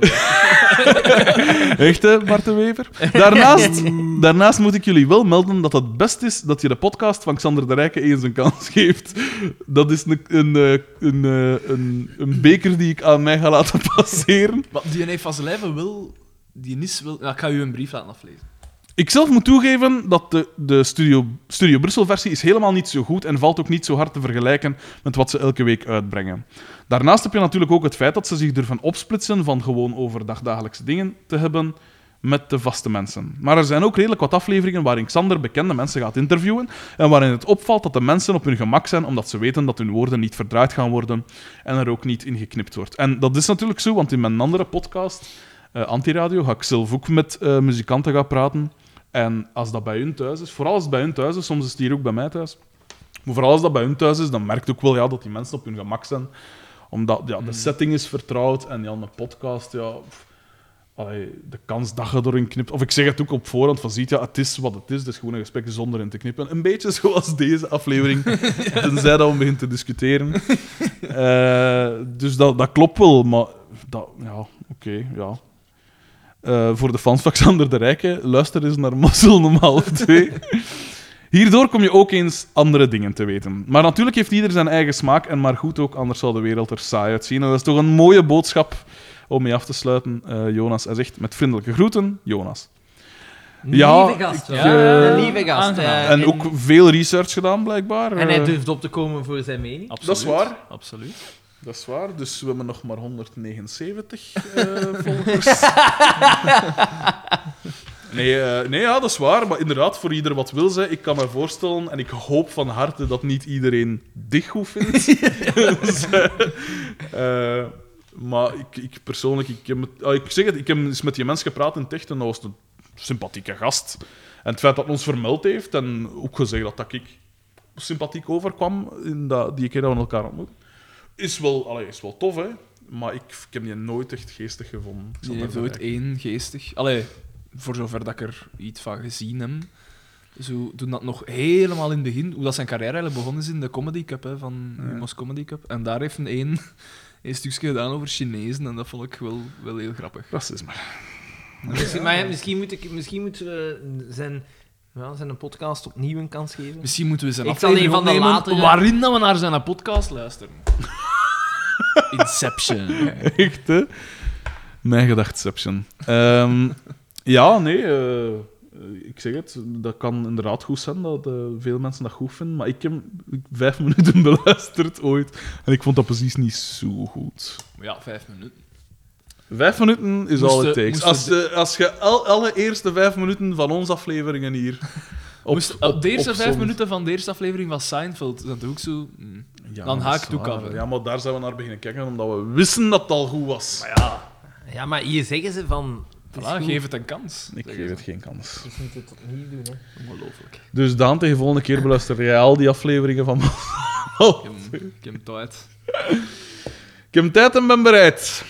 Speaker 1: Echt, hè, Bart de Wever? Daarnaast, daarnaast moet ik jullie wel melden dat het best is dat je de podcast van Xander de Rijke eens een kans geeft. Dat is een, een, eh, een, eh, een, een beker die ik aan mij ga laten passeren.
Speaker 2: Maar die heeft van zijn lijve wel... Die is wel... Ja, ik ga u een brief laten aflezen.
Speaker 1: Ik zelf moet toegeven dat de, de Studio, Studio Brussel-versie is helemaal niet zo goed en valt ook niet zo hard te vergelijken met wat ze elke week uitbrengen. Daarnaast heb je natuurlijk ook het feit dat ze zich durven opsplitsen van gewoon over dagdagelijkse dingen te hebben met de vaste mensen. Maar er zijn ook redelijk wat afleveringen waarin Xander bekende mensen gaat interviewen en waarin het opvalt dat de mensen op hun gemak zijn omdat ze weten dat hun woorden niet verdraaid gaan worden en er ook niet in geknipt wordt. En dat is natuurlijk zo, want in mijn andere podcast, eh, Antiradio, ga ik zelf ook met eh, muzikanten gaan praten. En als dat bij hun thuis is, vooral als het bij hun thuis is, soms is het hier ook bij mij thuis, maar vooral als dat bij hun thuis is, dan merkt ook wel ja, dat die mensen op hun gemak zijn. Omdat ja, de setting is vertrouwd en ja, een podcast, ja... pff, allee, de kans dat je erin knipt... Of ik zeg het ook op voorhand, van ziet, ja, het is wat het is. Dus gewoon een gesprek zonder in te knippen. Een beetje zoals deze aflevering, tenzij dat we beginnen te discussiëren. Eh, dus dat, dat klopt wel, maar... Dat, ja, oké, ja. Eh, voor de fans van Xander de Rijke, luister eens naar Mossel om half twee. Hierdoor kom je ook eens andere dingen te weten. Maar natuurlijk heeft ieder zijn eigen smaak en maar goed ook, anders zal de wereld er saai uitzien. En dat is toch een mooie boodschap om mee af te sluiten, eh, Jonas. Hij zegt met vriendelijke groeten, Jonas. Ja,
Speaker 3: lieve gast.
Speaker 1: ik,
Speaker 3: wel.
Speaker 1: eh,
Speaker 3: een lieve gast.
Speaker 6: aangenaam.
Speaker 3: eh,
Speaker 1: En ook veel research gedaan, blijkbaar.
Speaker 3: en hij
Speaker 1: Eh,
Speaker 3: durft op te komen voor zijn mening.
Speaker 6: Absoluut.
Speaker 1: Dat is waar.
Speaker 6: Absoluut.
Speaker 1: Dat is waar, dus we hebben nog maar 179 eh, volgers. nee, eh, nee ja, dat is waar, maar inderdaad, voor ieder wat wil zijn, ik kan me voorstellen en ik hoop van harte dat niet iedereen dit goed vindt. Dus, eh, eh, maar ik, ik persoonlijk, ik, heb, met- ah, ik zeg het, ik heb eens met die mens gepraat in het echt en dat was een sympathieke gast. En het feit dat hij ons vermeld heeft en ook gezegd dat, dat ik sympathiek overkwam in dat, die keer dat we elkaar ontmoetten is wel, allee, is wel tof, hè? Maar ik, ik heb die nooit echt geestig gevonden. Ik zal
Speaker 2: Die heeft
Speaker 1: daarvan
Speaker 2: ooit
Speaker 1: kijken.
Speaker 2: één geestig. Allee, voor zover dat ik er iets van gezien heb. Zo doen dat nog helemaal in het begin. Hoe dat zijn carrière eigenlijk begonnen is in de Comedy Cup, hè, van
Speaker 1: Ja.
Speaker 2: Humo's Comedy Cup. En daar heeft een één een stukje gedaan over Chinezen. En dat vond ik wel, wel heel grappig.
Speaker 1: Racisme.
Speaker 3: Misschien, maar ja, misschien, moet ik, misschien moeten we zijn, ja, zijn een podcast opnieuw een kans geven.
Speaker 2: Misschien moeten we zijn
Speaker 3: Ik zal
Speaker 2: aflevering
Speaker 3: een van de
Speaker 2: opnemen
Speaker 3: latere-
Speaker 2: waarin dat we naar zijn podcast luisteren. Inception.
Speaker 1: Echt, hè? Mijn gedachtception. Ehm, ja, nee. eh, ik zeg het, dat kan inderdaad goed zijn dat eh, veel mensen dat goed vinden. Maar ik heb vijf minuten beluisterd ooit. En ik vond dat precies niet zo goed.
Speaker 2: Ja, vijf minuten.
Speaker 1: Vijf minuten is
Speaker 2: Moesten-
Speaker 1: al het takes.
Speaker 2: moesten
Speaker 1: Als,
Speaker 2: de-
Speaker 1: eh, als je al, alle eerste vijf minuten van onze afleveringen hier. Op,
Speaker 2: Moest- op de eerste
Speaker 1: op
Speaker 2: vijf
Speaker 1: zond-
Speaker 2: minuten van de eerste aflevering van Seinfeld, dat doe ik zo... mm.
Speaker 1: Ja,
Speaker 2: Dan
Speaker 1: maar
Speaker 2: haak
Speaker 1: dat
Speaker 2: toe
Speaker 1: is waar.
Speaker 2: kappen.
Speaker 1: Ja, maar daar zijn we naar beginnen kijken, omdat we wisten dat het al goed was.
Speaker 3: Ja, maar hier zeggen ze van... het is
Speaker 2: Voilà,
Speaker 3: goed,
Speaker 2: geef het een kans.
Speaker 1: ik geef het geen kans.
Speaker 3: Ik moet het opnieuw doen, hè.
Speaker 2: Ongelooflijk.
Speaker 1: Dus Daan, tegen volgende keer beluister jij al die afleveringen van... Oh,
Speaker 2: Ik heb- Ik heb het uit.
Speaker 1: Ik heb tijd en ben bereid.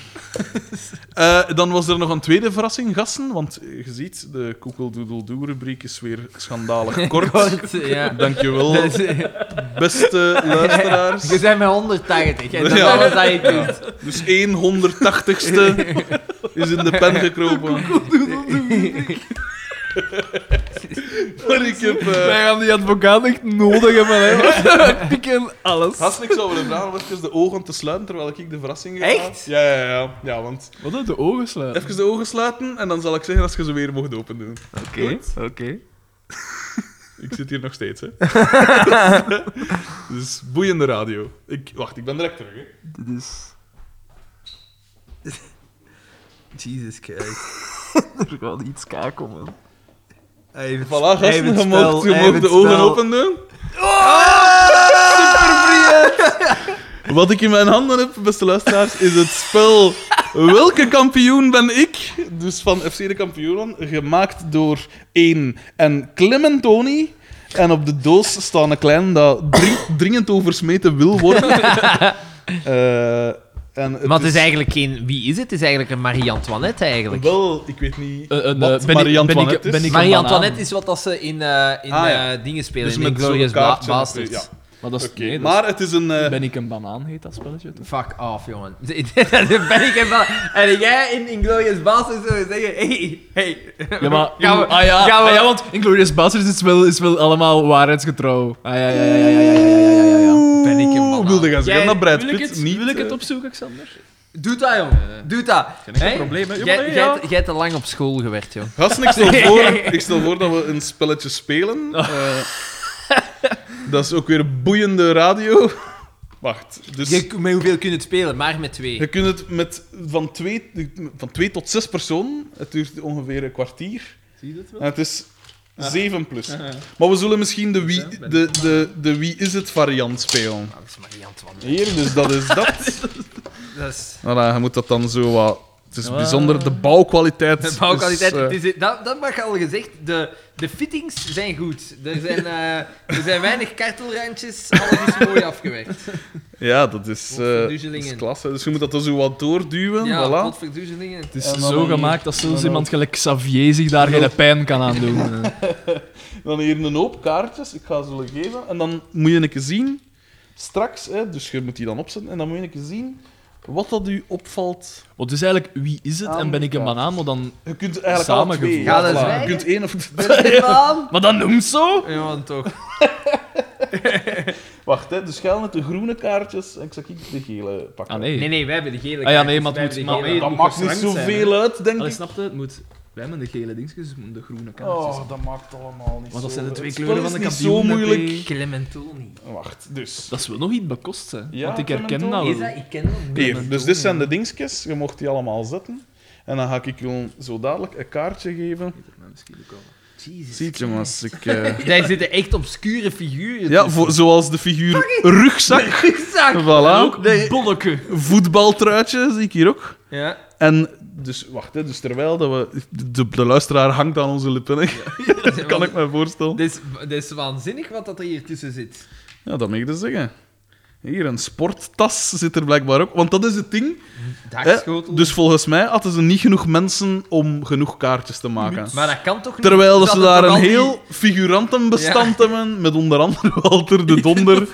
Speaker 1: Eh, dan was er nog een tweede verrassing, gasten. Want eh, je ziet, de koekeldoedeldoe-rubriek is weer schandalig kort.
Speaker 3: Kort, ja.
Speaker 1: Dankjewel,
Speaker 3: Dus, eh,
Speaker 1: beste
Speaker 3: je
Speaker 1: luisteraars.
Speaker 3: bent met 180, en dat is
Speaker 1: Ja.
Speaker 3: alles dat je kunt.
Speaker 1: Dus 180ste is in de pen gekropen. Maar ik heb... eh,
Speaker 2: gaan die advocaat echt nodig hebben. Pikken alles.
Speaker 1: Had niks over de vraag om even de ogen te sluiten terwijl ik de verrassing ga.
Speaker 3: Echt?
Speaker 1: Ja, ja, ja. ja want
Speaker 2: Wat uit de ogen sluiten.
Speaker 1: even de ogen sluiten en dan zal ik zeggen als je ze weer mocht opendoen.
Speaker 2: Oké, oké.
Speaker 1: Ik zit hier nog steeds, hè. dus boeiende radio. Ik, wacht, ik ben direct terug, hè.
Speaker 2: Dit is...
Speaker 4: Jesus Christ.
Speaker 2: Er gaat iets kaak om,
Speaker 4: Hij heeft het-
Speaker 1: Voilà,
Speaker 4: hij heeft
Speaker 1: gasten,
Speaker 4: het
Speaker 1: je
Speaker 4: spel,
Speaker 1: mocht, je
Speaker 4: hij
Speaker 1: mocht
Speaker 4: heeft
Speaker 1: de
Speaker 4: het
Speaker 1: ogen
Speaker 4: spel.
Speaker 1: opendoen. Wat ik in mijn handen heb, beste luisteraars, is het spel Welke kampioen ben ik? Dus van FC de Kampioenen, gemaakt door één en Clementoni. En op de doos staat een klein dat dring- dringend over smeten wil worden. Eh, en
Speaker 3: Maar het is eigenlijk geen... Wie is het? Het is eigenlijk een Marie-Antoinette, eigenlijk.
Speaker 1: Wel, ik weet niet
Speaker 2: Eh, een, eh,
Speaker 1: wat
Speaker 2: ben ik-
Speaker 1: Marie-Antoinette
Speaker 2: ben ik-
Speaker 1: is.
Speaker 2: ben ik-
Speaker 3: Marie-Antoinette is wat dat ze in, eh, in
Speaker 1: Ah, ja.
Speaker 3: eh, dingen spelen,
Speaker 1: dus
Speaker 3: in
Speaker 1: met zo'n
Speaker 3: Glorious Ba-
Speaker 1: kaartje.
Speaker 3: Bastards.
Speaker 1: Ja,
Speaker 2: Maar dat is...
Speaker 1: oké.
Speaker 2: nee, dat is-
Speaker 1: maar het is een... eh,
Speaker 2: Ben ik een banaan, heet dat spelletje toch?
Speaker 3: Fuck off, jongen. Daar ben ik helemaal... En jij in Inglorious Bastards zou zeggen... Hey, hey.
Speaker 2: Ja, maar...
Speaker 3: Gaan we-
Speaker 2: ah, ja.
Speaker 3: gaan we-
Speaker 2: Ah, ja, want Inglorious Basterds is wel, is wel allemaal waarheidsgetrouw. Ah, ja, ja, ja, ja, ja, ja, ja, ja, ja, ja.
Speaker 3: Ben ik een
Speaker 1: Oeh,
Speaker 3: banaan?
Speaker 1: wilde gaan zeggen
Speaker 3: Jij-
Speaker 1: dat Brad
Speaker 2: Wil ik
Speaker 1: Pitt
Speaker 2: het,
Speaker 1: niet...
Speaker 2: wil ik het
Speaker 1: eh,
Speaker 2: opzoeken, Xander?
Speaker 3: Doe dat, jongen. Doe dat. Geen
Speaker 1: enkel probleem, hè. Ja, maar nee,
Speaker 3: Jij
Speaker 1: ja.
Speaker 3: jij hebt te lang op school gewerkt, joh.
Speaker 1: Gasten, ik stel, voor, ik stel voor dat we een spelletje spelen.
Speaker 2: Oh.
Speaker 1: Eh, dat is ook weer boeiende radio. Wacht, dus je,
Speaker 3: Je, met hoeveel kun je het spelen? Maar met twee.
Speaker 1: kunt het met van twee, van twee tot zes personen. Het duurt ongeveer een kwartier.
Speaker 2: Zie je dat wel? Ah.
Speaker 1: En het is zeven plus. Maar we zullen misschien de wie, de, de, de wie is het variant spelen.
Speaker 3: Dat is Marie-Antoinette.
Speaker 1: Hier, dus dat is dat.
Speaker 3: Dat is...
Speaker 1: Voilà, eh, je moet dat dan zo wat... Het is
Speaker 2: Ja.
Speaker 1: bijzonder, de bouwkwaliteit.
Speaker 3: Ah. De bouwkwaliteit,
Speaker 1: is, eh,
Speaker 3: het is, dat, dat mag al gezegd, de, de fittings zijn goed. Er zijn, eh, er zijn weinig kartelrandjes, alles is mooi afgewerkt.
Speaker 1: Ja, dat is, eh, dat is
Speaker 3: Verduzelingen.
Speaker 1: klasse. Dus je moet dat dan zo wat doorduwen.
Speaker 3: Ja,
Speaker 1: voilà.
Speaker 3: wat verduurzelingen.
Speaker 2: Het is
Speaker 1: En dan
Speaker 2: zo
Speaker 1: hier.
Speaker 2: gemaakt dat zelfs
Speaker 1: dan
Speaker 2: iemand gelijk Xavier zich daar geen pijn kan aandoen. Eh,
Speaker 1: Dan hier een hoop kaartjes. Ik ga ze wel geven. En dan moet je een keer zien, straks, hè, dus je moet die dan opzetten. En dan moet je een keer zien wat dat u opvalt.
Speaker 2: Want het is eigenlijk wie is het en ben ik een
Speaker 6: Amerika.
Speaker 2: banaan, maar dan,
Speaker 1: Je kunt eigenlijk alle twee.
Speaker 2: Samengevoegd.
Speaker 4: Ja, dat is
Speaker 1: voilà.
Speaker 4: waar,
Speaker 1: Je
Speaker 4: hè?
Speaker 1: kunt één of
Speaker 4: Baan?
Speaker 2: maar dan noemt zo.
Speaker 3: Ja, want toch.
Speaker 1: Wacht, hè, dus jij met de groene kaartjes en ik zal ik de gele pakken.
Speaker 2: Ah nee.
Speaker 3: Nee, nee, wij hebben de gele.
Speaker 2: Ah ja,
Speaker 3: kaartjes,
Speaker 2: nee, maar het
Speaker 3: wij
Speaker 2: moet-
Speaker 3: hebben
Speaker 2: maar-
Speaker 3: de gele.
Speaker 1: dat
Speaker 3: Het
Speaker 1: maakt
Speaker 3: moet
Speaker 1: niet
Speaker 3: gestrand zijn,
Speaker 1: zoveel uit, denk
Speaker 2: Allee,
Speaker 1: ik.
Speaker 2: snapte, het moet. Wij hebben de gele dingetjes, dus het moeten de groene kaartjes.
Speaker 1: Oh, dat maakt allemaal niet
Speaker 2: Want dat
Speaker 1: zo-
Speaker 2: zijn de twee
Speaker 1: het spel
Speaker 2: kleuren
Speaker 1: is
Speaker 2: van de
Speaker 1: niet
Speaker 2: kampioen.
Speaker 1: zo moeilijk.
Speaker 2: hè.
Speaker 3: hè. Clementoni.
Speaker 1: Wacht, dus.
Speaker 2: Dat is wel nog iets bekost, hè?
Speaker 1: Ja,
Speaker 2: Want ik herken dat
Speaker 1: Clementine.
Speaker 2: wel.
Speaker 3: Is dat? Ik ken dat niet.
Speaker 1: Nou, Hier, dus dit zijn de dingetjes. Je mocht die allemaal zetten. En dan ga ik je zo dadelijk een kaartje geven.
Speaker 3: Jezus.
Speaker 1: Ziet je, mas. Ik, eh,
Speaker 3: Daar zitten echt obscure figuren.
Speaker 1: Ja, voor- zoals de figuur rugzak.
Speaker 3: Zak.
Speaker 1: Voilà.
Speaker 2: Ook bolleke.
Speaker 1: Voetbaltruitje zie ik hier ook.
Speaker 3: Ja.
Speaker 1: En dus, wacht, hè, dus terwijl dat we... De, de luisteraar hangt aan onze lippen, hè. dat kan ik me voorstellen.
Speaker 3: Dit is, dit is waanzinnig wat dat er hier tussen zit.
Speaker 1: Ja, dat mag ik dus zeggen. Hier, een sporttas zit er blijkbaar ook. Want dat is het ding. hè.
Speaker 3: Dakschotel.
Speaker 1: Dus volgens mij hadden ze niet genoeg mensen om genoeg kaartjes te maken.
Speaker 3: Maar dat kan toch niet?
Speaker 1: Terwijl dat
Speaker 3: Dat
Speaker 1: ze
Speaker 3: het
Speaker 1: daar
Speaker 3: toch
Speaker 1: een
Speaker 3: al die-
Speaker 1: heel figurantenbestand hebben, met onder andere Walter de Donder,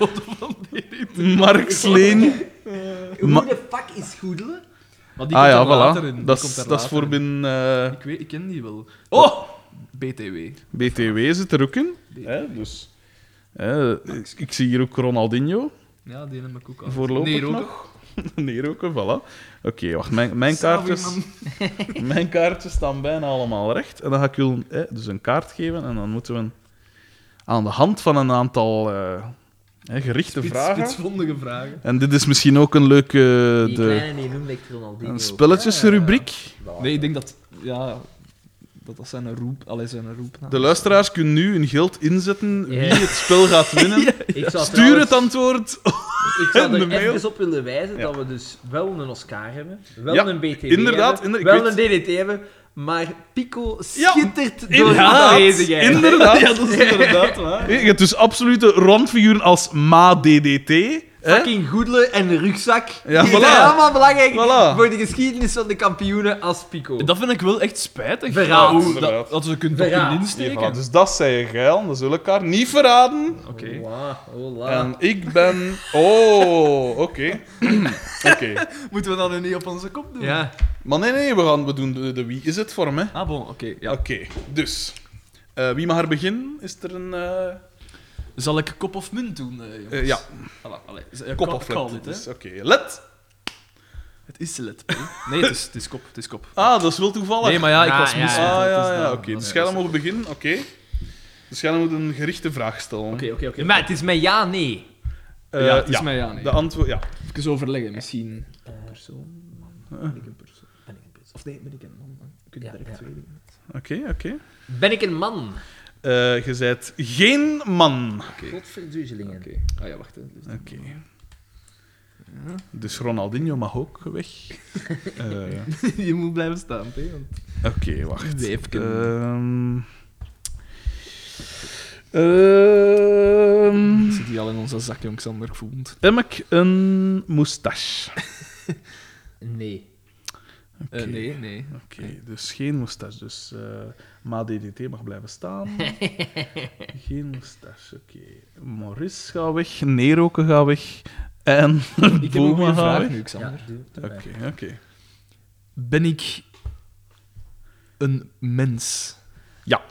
Speaker 1: Mark Sleen. Ma-
Speaker 3: Hoe de fuck is goedelen?
Speaker 2: Maar die
Speaker 1: Ah
Speaker 2: komt
Speaker 1: ja,
Speaker 2: er later
Speaker 1: voilà.
Speaker 2: in.
Speaker 1: Dat
Speaker 2: Die
Speaker 1: is-
Speaker 2: komt er
Speaker 1: dat is
Speaker 2: later
Speaker 1: voor
Speaker 2: in.
Speaker 1: binnen... eh,
Speaker 2: Ik, weet, ik ken die wel. Oh! BTW.
Speaker 1: BTW zit er ook in. Hè, dus, hè, ik, ik zie hier ook Ronaldinho
Speaker 2: Ja, die heb ik ook al.
Speaker 1: voorlopig
Speaker 2: Nee, Rodo.
Speaker 1: nog. Neerroken, voilà. Oké, wacht, mijn, mijn, kaartjes,
Speaker 2: Sorry,
Speaker 1: mijn kaartjes staan bijna allemaal recht. En dan ga ik jullie hè, dus een kaart geven en dan moeten we een- aan de hand van een aantal eh, hè, gerichte
Speaker 2: Spits-
Speaker 1: vragen...
Speaker 2: Spitsvondige vragen.
Speaker 1: En dit is misschien ook een leuke
Speaker 3: Die
Speaker 1: de,
Speaker 3: kleine die noemde ik Ronaldinho.
Speaker 1: een spelletjesrubriek.
Speaker 2: Nee, ik denk dat... Ja, dat dat zijn roep... Allee, zijn roepnaam.
Speaker 1: De luisteraars kunnen nu hun geld inzetten wie het spel gaat winnen.
Speaker 3: Ik zou
Speaker 1: Stuur het
Speaker 3: trouwens-
Speaker 1: antwoord
Speaker 3: Ik zou
Speaker 1: in de
Speaker 3: er
Speaker 1: mail.
Speaker 3: even op willen wijzen
Speaker 1: Ja.
Speaker 3: dat we dus wel een Oscar hebben, wel
Speaker 1: Ja,
Speaker 3: een BTW
Speaker 1: inderdaad,
Speaker 3: hebben,
Speaker 1: inderdaad, ik
Speaker 3: wel een DDT hebben, maar Pico
Speaker 1: Ja,
Speaker 3: schittert door de
Speaker 1: inderdaad,
Speaker 3: aanwezigheid.
Speaker 1: Inderdaad.
Speaker 2: Ja, dat is inderdaad waar.
Speaker 1: Je hebt dus absolute rondfiguren als Ma DDT. Hè?
Speaker 3: Fucking goedelen en rugzak.
Speaker 1: Ja,
Speaker 3: die
Speaker 1: voilà.
Speaker 3: zijn allemaal belangrijk
Speaker 1: Voilà.
Speaker 3: voor de geschiedenis van de kampioenen als Pico.
Speaker 2: Dat vind ik wel echt spijtig.
Speaker 3: Verraad.
Speaker 2: Dat- hoe-
Speaker 1: Inderdaad.
Speaker 2: Dat, dat we kunnen
Speaker 3: Verraad.
Speaker 2: kunnen
Speaker 1: Ja,
Speaker 2: insteken.
Speaker 1: voilà. Dus dat zei je geil, dat zullen we elkaar niet verraden.
Speaker 2: Oké.
Speaker 3: Hola, hola.
Speaker 1: En ik ben. Oh, oké. Oké.
Speaker 2: Moeten we dat nu niet op onze kop doen?
Speaker 3: Ja.
Speaker 1: Maar nee, nee, we gaan we doen de, de wie is het voor me.
Speaker 2: Ah, bon, oké. ja.
Speaker 1: Oké, dus. Eh, wie mag er beginnen? Is er een. eh,
Speaker 2: Zal ik kop of munt doen, eh, jongens?
Speaker 1: eh, ja,
Speaker 2: Voilà, allee. Is- eh,
Speaker 1: kop
Speaker 2: call-
Speaker 1: of
Speaker 2: call
Speaker 1: let.
Speaker 2: dit, hè?
Speaker 1: Dus, Oké, let.
Speaker 2: Het is let. hè? Nee, het is, het is kop. Het is kop.
Speaker 1: Ah, dat is wel toevallig.
Speaker 2: Nee, maar ja, ik
Speaker 3: Ja,
Speaker 2: was
Speaker 3: ja,
Speaker 2: mis.
Speaker 3: ja.
Speaker 1: Ah,
Speaker 2: want het is
Speaker 1: ja, ja,
Speaker 2: dan-
Speaker 1: oké.
Speaker 2: dan-
Speaker 1: Dus jij moet beginnen, oké. Dus jij moet een gerichte vraag stellen.
Speaker 2: Oké, oké, oké.
Speaker 3: Maar het is mijn ja, nee.
Speaker 1: Eh,
Speaker 2: Ja, het is mij, ja, nee.
Speaker 1: De antwoord, ja.
Speaker 2: Even overleggen, misschien. persoon, man. Ben ik een persoon? Of nee, ben ik een man? man. Ik
Speaker 3: Ja, direct ja.
Speaker 2: twee dingen.
Speaker 1: Oké, oké.
Speaker 3: Ben ik een man?
Speaker 1: Eh, je zijt geen man.
Speaker 3: Godverduzelingen.
Speaker 2: Oké. Ah ja, wacht. Hè. Dus-
Speaker 1: Oké. Dus Ronaldinho mag ook weg. Eh,
Speaker 2: je moet blijven staan, hè? Want...
Speaker 1: oké, wacht.
Speaker 2: Zeefken.
Speaker 1: Ehm. Ehm,
Speaker 2: Zit hij al in onze zak, jong Xander voelt.
Speaker 1: heb ik een moustache?
Speaker 3: Nee.
Speaker 1: Oké.
Speaker 2: Eh, nee, nee.
Speaker 1: Oké, dus geen moustache. Dus eh Ma DDT mag blijven staan. geen moustache, oké. Maurice gaat weg, Neroken gaat weg. En
Speaker 2: Ik heb ook
Speaker 1: Boema
Speaker 2: een
Speaker 1: gaat
Speaker 2: vraag
Speaker 1: weg.
Speaker 2: nu, Xander.
Speaker 1: Oké, oké.
Speaker 2: Ben ik een mens?
Speaker 1: Ja.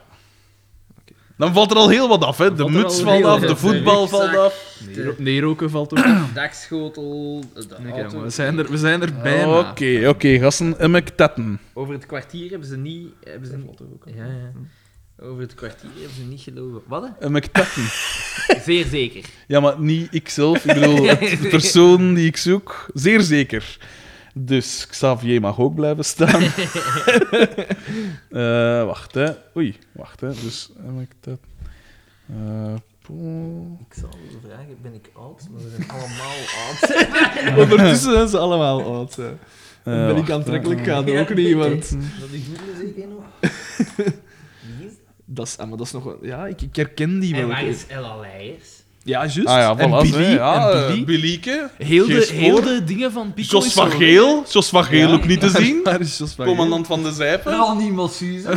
Speaker 1: Dan valt er al heel wat af, hè. De
Speaker 3: valt er
Speaker 1: muts
Speaker 3: al
Speaker 1: valt
Speaker 3: heel
Speaker 1: af,
Speaker 3: wat
Speaker 1: de
Speaker 3: af, hè.
Speaker 1: voetbal
Speaker 3: Rugzak.
Speaker 1: valt af.
Speaker 2: Nee, roken valt ook. Nee,
Speaker 3: Dakschotel, de
Speaker 2: kijk,
Speaker 3: auto.
Speaker 2: jongen, we, zijn er, we zijn er
Speaker 1: Ah, Oké,
Speaker 2: bijna.
Speaker 1: oké, gasten. En ik tetten.
Speaker 3: Over het kwartier hebben ze niet... Hebben ze niet...
Speaker 2: ook.
Speaker 3: Ja, ja. Over het kwartier hebben ze niet gelogen. Wat?
Speaker 1: En ik tetten.
Speaker 3: hè? Zeer zeker.
Speaker 1: Ja, maar niet ikzelf. Ik bedoel, het- de persoon die ik zoek. Zeer zeker. Dus Xavier mag ook blijven staan. Eh, wacht, hè. Oei, wacht, hè. Dus heb ik dat... Eh, poeh.
Speaker 3: Ik zou willen vragen, ben ik oud? Maar we zijn allemaal oud.
Speaker 2: Ondertussen zijn ze allemaal oud. hè.
Speaker 1: Eh,
Speaker 2: ben
Speaker 1: wacht,
Speaker 2: ik
Speaker 1: hè.
Speaker 2: aantrekkelijk, gaat ook niet, want...
Speaker 3: Dat is goed, zeker nog. Wie is dat?
Speaker 2: Dat is, ah, maar dat is nog wel... Ja, ik, ik herken die
Speaker 3: En
Speaker 2: wel.
Speaker 3: waar
Speaker 2: Ik-
Speaker 3: is Ella Leijers?
Speaker 2: Ja, juist.
Speaker 1: Ah ja, voilà.
Speaker 2: en Billy,
Speaker 1: hè. ja,
Speaker 2: en Billy.
Speaker 1: eh, Billieke.
Speaker 2: heel, de,
Speaker 1: Geen
Speaker 2: heel
Speaker 1: spoor.
Speaker 2: de dingen van Pico
Speaker 1: Jos
Speaker 2: is
Speaker 1: van
Speaker 2: zo-
Speaker 1: Geel. Jos van Geel
Speaker 2: Ja.
Speaker 1: ook niet te zien.
Speaker 2: Daar is Jos van Geel.
Speaker 1: Commandant van de Zijpen.
Speaker 3: Ronnie Mossuze.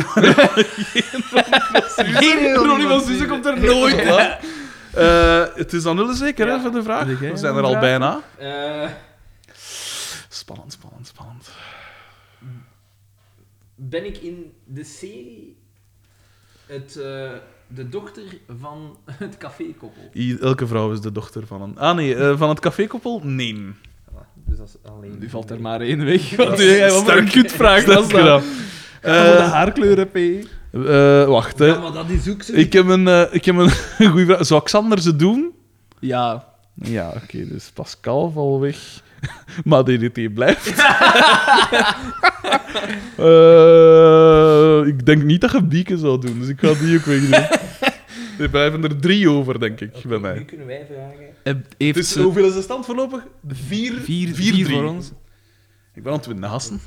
Speaker 3: Geen
Speaker 2: Ronnie van Suze komt er nooit.
Speaker 1: Voilà. Eh, het is aan nullen zeker, hè,
Speaker 3: Ja.
Speaker 1: voor de vraag.
Speaker 2: Heb jij
Speaker 1: We zijn
Speaker 2: nog
Speaker 3: Eh,
Speaker 1: er al
Speaker 2: een vraag?
Speaker 1: bijna. Spannend, spannend, spannend.
Speaker 3: ben ik in de serie het, eh, de dochter van het cafékoppel.
Speaker 1: I- elke vrouw is de dochter van een... Ah nee, eh, van het cafékoppel? Nee.
Speaker 3: Voilà, dus dat is alleen...
Speaker 2: Nu valt er maar één weg. Wat
Speaker 1: Dat
Speaker 2: doe jij?
Speaker 1: is
Speaker 2: Wat voor een
Speaker 1: sterk.
Speaker 2: kutvraag was
Speaker 1: Sterk
Speaker 2: dat?
Speaker 1: gedaan.
Speaker 2: Allemaal de
Speaker 1: Eh,
Speaker 2: haarkleur heb je.
Speaker 1: eh, wacht, hè.
Speaker 3: Ja, maar dat is ook zo.
Speaker 1: Ik heb een, eh, ik heb een goede vraag. Zou Xander ze doen?
Speaker 2: Ja.
Speaker 1: Ja, oké, dus Pascal valt weg. Maar DDT blijft. Eh, ik denk niet dat je Bieke zou doen, dus ik ga die ook wegdoen. Er blijven er drie over, denk ik, bij
Speaker 3: Nu
Speaker 1: mij.
Speaker 3: kunnen wij vragen.
Speaker 2: Heeft
Speaker 1: Dus
Speaker 2: ze
Speaker 1: hoeveel is de stand voorlopig? Vier,
Speaker 2: vier,
Speaker 1: vier,
Speaker 2: vier,
Speaker 1: drie.
Speaker 2: voor ons?
Speaker 1: Ik ben aan het winnen, gasten.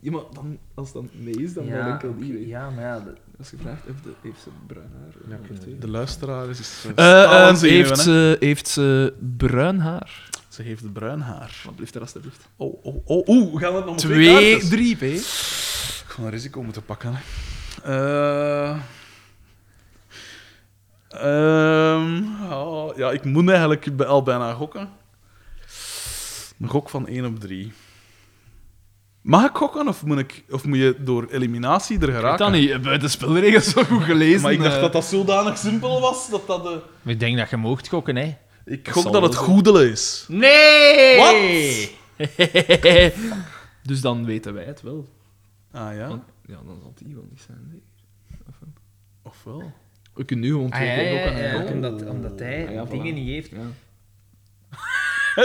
Speaker 2: Ja, maar dan, als dat nee is, dan
Speaker 3: ja,
Speaker 2: ben ik al
Speaker 3: oké,
Speaker 2: die weg.
Speaker 3: Ja, maar ja, dat-
Speaker 2: Als je vraagt, heeft, de- heeft ze bruin haar? Ja, heeft ze-
Speaker 1: De luisteraar is...
Speaker 2: Eh,
Speaker 1: staal aan
Speaker 2: eh,
Speaker 1: zenuwen,
Speaker 2: heeft,
Speaker 1: hè.
Speaker 2: ze, heeft ze bruin haar?
Speaker 1: Ze heeft bruin haar.
Speaker 2: Wat blijft er alstublieft?
Speaker 1: Oh, oh, oh. Oeh, gaan we het nog met twee
Speaker 2: Twee,
Speaker 1: kaartjes?
Speaker 2: drie, P.
Speaker 1: Ik ga een risico moeten pakken. Hè. Eh, ehm, oh, ja, ik moet eigenlijk bij- al bijna gokken. Een gok van 1 op 3. Mag ik gokken of moet, ik, of moet je door eliminatie er geraken?
Speaker 2: Tanny, je hebt Eh, de spelregels zo goed gelezen.
Speaker 1: Maar ik dacht
Speaker 2: eh.
Speaker 1: dat dat zodanig simpel was dat dat. eh,
Speaker 6: Ik denk dat je moogt gokken, hè.
Speaker 1: Ik
Speaker 2: zal
Speaker 1: gok dat het
Speaker 2: wel
Speaker 1: goedelen is.
Speaker 6: Nee!
Speaker 1: Wat?
Speaker 2: Dus dan weten wij het wel.
Speaker 1: Ah ja?
Speaker 2: Want- Ja, dan zal die wel niet zijn. nee.
Speaker 1: Ofwel.
Speaker 2: We kunnen nu gewoon
Speaker 3: Ah,
Speaker 2: twee
Speaker 3: ja,
Speaker 2: keer
Speaker 3: ja,
Speaker 2: gokken.
Speaker 3: ja,
Speaker 2: hè.
Speaker 3: omdat, omdat hij
Speaker 2: Ah, ja, voilà.
Speaker 3: dingen niet heeft.
Speaker 2: Ja.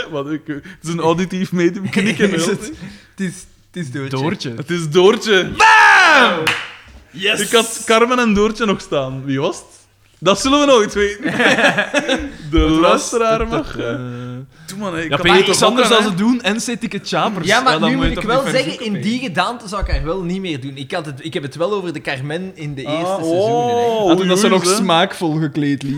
Speaker 1: Wat, ik, het is een auditief medium knikken.
Speaker 3: Is
Speaker 1: hè.
Speaker 3: het- Het is, het is doortje.
Speaker 2: Doortje.
Speaker 1: Het is Doortje. Yes! Ik had Carmen en Doortje nog staan. Wie was het? Dat zullen we nooit weten. De luisteraar mag. eh.
Speaker 2: Eh,
Speaker 1: Doe maar, hè, ik
Speaker 2: Ja,
Speaker 1: kan
Speaker 2: P,
Speaker 1: mij
Speaker 2: iets
Speaker 1: toch
Speaker 2: anders
Speaker 1: gokken,
Speaker 2: dan
Speaker 1: hè?
Speaker 2: ze doen en zit ik het chapers.
Speaker 3: Ja, maar
Speaker 2: dan
Speaker 3: nu moet
Speaker 2: je
Speaker 3: ik
Speaker 2: toch
Speaker 3: wel
Speaker 2: niet ver
Speaker 3: zeggen, in
Speaker 2: zoeken, P.
Speaker 3: die gedaante zou ik haar wel niet meer doen. Ik, had het, ik heb het wel over de Carmen in de
Speaker 1: Ah,
Speaker 3: eerste
Speaker 1: oh,
Speaker 3: seizoenen. hè.
Speaker 1: oei,
Speaker 2: Ah, toen dat ze
Speaker 1: oei,
Speaker 2: nog
Speaker 1: hè.
Speaker 2: smaakvol gekleed liep.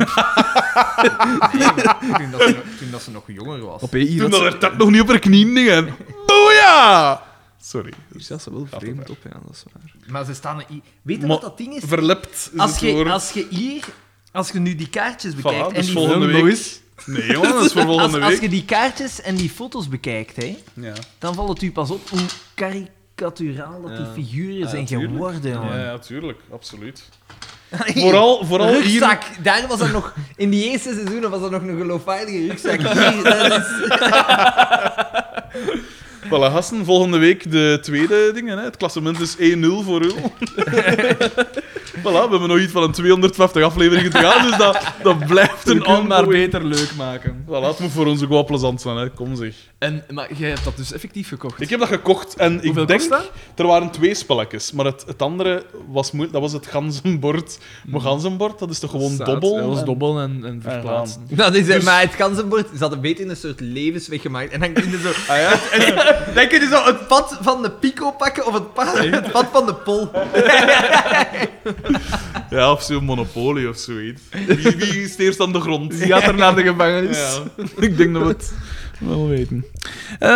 Speaker 3: Toen, dat ze, nog- toen dat ze nog jonger was.
Speaker 2: Op hier
Speaker 1: Toen
Speaker 2: had
Speaker 1: dat
Speaker 2: ze,
Speaker 1: er dat nog niet op haar knieën dingen. Boja! Sorry.
Speaker 2: hier zat ze wel
Speaker 1: Gaat
Speaker 2: vreemd
Speaker 1: te
Speaker 2: op, ja, dat is waar.
Speaker 3: Maar ze staan... er i- Weet je
Speaker 1: Maar-
Speaker 3: wat dat ding is?
Speaker 1: Verlept is
Speaker 3: Als
Speaker 1: het
Speaker 3: je,
Speaker 1: woord.
Speaker 3: als je hier... Als je nu die kaartjes bekijkt
Speaker 1: dus
Speaker 3: en die
Speaker 1: volgende
Speaker 3: foto's-
Speaker 1: week.
Speaker 2: Boys.
Speaker 1: Nee, jongen, dat is voor
Speaker 3: als,
Speaker 1: volgende
Speaker 3: als
Speaker 1: week.
Speaker 3: je die kaartjes en die foto's bekijkt, hè,
Speaker 1: Ja.
Speaker 3: dan valt het u pas op hoe karikaturaal dat die
Speaker 2: Ja.
Speaker 3: figuren
Speaker 2: Ja,
Speaker 3: zijn
Speaker 2: tuurlijk.
Speaker 3: geworden.
Speaker 1: Ja,
Speaker 3: jongen.
Speaker 1: ja, tuurlijk. Absoluut. Vooral, vooral hier...
Speaker 3: rugzak, daar was dat nog... In die eerste seizoenen was dat nog een geloofwaardige rugzak. Hier, dat is...
Speaker 1: Voilà, gasten, volgende week de tweede dingen. Hè. Het klassement is 1-0 voor u. voilà, we hebben nog iets van een 250 afleveringen te gaan, dus dat, dat blijft
Speaker 2: We
Speaker 1: een
Speaker 2: kunnen maar
Speaker 1: ongoing...
Speaker 2: beter leuk maken.
Speaker 1: Voilà, het moet voor ons ook wel plezant zijn, hè. kom zeg.
Speaker 2: En, maar jij hebt dat dus effectief gekocht.
Speaker 1: Ik heb dat gekocht en ik
Speaker 2: Hoeveel
Speaker 1: denk...
Speaker 2: kost dat?
Speaker 1: Er waren twee spelletjes, maar het, het andere was moeilijk. Dat was het ganzenbord. Maar ganzenbord, dat is toch gewoon
Speaker 2: Hmm. Zaad.
Speaker 1: dobbel?
Speaker 2: Ja, dat is
Speaker 1: En-
Speaker 2: dobbel en, en verplaatsen.
Speaker 3: Dat
Speaker 1: Dus-
Speaker 3: is, Maar het ganzenbord, ze hadden beter in een soort levensweg gemaakt. En dan kun je zo,
Speaker 1: Ah, ja?
Speaker 3: dan kun je zo het pad van de pico pakken of het pad, het pad van de pol.
Speaker 1: ja, of zo'n monopolie of zoiets. Wie, wie is het eerst aan de grond?
Speaker 2: Die gaat er naar de gevangenis.
Speaker 1: Ja, ik denk dat we het wel weten. Eh,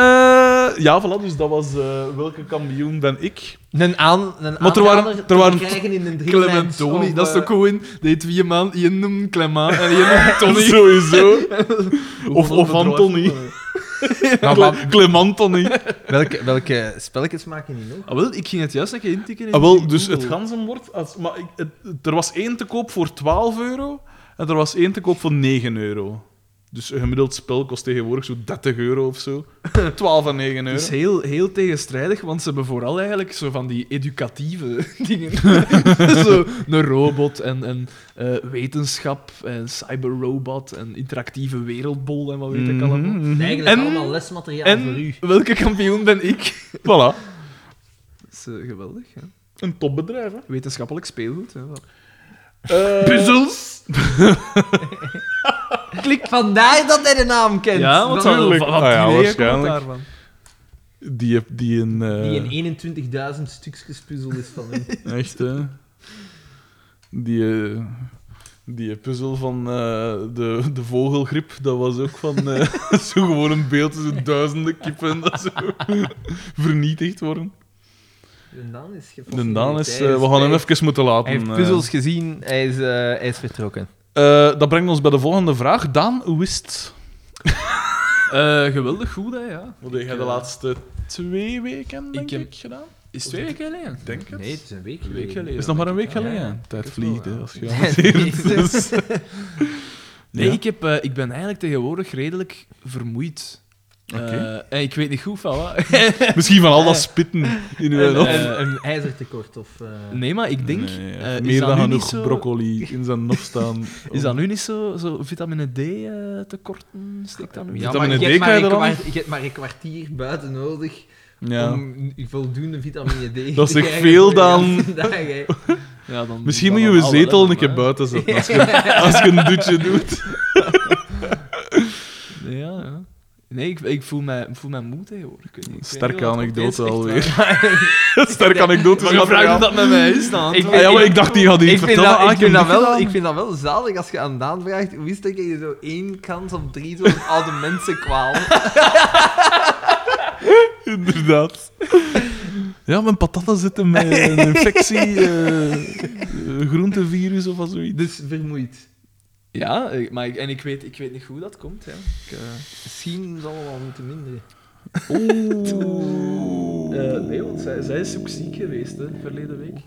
Speaker 1: ja, voilà, dus dat was eh, welke kampioen ben ik?
Speaker 3: Een aan, een
Speaker 1: Maar er waren-
Speaker 3: aanrader
Speaker 1: er waren
Speaker 3: te krijgen in een drie
Speaker 2: Clementoni, dat is toch gewoon... Die twee man, je noemt Clement en je noemt
Speaker 1: Sowieso.
Speaker 2: Tony.
Speaker 1: Of, of Antony. Cle- Clemantony.
Speaker 3: welke, welke spelletjes maken die nog?
Speaker 2: Ah, wel, ik ging het juist een keer intikken in
Speaker 1: Ah, wel,
Speaker 2: die
Speaker 1: dus het
Speaker 2: Google.
Speaker 1: ganzenbord... Als, maar ik, het- het- er was één te koop voor 12 euro en er was één te koop voor 9 euro. Dus een gemiddeld spel kost tegenwoordig zo'n 30 euro of zo. 12 en 9 euro.
Speaker 2: Het is heel, heel tegenstrijdig, want ze hebben vooral eigenlijk zo van die educatieve dingen. zo een robot en, en eh, wetenschap en cyberrobot en interactieve wereldbol en wat weet ik allemaal.
Speaker 1: Mhm, mhm.
Speaker 3: Eigenlijk
Speaker 2: En-
Speaker 3: allemaal lesmateriaal voor
Speaker 2: En
Speaker 3: u.
Speaker 2: welke kampioen ben ik?
Speaker 1: Voilà.
Speaker 2: Dat is eh, geweldig, hè?
Speaker 1: Een topbedrijf, hè.
Speaker 2: Wetenschappelijk speelgoed. Hè?
Speaker 1: Eh,
Speaker 2: Puzzels!
Speaker 3: Klik. Vandaar dat hij de naam kent.
Speaker 2: Ja, want wat,
Speaker 3: Dan-
Speaker 2: wat,
Speaker 1: Natuurlijk. Ah
Speaker 2: wat
Speaker 1: ja,
Speaker 2: idee komt
Speaker 1: waarschijnlijk.
Speaker 2: daarvan?
Speaker 1: Die, heb- die een... eh,
Speaker 3: Die een 21.000 stukjes puzzel is van hem.
Speaker 1: Echt, hè? Die, eh, die puzzel van eh, de, de vogelgriep, dat was ook van eh, zo gewoon een beeld tussen duizenden kippen dat zo vernietigd worden.
Speaker 3: De Daan is
Speaker 1: En dan is, eh, we gaan hem even moeten laten.
Speaker 3: Hij heeft
Speaker 1: eh.
Speaker 3: puzzels gezien, hij is, eh, hij is vertrokken.
Speaker 1: Eh, dat brengt ons bij de volgende vraag. Daan, hoe is het?
Speaker 2: Eh, geweldig goed, hè, ja.
Speaker 1: Wat heb jij de laatste twee weken, denk ik,
Speaker 2: ik heb-
Speaker 1: gedaan?
Speaker 2: Is twee weken geleden?
Speaker 1: Ik Denk het.
Speaker 3: Nee, het is een week
Speaker 2: Week
Speaker 3: geleden.
Speaker 2: geleden.
Speaker 1: is nog maar een week
Speaker 2: Ja, ja.
Speaker 1: geleden. Tijd
Speaker 3: Ik wel,
Speaker 1: vliegt,
Speaker 3: ja.
Speaker 1: hè, als je amuseert. Dus.
Speaker 2: Nee,
Speaker 1: Ja.
Speaker 2: ik, heb, eh, ik ben eigenlijk tegenwoordig redelijk vermoeid.
Speaker 1: Oké.
Speaker 2: Eh, en ik weet niet goed van wat.
Speaker 1: Misschien van al dat spitten in uw
Speaker 2: En,
Speaker 1: hoofd.
Speaker 2: eh,
Speaker 3: Een ijzertekort of... eh,
Speaker 2: nee, maar ik denk...
Speaker 1: Nee,
Speaker 2: eh, is
Speaker 1: meer
Speaker 2: dat
Speaker 1: dan
Speaker 2: nu
Speaker 1: genoeg
Speaker 2: niet zo-
Speaker 1: broccoli in zijn nop staan.
Speaker 2: Is
Speaker 1: Oh.
Speaker 2: dat nu niet zo, zo vitamine D eh, tekorten? Steekt dat nu
Speaker 1: Ja,
Speaker 2: niet?
Speaker 1: maar
Speaker 3: ik
Speaker 1: een
Speaker 3: heb,
Speaker 1: deken
Speaker 3: maar een
Speaker 1: er al?
Speaker 3: kwart- ik heb maar een kwartier buiten nodig
Speaker 1: Ja.
Speaker 3: om voldoende vitamine D te
Speaker 1: Dat is echt
Speaker 3: krijgen
Speaker 1: veel
Speaker 3: voor de
Speaker 1: dan-
Speaker 3: ganse dag, hè.
Speaker 2: Ja, dan,
Speaker 1: Misschien
Speaker 2: dan
Speaker 1: moet je je
Speaker 2: allemaal wel,
Speaker 1: zetel een
Speaker 2: hè.
Speaker 1: keer buiten zetten als je, als je een dutje doet.
Speaker 2: Ja, ja. Nee, ik, ik voel mij, voel mij moe tegenwoordig. Ik weet niet- ik weet niet
Speaker 1: Sterke
Speaker 2: wat het
Speaker 1: anekdote
Speaker 2: opeens echt
Speaker 1: alweer. Sterke anekdote.
Speaker 2: Maar je vraagt hoe dat met mij is dan.
Speaker 3: Ik-
Speaker 1: Ah, ja, maar ik dacht, die gaat
Speaker 3: Ik
Speaker 1: iets
Speaker 3: vind,
Speaker 1: vertellen.
Speaker 3: dat,
Speaker 1: Ah,
Speaker 3: ik, vind dat wel,
Speaker 1: gedaan.
Speaker 3: ik vind dat wel zalig als je aan Daan vraagt hoe is het dat je zo één kans op drie zo'n oude mensen kwaal.
Speaker 1: Inderdaad. Ja, mijn patatten zitten met een infectie, eh, eh, groentevirus of wat zoiets.
Speaker 3: Dus vermoeid.
Speaker 2: Ja, ik- maar ik, en ik weet, ik weet niet hoe dat komt. Ja. Ik, eh,
Speaker 3: Misschien zal het wel moeten minderen.
Speaker 2: Eh, nee, want zij, zij is ook ziek geweest hè, verleden week.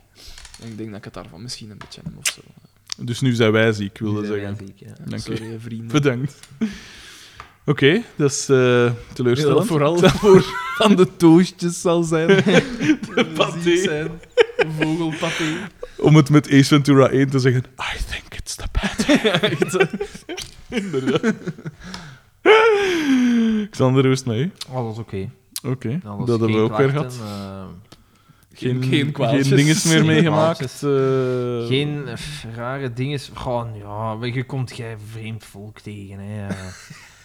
Speaker 2: En ik denk dat ik het daarvan misschien een beetje heb of zo.
Speaker 1: Dus nu zijn wij ziek, wilde
Speaker 3: Die zijn
Speaker 1: zeggen.
Speaker 3: wel ziek, ja.
Speaker 1: Dank je.
Speaker 2: Sorry, hè, vrienden.
Speaker 1: Bedankt. Oké, dat is eh teleurstellend.
Speaker 2: vooral voor aan de toastjes zal zijn.
Speaker 1: paté.
Speaker 2: zijn. Vogelpaté.
Speaker 1: Om het met Ace Ventura 1 te zeggen. I think it's the bad. Inderdaad. Xander, hoe is het met u?
Speaker 3: Alles Oh, oké.
Speaker 1: Oké,
Speaker 2: Nou,
Speaker 3: Dan
Speaker 1: dat hebben
Speaker 3: was
Speaker 1: we
Speaker 3: geen
Speaker 1: ook weer
Speaker 3: klachten,
Speaker 1: gehad.
Speaker 3: eh,
Speaker 1: Geen,
Speaker 2: Geen kwaaltjes.
Speaker 1: Geen dinges meer
Speaker 2: Geen
Speaker 1: meegemaakt. eh,
Speaker 3: geen eh, f- rare dingen. Gewoon, ja, maar je komt jij vreemd volk tegen, hè. eh.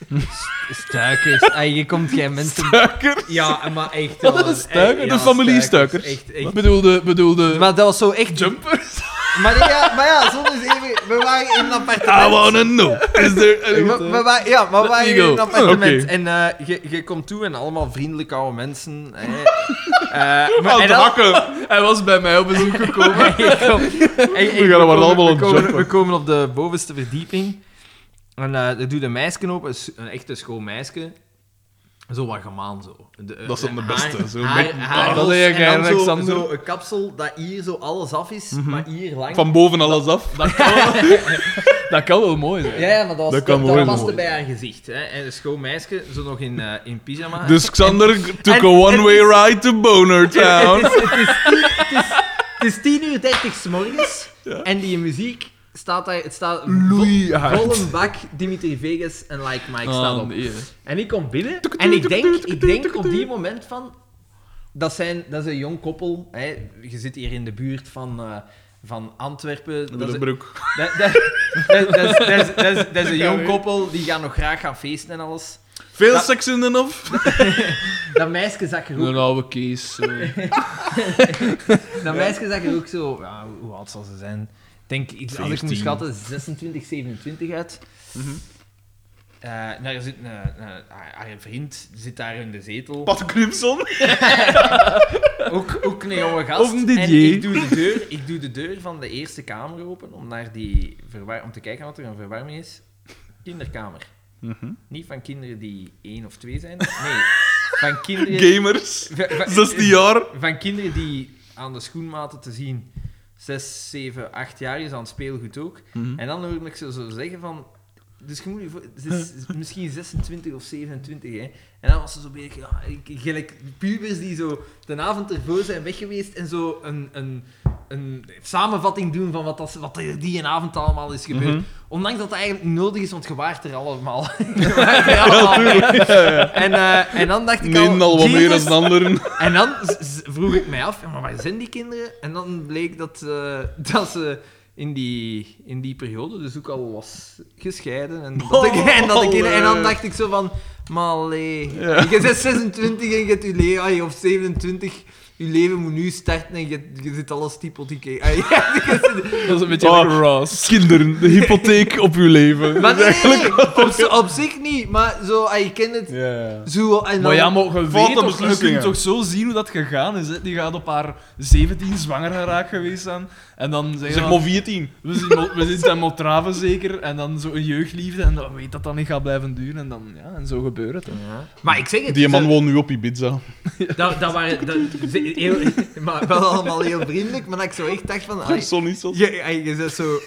Speaker 3: St- Stuikers. Eh, je komt jij mensen...
Speaker 1: Stuiker.
Speaker 3: Ja, maar echt.
Speaker 1: Wat
Speaker 3: wel.
Speaker 1: is Stuikers?
Speaker 3: Eh,
Speaker 1: De familie
Speaker 3: Echt, echt.
Speaker 2: Bedoelde, bedoelde...
Speaker 3: Maar dat was zo echt...
Speaker 2: Jumpers?
Speaker 3: Maar ja, maar ja, zonder eens even... We waren in een appartement.
Speaker 1: I wanna know. Is there...
Speaker 3: We, we waren, ja, Eh, maar we waren
Speaker 2: me
Speaker 3: in een
Speaker 2: go.
Speaker 3: appartement.
Speaker 1: Oké.
Speaker 3: En eh, je je komt toe en allemaal vriendelijke oude mensen. hè. Eh, maar-
Speaker 1: Aan
Speaker 3: en
Speaker 1: het
Speaker 3: dan-
Speaker 1: hakken.
Speaker 2: Hij was bij mij op bezoek gekomen.
Speaker 3: Je komt- Hey, hey,
Speaker 1: gaan maar
Speaker 3: komen-
Speaker 1: allemaal
Speaker 3: we
Speaker 1: op
Speaker 3: komen-
Speaker 1: jumpen.
Speaker 3: We komen op de bovenste verdieping. En eh er doet een meisje op, een, s- een echte schoon meisje. Zo wat gemaan, zo. De, eh,
Speaker 1: Dat zijn de
Speaker 3: haar-
Speaker 1: beste, zo
Speaker 3: haar-
Speaker 1: met- Ah,
Speaker 3: haar-
Speaker 2: Dat zeg jij,
Speaker 3: en dan zo-
Speaker 2: Alexander.
Speaker 3: Zo een kapsel dat hier zo alles af is, maar hier lang.
Speaker 1: Mhm. Van boven alles af.
Speaker 2: Dat kan, wel- dat kan wel mooi zijn.
Speaker 3: Ja, ja, maar dat,
Speaker 1: Dat
Speaker 3: was, dat,
Speaker 1: kan
Speaker 3: dat
Speaker 1: mooi
Speaker 3: paste
Speaker 1: worden.
Speaker 3: bij haar gezicht. Hè. En een schoon meisje, zo nog in, eh, in pyjama.
Speaker 1: Dus Xander took
Speaker 3: en-
Speaker 1: a
Speaker 3: en-
Speaker 1: one-way ride to Boner Town.
Speaker 3: Het is, het is, het is, het is 10 uur 30 's morgens en die muziek staat daar. Het staat
Speaker 2: Loeihard.
Speaker 3: vol een bak Dimitri Vegas en Like Mike staat
Speaker 2: Oh,
Speaker 3: op.
Speaker 2: nee.
Speaker 3: En ik kom binnen en ik denk, ik denk op die moment van... Dat, zijn, dat is een jong koppel. Hè. Je zit hier in de buurt van, eh, van Antwerpen. Dat is,
Speaker 1: broek.
Speaker 3: dat, dat, dat, dat is, dat, is, dat, is, dat is een jong koppel, die gaan nog graag gaan feesten en alles.
Speaker 1: Veel
Speaker 3: Dat-
Speaker 1: seks in de nof.
Speaker 3: Dat meisje zag er ook
Speaker 2: Een oude Kees. eh.
Speaker 3: Dat meisje zag er ook zo, ja, hoe oud zal ze zijn? Ik denk, iets, als ik moet schatten, 26, 27 uit. Eh daar zit een, een- haar, haar vriend zit daar in de zetel.
Speaker 1: Pat Crimson.
Speaker 3: Ook, ook een jonge gast.
Speaker 2: Of een
Speaker 3: En
Speaker 2: Didier.
Speaker 3: ik doe, de deur, ik doe de deur van de eerste kamer open om, naar die verwar- om te kijken wat er een verwarming is. Kinderkamer. Niet van kinderen die één of twee zijn. Nee, van kinderen...
Speaker 1: Gamers.
Speaker 3: van- van-
Speaker 1: 16 jaar.
Speaker 3: van kinderen die aan de schoenmaten te zien 6, 7, 8 jaar is, aan het speelgoed ook.
Speaker 1: Mhm.
Speaker 3: En dan hoor ik ze zo zeggen van... Dus je moet je voor- ze is misschien 26 of 27, hè. En dan was ze zo bezig, ja, ik- gelijk pubers die zo de avond ervoor zijn weg geweest en zo een, een, een samenvatting doen van wat, dat, ze- wat er die avond allemaal is gebeurd.
Speaker 1: Mhm.
Speaker 3: Ondanks dat dat eigenlijk niet nodig is, want je waart er allemaal. Je waart er allemaal bij. en, eh, en dan dacht ik
Speaker 1: Nee, al wat meer
Speaker 3: Jesus,
Speaker 1: dan de anderen.
Speaker 3: en dan z- z- vroeg ik mij af, ja, maar waar zijn die kinderen? En dan bleek dat, eh, dat ze in die, in die periode dus ook al was gescheiden. En dat, ik,
Speaker 2: Oh,
Speaker 3: en, dat ik, in- en dan dacht ik zo van, maar allee, je bent 26 en je hebt je le- ai, of 27... Je leven moet nu starten en je, je zit alles typotiek. ai.
Speaker 2: Dat is een beetje
Speaker 1: Oh.
Speaker 2: like Ross.
Speaker 1: Kinderen, de hypotheek op uw leven.
Speaker 3: Maar nee, nee, nee, op, z- op zich niet. Maar zo, ai, je kent het.
Speaker 1: Ja.
Speaker 3: Zo, en dan,
Speaker 2: Maar ja, maar je,
Speaker 1: Foute
Speaker 2: weet toch, je
Speaker 1: beslissingen.
Speaker 2: kunt toch zo zien hoe dat gegaan is. Hè? Die gaat op haar 17 zwanger geraakt geweest zijn. En dan zeggen
Speaker 1: Zeg
Speaker 2: we,
Speaker 1: maar 14.
Speaker 2: we zien, Mo- we zien staan Motrave zeker, en dan zo een jeugdliefde, en dan weet dat dat niet gaat blijven duren, en dan, ja, en zo gebeurt het. hè.
Speaker 3: Maar ik zeg het.
Speaker 1: Die man woont nu op Ibiza.
Speaker 3: Dat, dat waren... Dat, ze- heel, maar wel allemaal heel vriendelijk, maar dat ik zo echt dacht van... ai,
Speaker 1: Persoon is dat.
Speaker 3: Je, ai, je bent zo...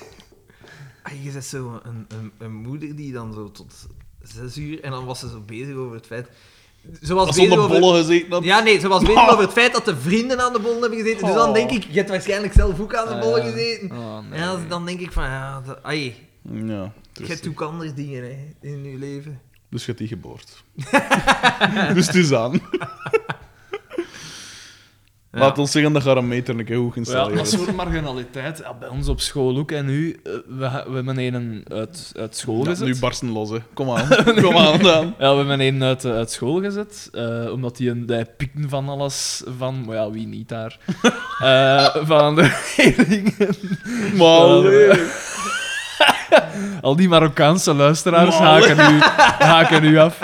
Speaker 3: ai, je bent zo een, een, een moeder die dan zo tot zes uur... En dan was ze zo bezig over het feit... Ze was
Speaker 1: Als zonder
Speaker 3: bezig over...
Speaker 1: bollen gezeten had.
Speaker 3: Ja, nee, ze was
Speaker 1: Oh.
Speaker 3: bezig over het feit dat de vrienden aan de bollen hebben gezeten. Dus dan
Speaker 1: Oh.
Speaker 3: denk ik, je hebt waarschijnlijk zelf ook aan de
Speaker 2: Ah,
Speaker 3: bollen
Speaker 2: ja.
Speaker 3: gezeten.
Speaker 2: Oh, nee.
Speaker 3: En dan, dan denk ik van, ja, dat, ai,
Speaker 1: Ja,
Speaker 3: je hebt
Speaker 1: dus,
Speaker 3: ook andere dingen hè, in je leven.
Speaker 1: dus je hebt die geboord. dus het is aan. Laat ons zeggen dat je haar een meter een keer hoog
Speaker 2: Ja,
Speaker 1: installeert.
Speaker 2: dat soort marginaliteit. Ja, bij ons op school ook. En nu, eh, we, ha- we hebben een uit, uit school
Speaker 1: Ja,
Speaker 2: gezet.
Speaker 1: nu barsten los, hè. Kom aan. Kom aan, dan.
Speaker 2: Ja, we hebben een uit, eh, uit school gezet, eh, omdat die een die pikken van alles, van, maar ja, wie niet daar, Eh, van de leerlingen.
Speaker 1: Maar allee.
Speaker 2: Al die Marokkaanse luisteraars
Speaker 1: Maar
Speaker 2: haken nu, haken nu af.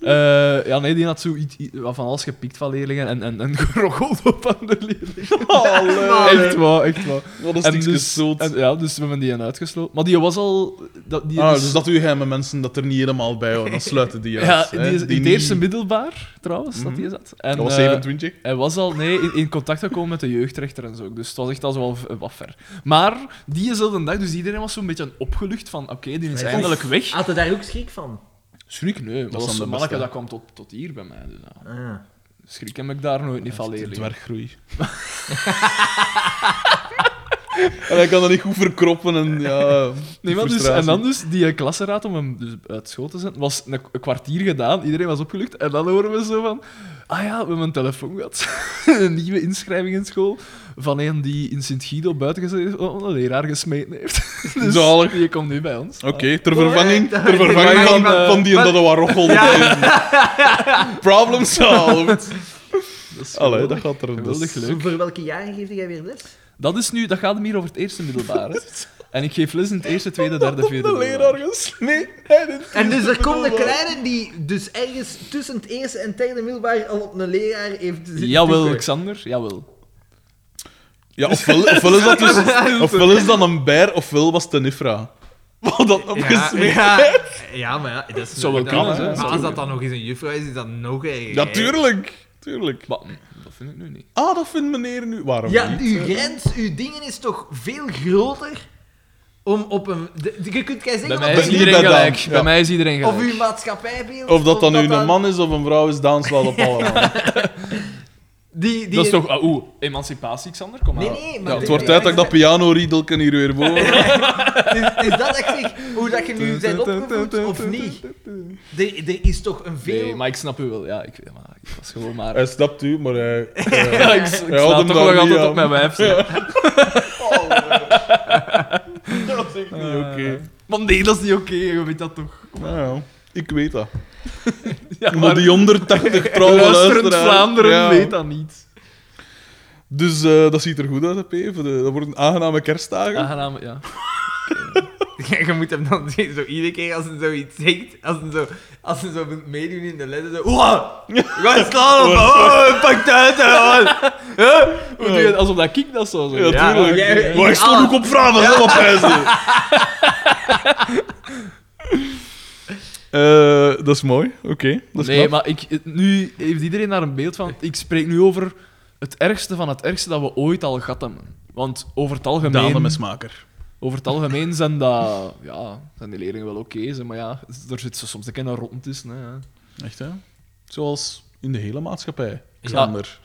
Speaker 2: Eh, ja, nee, die had zo iets, iets- wat van alles gepikt van leerlingen en, en, en geroggeld op aan de leerlingen.
Speaker 1: Allee.
Speaker 2: Echt waar, echt waar.
Speaker 1: Wat een
Speaker 2: En
Speaker 1: stukje
Speaker 2: dus,
Speaker 1: zoot.
Speaker 2: en, ja, dus we hebben die een uitgesloten. Maar die was al... Dat, die,
Speaker 1: Ah,
Speaker 2: dus-
Speaker 1: dus dat u geheime mensen dat er niet helemaal bij houden, dan sluiten die
Speaker 2: Ja,
Speaker 1: uit.
Speaker 2: die
Speaker 1: hè.
Speaker 2: is in het eerste
Speaker 1: niet-
Speaker 2: middelbaar, trouwens, dat die zat. En,
Speaker 1: Dat was
Speaker 2: eh,
Speaker 1: 27.
Speaker 2: hij was al nee, in, in contact gekomen met de jeugdrechter en zo. ook. Dus het was echt al zo wel v- wat ver. Maar diezelfde dag, dus iedereen was zo'n beetje opgelucht van oké, die is
Speaker 3: Maar
Speaker 2: eindelijk weg.
Speaker 3: Had je daar ook schrik van?
Speaker 2: Schrik, nee.
Speaker 1: zijn
Speaker 2: Dat was
Speaker 1: de
Speaker 2: een manneke
Speaker 1: beste.
Speaker 2: dat kwam tot, tot hier bij mij. Dus, ja.
Speaker 3: Ah, ja.
Speaker 2: Schrik heb ik daar nooit niet van leren.
Speaker 1: Dwerggroei. en hij kan dat niet goed verkroppen en ja...
Speaker 2: Nee, maar dus, en
Speaker 1: frustratie.
Speaker 2: dan dus die eh, klasraad om hem dus uit school te zetten, was een, k- een kwartier gedaan, iedereen was opgelucht. En dan horen we zo van, ah ja, we hebben een telefoon gehad. een nieuwe inschrijving in school van een die in Sint-Guido buiten gezet is, omdat een leraar gesmeten heeft. dus
Speaker 1: Zalig.
Speaker 2: die komt nu bij ons.
Speaker 1: Oké, ter vervanging, ter
Speaker 3: vervanging
Speaker 1: vervanging van,
Speaker 3: van, eh,
Speaker 1: van die en dat wat rochelde. Problem solved.
Speaker 2: Dat is
Speaker 1: Allee,
Speaker 2: geweldig.
Speaker 1: dat gaat er... dus- Dat
Speaker 2: Geweldig
Speaker 1: is,
Speaker 2: leuk.
Speaker 3: Voor welke jaren geef jij weer les?
Speaker 2: Dat is nu, dat gaat hem hier over het eerste middelbaar. hè. en ik geef les in het eerste, tweede, derde, vierde.
Speaker 1: de leraar
Speaker 2: middelbaar.
Speaker 1: gesmeed. Hij heeft
Speaker 3: En dus er komt een
Speaker 1: middelbaar.
Speaker 3: kleine die dus ergens tussen het eerste en derde middelbaar al op een leraar heeft zitten
Speaker 2: Jawel,
Speaker 3: tikken.
Speaker 2: Xander, jawel.
Speaker 1: Ja, ofwel, ofwel, is dat dus, ofwel is dat een beer, ofwel was het een Ifra. Wat dat
Speaker 3: Ja,
Speaker 1: opgesmeed.
Speaker 3: ja, ja, maar ja, dat is
Speaker 2: Zou wel
Speaker 3: dat-
Speaker 2: kunnen, hè,
Speaker 3: Maar als
Speaker 2: natuurlijk.
Speaker 3: dat dan nog eens een juffrouw is, is dat nog erger.
Speaker 1: Ja, tuurlijk. Tuurlijk.
Speaker 2: Maar, hm, dat vind ik nu niet.
Speaker 1: Ah, dat vindt meneer nu. Waarom
Speaker 3: Ja,
Speaker 1: niet?
Speaker 3: uw grens, uw dingen is toch veel groter om op een... de- de- je kunt jij
Speaker 2: Bij
Speaker 3: zeggen
Speaker 2: mij is
Speaker 3: dat
Speaker 1: is niet
Speaker 2: iedereen
Speaker 1: bij
Speaker 2: gelijk.
Speaker 1: Daan.
Speaker 2: Bij
Speaker 1: Ja.
Speaker 2: mij is iedereen
Speaker 3: of
Speaker 2: gelijk.
Speaker 3: uw maatschappijbeeld...
Speaker 1: Of dat dan nu
Speaker 3: dat-
Speaker 1: een man is of een vrouw is, Daan slaat op allemaal.
Speaker 3: Die, die,
Speaker 2: Dat is toch... ah, Oeh, emancipatie, Xander? Kom maar.
Speaker 3: Nee, nee, maar...
Speaker 1: Ja, het wordt tijd dat ik dat piano-riedelken hier weer boven
Speaker 3: Is, is dat ik zeg, hoe dat je nu bent opgevoed of niet? Er, er is toch een veel...
Speaker 2: Nee, maar ik snap u wel. Ja, ik, ja, maar ik was gewoon maar...
Speaker 1: Hij snapt u, maar hij...
Speaker 2: Ja, ik, ik sta
Speaker 1: had hem
Speaker 2: toch
Speaker 1: daar
Speaker 2: nog
Speaker 1: niet
Speaker 2: altijd
Speaker 1: aan.
Speaker 2: op mijn wijf.
Speaker 1: dat is echt niet oké.
Speaker 2: Maar nee, dat is niet oké. je weet dat toch.
Speaker 1: Nou ja, ik weet dat.
Speaker 2: Ja,
Speaker 1: Maar die 180 trouwe
Speaker 2: luisterend
Speaker 1: luisteraars,
Speaker 2: Vlaanderen
Speaker 1: ja.
Speaker 2: weet dat niet.
Speaker 1: Dus eh, dat ziet er goed uit, hè, P. Voor de- Dat worden aangename kerstdagen.
Speaker 2: Aangenaam, ja.
Speaker 3: Ja, je moet hem dan zo iedere keer als hij zoiets zegt, als hij zo, als hij zo moet meedoen in de lessen, zo... Oeh! Ga slaan op! Oh, pak het uit! hè, man."
Speaker 2: Hoe doe je het? Alsof dat ik dat
Speaker 1: Ja,
Speaker 2: zou zeggen.
Speaker 3: Ja,
Speaker 1: tuurlijk.
Speaker 3: maar jij-
Speaker 1: maar ik stond
Speaker 3: ah.
Speaker 1: ook op vragen, hè, wat pijzen. Eh, dat is mooi, oké. dat is
Speaker 2: Nee,
Speaker 1: knap.
Speaker 2: maar ik, nu heeft iedereen daar een beeld van. Ik spreek nu over het ergste van het ergste dat we ooit al gehad hebben. Want over het algemeen...
Speaker 1: Daan de mesmaker.
Speaker 2: Over het algemeen zijn, dat, ja, zijn die leerlingen wel oké, ze, maar ja, er zit zo soms een keer rond tussen. Hè.
Speaker 1: Echt, hè? Zoals in de hele maatschappij. Xander.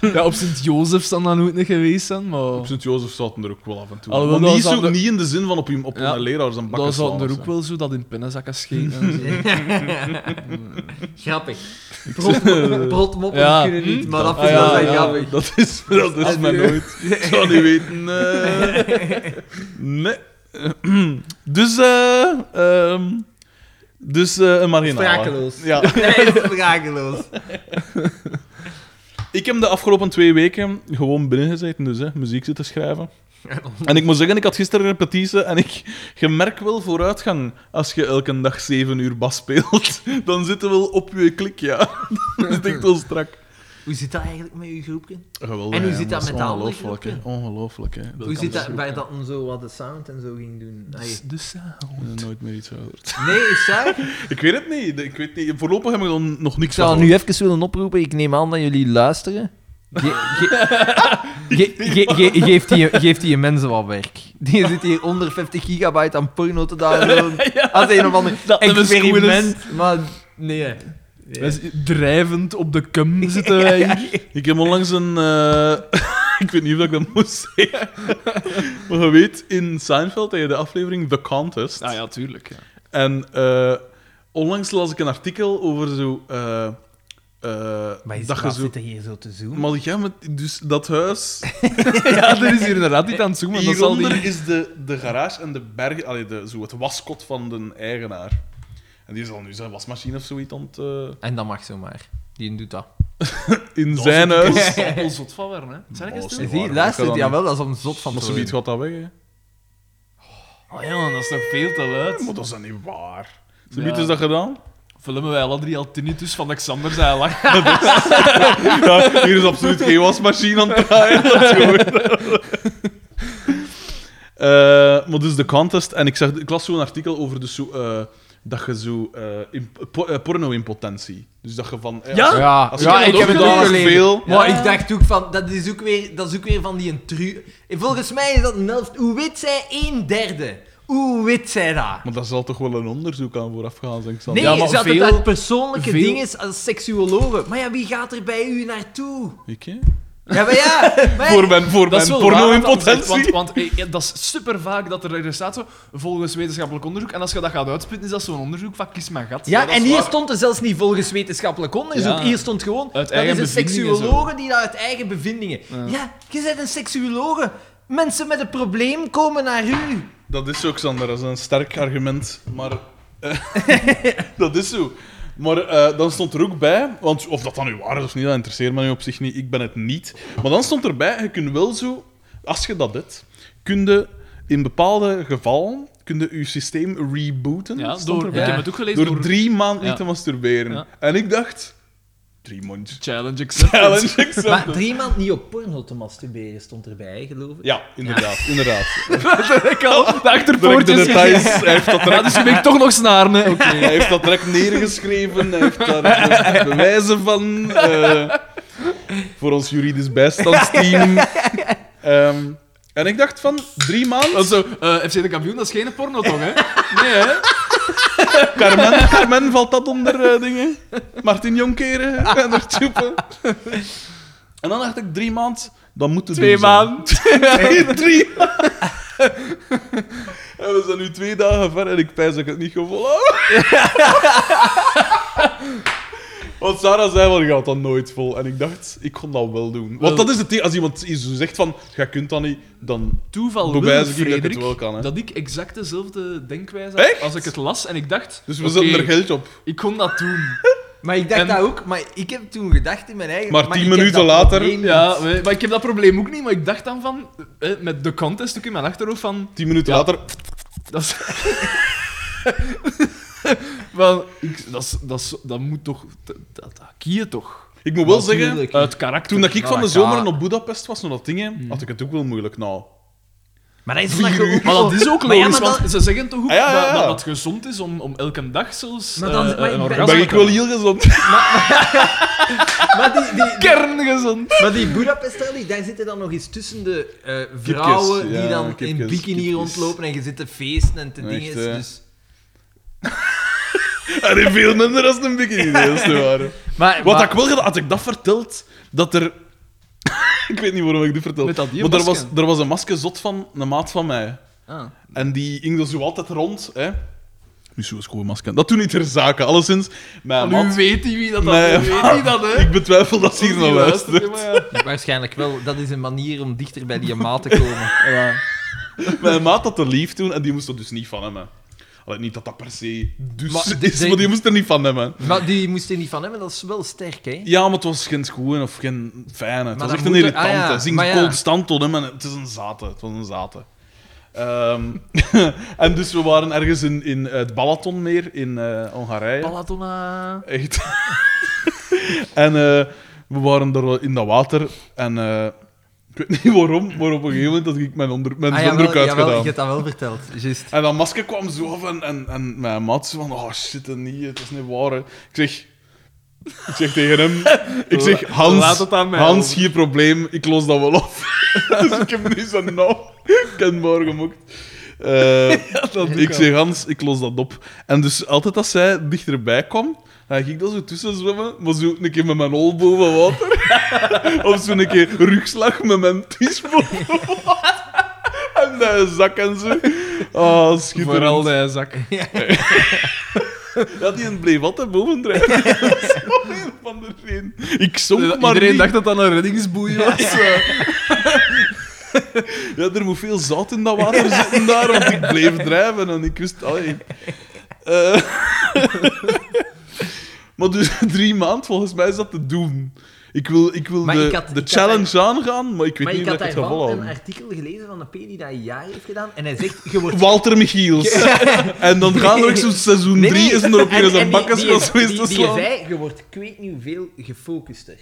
Speaker 2: Ja, op Sint-Jozef zijn dat nooit niet geweest zijn,
Speaker 1: Op
Speaker 2: maar
Speaker 1: Sint-Jozef zaten er ook wel af en toe.
Speaker 2: Alhoewel,
Speaker 1: maar niet,
Speaker 2: daar
Speaker 1: zo,
Speaker 2: zaten-
Speaker 1: niet in de zin van op, je- op
Speaker 2: Ja,
Speaker 1: een leraar zijn bakken
Speaker 2: dan
Speaker 1: slaan
Speaker 2: zouden er
Speaker 1: of
Speaker 2: ook
Speaker 1: zo.
Speaker 2: wel zo dat in pennenzakken scheten. en zo.
Speaker 3: Grappig. Brot- Brotmoppen
Speaker 2: Ja.
Speaker 3: kunnen niet, maar dat
Speaker 2: Ah,
Speaker 3: is wel
Speaker 2: ja,
Speaker 3: zijn
Speaker 2: ja.
Speaker 3: grappig.
Speaker 1: Dat is, dat is mij nooit. Ik zou niet weten. eh. nee. Dus, eh ehm, dus eh, een marginale.
Speaker 3: Sprakeloos.
Speaker 1: Ja.
Speaker 3: Hij is sprakeloos.
Speaker 1: Ik heb de afgelopen twee weken gewoon binnengezeten, dus hè, muziek zitten schrijven. En ik moet zeggen, ik had gisteren een repetitie en ik, je merkt wel vooruitgang als je elke dag zeven uur bas speelt. Dan zitten we wel op je klik, ja. Dat is echt wel strak.
Speaker 3: Hoe zit dat eigenlijk met uw groepje?
Speaker 1: Geweldig,
Speaker 3: En hoe
Speaker 1: hè,
Speaker 3: zit dat
Speaker 1: man.
Speaker 3: met de andere
Speaker 1: Ongelooflijk, hè. Ongelooflijk, hè.
Speaker 3: Hoe zit
Speaker 2: dus
Speaker 3: dat bij dat om zo wat de sound en zo ging doen? Ai.
Speaker 2: De sound.
Speaker 1: Ik heb Nooit meer iets gehoord.
Speaker 3: Nee, is dat?
Speaker 1: Ik weet het niet. Ik weet niet. Voorlopig heb ik dan nog niks
Speaker 3: Ik zou
Speaker 1: van
Speaker 3: nu even willen oproepen. Ik neem aan dat jullie luisteren. Ge- ge- ge- ge- ge- geeft, die, geeft die mensen wat werk. Die zit hier onder 50 gigabyte aan porno te downloaden. Als een of ander
Speaker 2: Dat hebben we
Speaker 3: experiment. Maar nee.
Speaker 2: Wij z- drijvend op de cum zitten wij hier.
Speaker 1: Ik heb onlangs een. eh, ik weet niet of ik dat moest zeggen. maar je weet, in Seinfeld heb je de aflevering The Contest.
Speaker 2: Ah ja, tuurlijk. Ja.
Speaker 1: En eh, onlangs las ik een artikel over zo. eh, eh, dat je zo.
Speaker 3: hier zo te zoomen?
Speaker 1: Maar ja, maar dus dat huis
Speaker 2: ja, er is hier inderdaad iets aan het zoomen. Dat zal
Speaker 1: Hieronder
Speaker 2: die...
Speaker 1: is de, de garage en de bergen, allee, de, zo het waskot van de eigenaar. En die is al nu zijn wasmachine of zoiets aan het, eh,
Speaker 3: En dat mag zomaar. Die doet dat.
Speaker 1: in zijn huis.
Speaker 2: Al zot van werden, hè. Zijn ik eens
Speaker 1: Boos.
Speaker 2: doen?
Speaker 1: Waar,
Speaker 3: Zie,
Speaker 1: dat
Speaker 3: luistert
Speaker 1: kan
Speaker 3: ja
Speaker 1: niet.
Speaker 3: wel, dat is om zot van
Speaker 1: Maar
Speaker 3: te
Speaker 1: zoiets
Speaker 3: worden.
Speaker 1: gaat dat weg, hè.
Speaker 2: Oh ja, dat is toch veel te luid.
Speaker 1: Maar dat is dan niet waar. Ze
Speaker 2: Ja.
Speaker 1: is dat gedaan?
Speaker 2: Filmen wij alle drie al tinnitus van Alexander zijn lach.
Speaker 1: Ja, hier is absoluut geen wasmachine aan het draaien. Dat is goed. Eh, maar dus de contest. En ik, zag, ik las zo'n artikel over dus zo, eh, dat je zo... eh, imp- po- eh, porno-impotentie. Dus dat je van... eh,
Speaker 2: Ja?
Speaker 1: als-
Speaker 3: Ja,
Speaker 1: Als je
Speaker 3: ja
Speaker 1: dat
Speaker 3: ik
Speaker 1: ook
Speaker 3: heb het
Speaker 1: gedaan
Speaker 3: ook
Speaker 1: hebt,
Speaker 3: gelezen.
Speaker 1: veel.
Speaker 3: Maar ik dacht ook van, dat is ook weer, dat is ook weer van die een tru... En Volgens mij is dat een helft. Hoe weet zij een derde? Hoe weet zij dat?
Speaker 1: Maar daar zal toch wel een onderzoek aan vooraf gaan, denk ik. Sander?
Speaker 3: Nee,
Speaker 2: Ja, maar
Speaker 3: ze had
Speaker 2: veel-
Speaker 3: het uit persoonlijke
Speaker 2: veel-
Speaker 3: dingen als seksuologen. Maar ja, wie gaat er bij u naartoe?
Speaker 1: Ik, hè?
Speaker 3: Ja, maar ja. Maar
Speaker 1: Voor mijn, voor
Speaker 2: Dat is
Speaker 1: mijn
Speaker 2: wel waar, want- want, want,
Speaker 1: porno-impotentie.
Speaker 2: want eh, ja, dat is super vaak dat er ergens staat zo, volgens wetenschappelijk onderzoek. En als je dat gaat uitspitten, is dat zo'n onderzoek van kies mijn gat.
Speaker 3: ja,
Speaker 2: dat is
Speaker 3: en hier
Speaker 2: waar.
Speaker 3: stond er zelfs niet volgens wetenschappelijk onderzoek.
Speaker 2: Ja.
Speaker 3: Hier stond gewoon,
Speaker 2: Uit
Speaker 3: dat
Speaker 2: eigen
Speaker 3: is een
Speaker 2: bevindingen
Speaker 3: seksuologe die dat uit eigen bevindingen... Ja, je bent een seksuologe. Mensen met een probleem komen naar u.
Speaker 1: Dat is ook, Sander. Dat is een sterk argument. Maar... eh, dat is zo. Maar eh, dan stond er ook bij, want of dat dan nu waar is of niet, dat interesseert me nu op zich niet. Ik ben het niet. Maar dan stond erbij, je kunt wel zo, als je dat doet, kun je in bepaalde gevallen kun je, je systeem rebooten.
Speaker 2: Ja,
Speaker 1: stond
Speaker 2: door,
Speaker 1: erbij.
Speaker 2: ik heb het ook gelezen
Speaker 1: door
Speaker 2: door,
Speaker 1: drie maanden
Speaker 2: Ja.
Speaker 1: niet te masturberen.
Speaker 2: Ja.
Speaker 1: En ik dacht, drie maanden.
Speaker 2: Challenge accepted.
Speaker 1: Challenge accepted.
Speaker 3: Maar drie maand niet op porno te masturberen stond erbij, geloof ik.
Speaker 1: Ja, inderdaad, inderdaad.
Speaker 2: Ik al de
Speaker 1: Direct de
Speaker 2: achterpoortjes.
Speaker 1: details, hij heeft dat
Speaker 2: Ja,
Speaker 1: direct
Speaker 2: dus je bent toch nog snaren, hè. Oké.
Speaker 1: Hij heeft dat direct neergeschreven, hij heeft daar eh, bewijzen van. eh, voor ons juridisch bijstandsteam. Ehm, en ik dacht van, drie maanden...
Speaker 2: Dat is zo, eh, FC de kampioen, dat is geen porno toch, hè? Nee, hè?
Speaker 1: Carmen, Carmen valt dat onder eh, dingen. Martin Jonkeren
Speaker 2: Ah.
Speaker 1: en er tjoepen. En dan dacht ik, drie maanden, dan moeten we
Speaker 2: Twee maanden.
Speaker 1: Drie, drie. En we zijn nu twee dagen ver en ik pijs dat ik het niet ga volhouden. Want Sarah zei wel, je gaat dat nooit vol. En ik dacht, ik kon dat wel doen. Want dat is het ding, als iemand iets zegt van, jij kunt dat niet, dan...
Speaker 2: Toeval wil,
Speaker 1: Bewijs ik dat ik het
Speaker 2: Frederik,
Speaker 1: wel kan, hè.
Speaker 2: dat ik exact dezelfde denkwijze had
Speaker 1: Echt?
Speaker 2: als ik het las. En ik dacht,
Speaker 1: Dus we
Speaker 2: oké,
Speaker 1: zetten er geld op.
Speaker 2: ik kon dat doen.
Speaker 3: Maar ik dacht
Speaker 2: En-
Speaker 3: dat ook, maar ik heb toen gedacht in mijn eigen...
Speaker 1: Maar tien
Speaker 3: ik heb
Speaker 1: minuten
Speaker 3: dat
Speaker 1: later-
Speaker 3: probleem niet.
Speaker 2: Ja, we- maar ik heb dat probleem ook niet. Maar ik dacht dan van, eh, met de contest ook in mijn achterhoofd van...
Speaker 1: Tien minuten
Speaker 2: Ja.
Speaker 1: later,
Speaker 2: Dat is... Wel, ik, dat, is, dat, is, dat moet toch... Dat, dat, dat kie je toch?
Speaker 1: ik moet wel
Speaker 3: Natuurlijk.
Speaker 1: zeggen...
Speaker 2: Uit karakter.
Speaker 1: Toen dat ik
Speaker 3: Maar
Speaker 1: van de
Speaker 3: dat
Speaker 1: zomer
Speaker 3: gaat.
Speaker 1: op Budapest was, naar dat ding, hè,
Speaker 2: Hmm.
Speaker 1: had ik het ook wel moeilijk. Nou,
Speaker 3: Maar dat is omdat je ook
Speaker 2: Maar dat is ook
Speaker 3: Maar
Speaker 2: logisch,
Speaker 3: ja, maar
Speaker 2: want
Speaker 3: dan-
Speaker 2: ze zeggen toch ook
Speaker 1: Ah, ja, ja,
Speaker 2: Dat,
Speaker 1: ja.
Speaker 2: dat het gezond is om, om elke dag zelfs
Speaker 3: Maar dan-
Speaker 2: eh,
Speaker 3: maar
Speaker 2: een
Speaker 3: ik ben-
Speaker 2: orgasme
Speaker 1: ben
Speaker 2: te
Speaker 1: ik wel heel gezond.
Speaker 3: Maar die, die,
Speaker 2: kerngezond.
Speaker 3: maar die Budapest-rally, daar zitten dan nog eens tussen de eh, vrouwen
Speaker 1: ja,
Speaker 3: die dan in
Speaker 1: kipjes,
Speaker 3: bikini
Speaker 1: kipjes.
Speaker 3: rondlopen en je zit te feesten en te
Speaker 1: Echt,
Speaker 3: dingen.
Speaker 1: hè.
Speaker 3: Dus...
Speaker 1: En veel minder als een bikini, dat is te waar. hè.
Speaker 3: Maar,
Speaker 1: Wat ik wel gedaan, had ik dat verteld, dat er... ik weet niet waarom ik dit vertel.
Speaker 2: Met dat die
Speaker 1: maar er was,
Speaker 2: masker.
Speaker 1: er was een masker zot van een maat van mij.
Speaker 2: Ah.
Speaker 1: En die ging er zo altijd rond, hè. Nu zo'n schoon masker. Dat doet niet ter zake, alleszins. Mijn
Speaker 2: Nu
Speaker 1: maat...
Speaker 2: weet hij wie dat dat
Speaker 1: Nee,
Speaker 2: nu weet hij dat, hè.
Speaker 1: Ik betwijfel dat ze hier naar luistert.
Speaker 3: Waarschijnlijk wel, dat is een manier om dichter bij die maat te komen.
Speaker 1: Mijn maat had er lief toen en die moest er dus niet van hebben. Allee, niet dat dat per se dus
Speaker 3: Maar dit-
Speaker 1: is, maar die moest er niet van hebben.
Speaker 3: Maar die moest je niet van hebben, dat is wel sterk, hè?
Speaker 1: Ja, maar het was geen schoen of geen fijne. Het
Speaker 3: Maar
Speaker 1: was echt
Speaker 3: dan
Speaker 1: een
Speaker 3: moet er-
Speaker 1: irritante.
Speaker 3: ah ja,
Speaker 1: Zing
Speaker 3: maar ja.
Speaker 1: constant tot hem en het is een zate. Het was een zate. Ehm, en dus we waren ergens in, in het eh, Balatonmeer in eh, Hongarije.
Speaker 2: Palatona.
Speaker 1: echt. en eh, We waren er in dat water en eh, ik weet niet waarom, maar op een gegeven moment had ik mijn, onder, mijn
Speaker 4: Ah,
Speaker 1: zwemdoek
Speaker 4: jawel,
Speaker 1: uitgedaan.
Speaker 4: jawel, ik heb dat wel verteld. Juist.
Speaker 1: En dat masker kwam zo af en, en, en mijn maat zo van, oh shit, dat niet, het is niet waar. hè." Ik zeg, ik zeg tegen hem, ik zeg,
Speaker 2: Laat
Speaker 1: Hans,
Speaker 2: het aan mij
Speaker 1: Hans,
Speaker 2: over."
Speaker 1: geen probleem, ik los dat wel op. dus ik heb nu zijn naam kenbaar gemokt. Eh, ik zeg, Hans, ik los dat op. En dus altijd als zij dichterbij kwam, dan ging ik dat zo tussen zwemmen, maar zo een keer met mijn hol boven water. of zo een keer rugslag met mijn tis boven water. En dat zak en zo. Ah, schitterend.
Speaker 2: Vooral de zak.
Speaker 1: Ja, die bleef altijd boven drijven. Zo heel van de reden. Ik zonk maar
Speaker 2: Iedereen
Speaker 1: niet.
Speaker 2: dacht dat dat een reddingsboei was.
Speaker 1: Ja, er moet veel zout in dat water zitten daar, want ik bleef drijven en ik wist... Allee. Eh. maar dus drie maanden, volgens mij is dat te doen. Ik wil, ik wil
Speaker 3: Maar
Speaker 1: de,
Speaker 3: ik had-
Speaker 1: de
Speaker 3: ik had
Speaker 1: challenge aangaan, maar ik weet
Speaker 3: Maar
Speaker 1: niet
Speaker 3: ik
Speaker 1: of
Speaker 3: had
Speaker 1: ik het ga
Speaker 3: daarvan een
Speaker 1: volhouden.
Speaker 3: artikel gelezen van een P die dat een jaar heeft gedaan. En hij zegt, je wordt...
Speaker 1: Walter Michiels. en dan gaan we zo'n seizoen
Speaker 3: Nee,
Speaker 1: drie,
Speaker 3: nee.
Speaker 1: is er op
Speaker 3: En-
Speaker 1: een zijn
Speaker 3: en die-
Speaker 1: bakkes
Speaker 3: die-
Speaker 1: van geweest
Speaker 3: die-
Speaker 1: te
Speaker 3: Die
Speaker 1: slaan.
Speaker 3: zei, je wordt ik weet niet hoeveel gefocuster.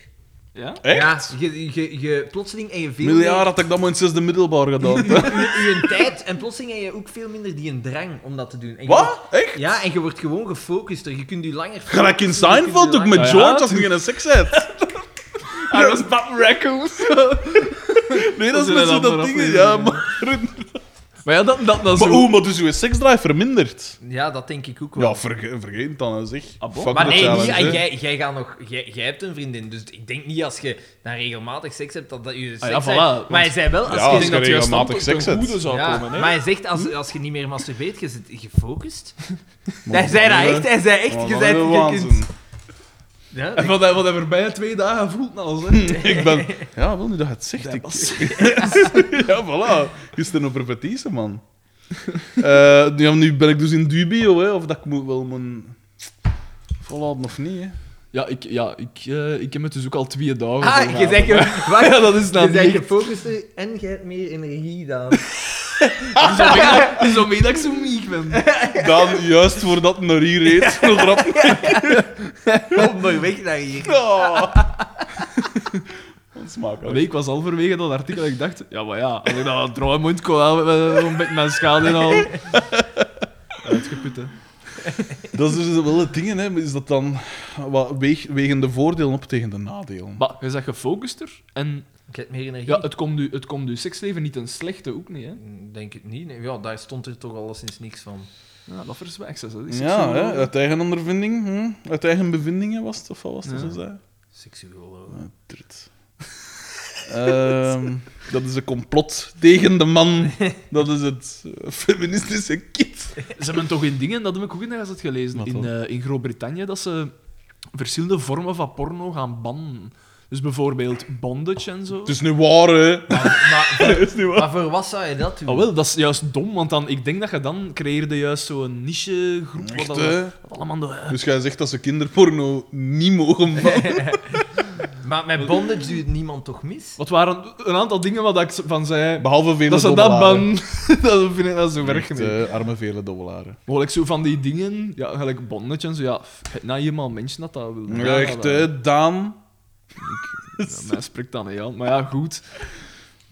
Speaker 1: Echt?
Speaker 3: Ja, je, je, je, plotseling en je veel
Speaker 1: Miljard had ik dat maar in het zesde middelbaar gedaan.
Speaker 3: meer je tijd en plotseling heb je ook veel minder die een drang om dat te doen. En je
Speaker 1: Wat?
Speaker 3: wordt-
Speaker 1: Echt?
Speaker 3: ja, en je wordt gewoon gefocuster. Je kunt je langer...
Speaker 1: Gelijk in
Speaker 3: focussen, je kunt
Speaker 1: Seinfeld,
Speaker 3: je
Speaker 1: ook
Speaker 3: langer-
Speaker 1: met
Speaker 2: Ja,
Speaker 1: George als hij geen seks heeft.
Speaker 2: Hij was Batman Raccoon.
Speaker 1: Nee, dat is
Speaker 2: is
Speaker 1: met
Speaker 2: een
Speaker 1: zo dat
Speaker 2: andere
Speaker 1: ding.
Speaker 2: aflevering,
Speaker 1: Ja,
Speaker 2: ja.
Speaker 1: maar...
Speaker 2: Maar ja, dat, dat, dat
Speaker 1: Maar,
Speaker 2: zo.
Speaker 1: oeh, maar dus uw seksdrive vermindert.
Speaker 3: Ja, dat denk ik ook wel.
Speaker 1: Ja, verge- vergeet het dan, hè, zeg.
Speaker 2: bon?
Speaker 1: Fuck
Speaker 3: Maar
Speaker 1: the
Speaker 3: nee, niet,
Speaker 1: challenge, hè.
Speaker 3: jij, jij, gaat nog, jij, jij hebt een vriendin, dus ik denk niet als je dan regelmatig seks hebt dat dat je seks
Speaker 2: Ah ja, voilà,
Speaker 3: hebt. Maar hij
Speaker 2: want-
Speaker 3: zei wel,
Speaker 1: Ja,
Speaker 3: als
Speaker 1: als
Speaker 3: je...
Speaker 1: je regelmatig seks
Speaker 2: ten
Speaker 1: hebt.
Speaker 2: goede zou
Speaker 3: Ja,
Speaker 2: komen, hè?
Speaker 3: maar hij zegt, als, als je niet meer masturbeert, je zit gefocust. Hij zei dat echt, hij zei echt,
Speaker 1: Man,
Speaker 3: je
Speaker 1: wat een
Speaker 3: bent je kunt...
Speaker 1: waanzin.
Speaker 3: Ja,
Speaker 2: En wat hij, wat hij voorbij twee dagen voelt, nou, zeg.
Speaker 1: Ik ben... Ja, wil nu dat je het zegt. Ik... ja, voilà. Gisteren op repetitie, man. Eh, ja, nu ben ik dus in dubio, hè, of dat ik moet wel mijn... Volhouden of niet, hè.
Speaker 2: Ja, ik, ja ik, eh, ik heb het dus ook al twee dagen.
Speaker 3: ah, je
Speaker 2: volgehouden.
Speaker 3: zegt... je- Wacht,
Speaker 2: Ja, dat is nou
Speaker 3: Je bent
Speaker 2: niet.
Speaker 3: gefocuster en je hebt meer energie dan.
Speaker 2: Zo mee dat ik zo miek ben.
Speaker 1: Dan, juist voordat het naar hier reed, nog rap
Speaker 3: Kom maar weg naar hier.
Speaker 1: Oh. Onsmakelijk.
Speaker 2: Nee, ik was al verwege dat artikel en ik dacht, ja, maar ja, als ik dat droom moet, kon wel eh, een beetje mijn schade in al. Uitgeput, hè.
Speaker 1: Dat is dus wel het ding, hè. Is dat dan wat weeg, wegen de voordelen op tegen de nadelen?
Speaker 2: Maar je zegt gefocuster en
Speaker 3: Ik heb meer energie.
Speaker 2: ja, het komt u, het komt u seksleven niet een slechte ook niet, hè.
Speaker 3: Denk het niet. nee. Ja, daar stond er toch alleszins niks van.
Speaker 2: Ja, dat verzwijgt ze, dat is
Speaker 1: Ja, hè,
Speaker 2: seksueel.
Speaker 1: uit eigen ondervinding, hm? uit eigen bevindingen was het, of wat was het,
Speaker 2: Ja.
Speaker 1: zo zei?
Speaker 3: Seksueel.
Speaker 1: Ah, trut. Ehm, dat is een complot tegen de man. Dat is het eh, feministische kit.
Speaker 2: Ze hebben toch in dingen, dat heb ik ook in de het gelezen,
Speaker 1: Wat
Speaker 2: in,
Speaker 1: dan?
Speaker 2: eh, in Groot-Brittannië, dat ze verschillende vormen van porno gaan bannen. Dus bijvoorbeeld bondage en zo.
Speaker 1: Het is nu waar, hè?
Speaker 3: Maar,
Speaker 1: Het is nu waar.
Speaker 3: maar voor wat zou je dat doen?
Speaker 2: Ah, wel, dat is juist dom, want dan, ik denk dat je dan creëerde juist zo'n niche-groep.
Speaker 1: Echt,
Speaker 2: wat,
Speaker 1: hè?
Speaker 2: al- wat allemaal... de- eh,
Speaker 1: Dus jij zegt dat ze kinderporno niet mogen van.
Speaker 3: Maar met bondage doet niemand toch mis?
Speaker 2: Wat waren een aantal dingen wat ik van zei.
Speaker 1: Behalve vele
Speaker 2: Dat ze dat
Speaker 1: dobbelaren.
Speaker 2: ban. dat vind ik dat zo werk
Speaker 1: Echt,
Speaker 2: mee.
Speaker 1: eh, arme vele dobbelaren.
Speaker 2: Maar ik zo van die dingen, ja, gelijk bonnetje en zo, ja, f- nou, helemaal mensen dat dat willen. Ja,
Speaker 1: Echt,
Speaker 2: dat-
Speaker 1: hè, Daan?
Speaker 2: ja, mij spreekt dat niet aan. Maar ja, goed.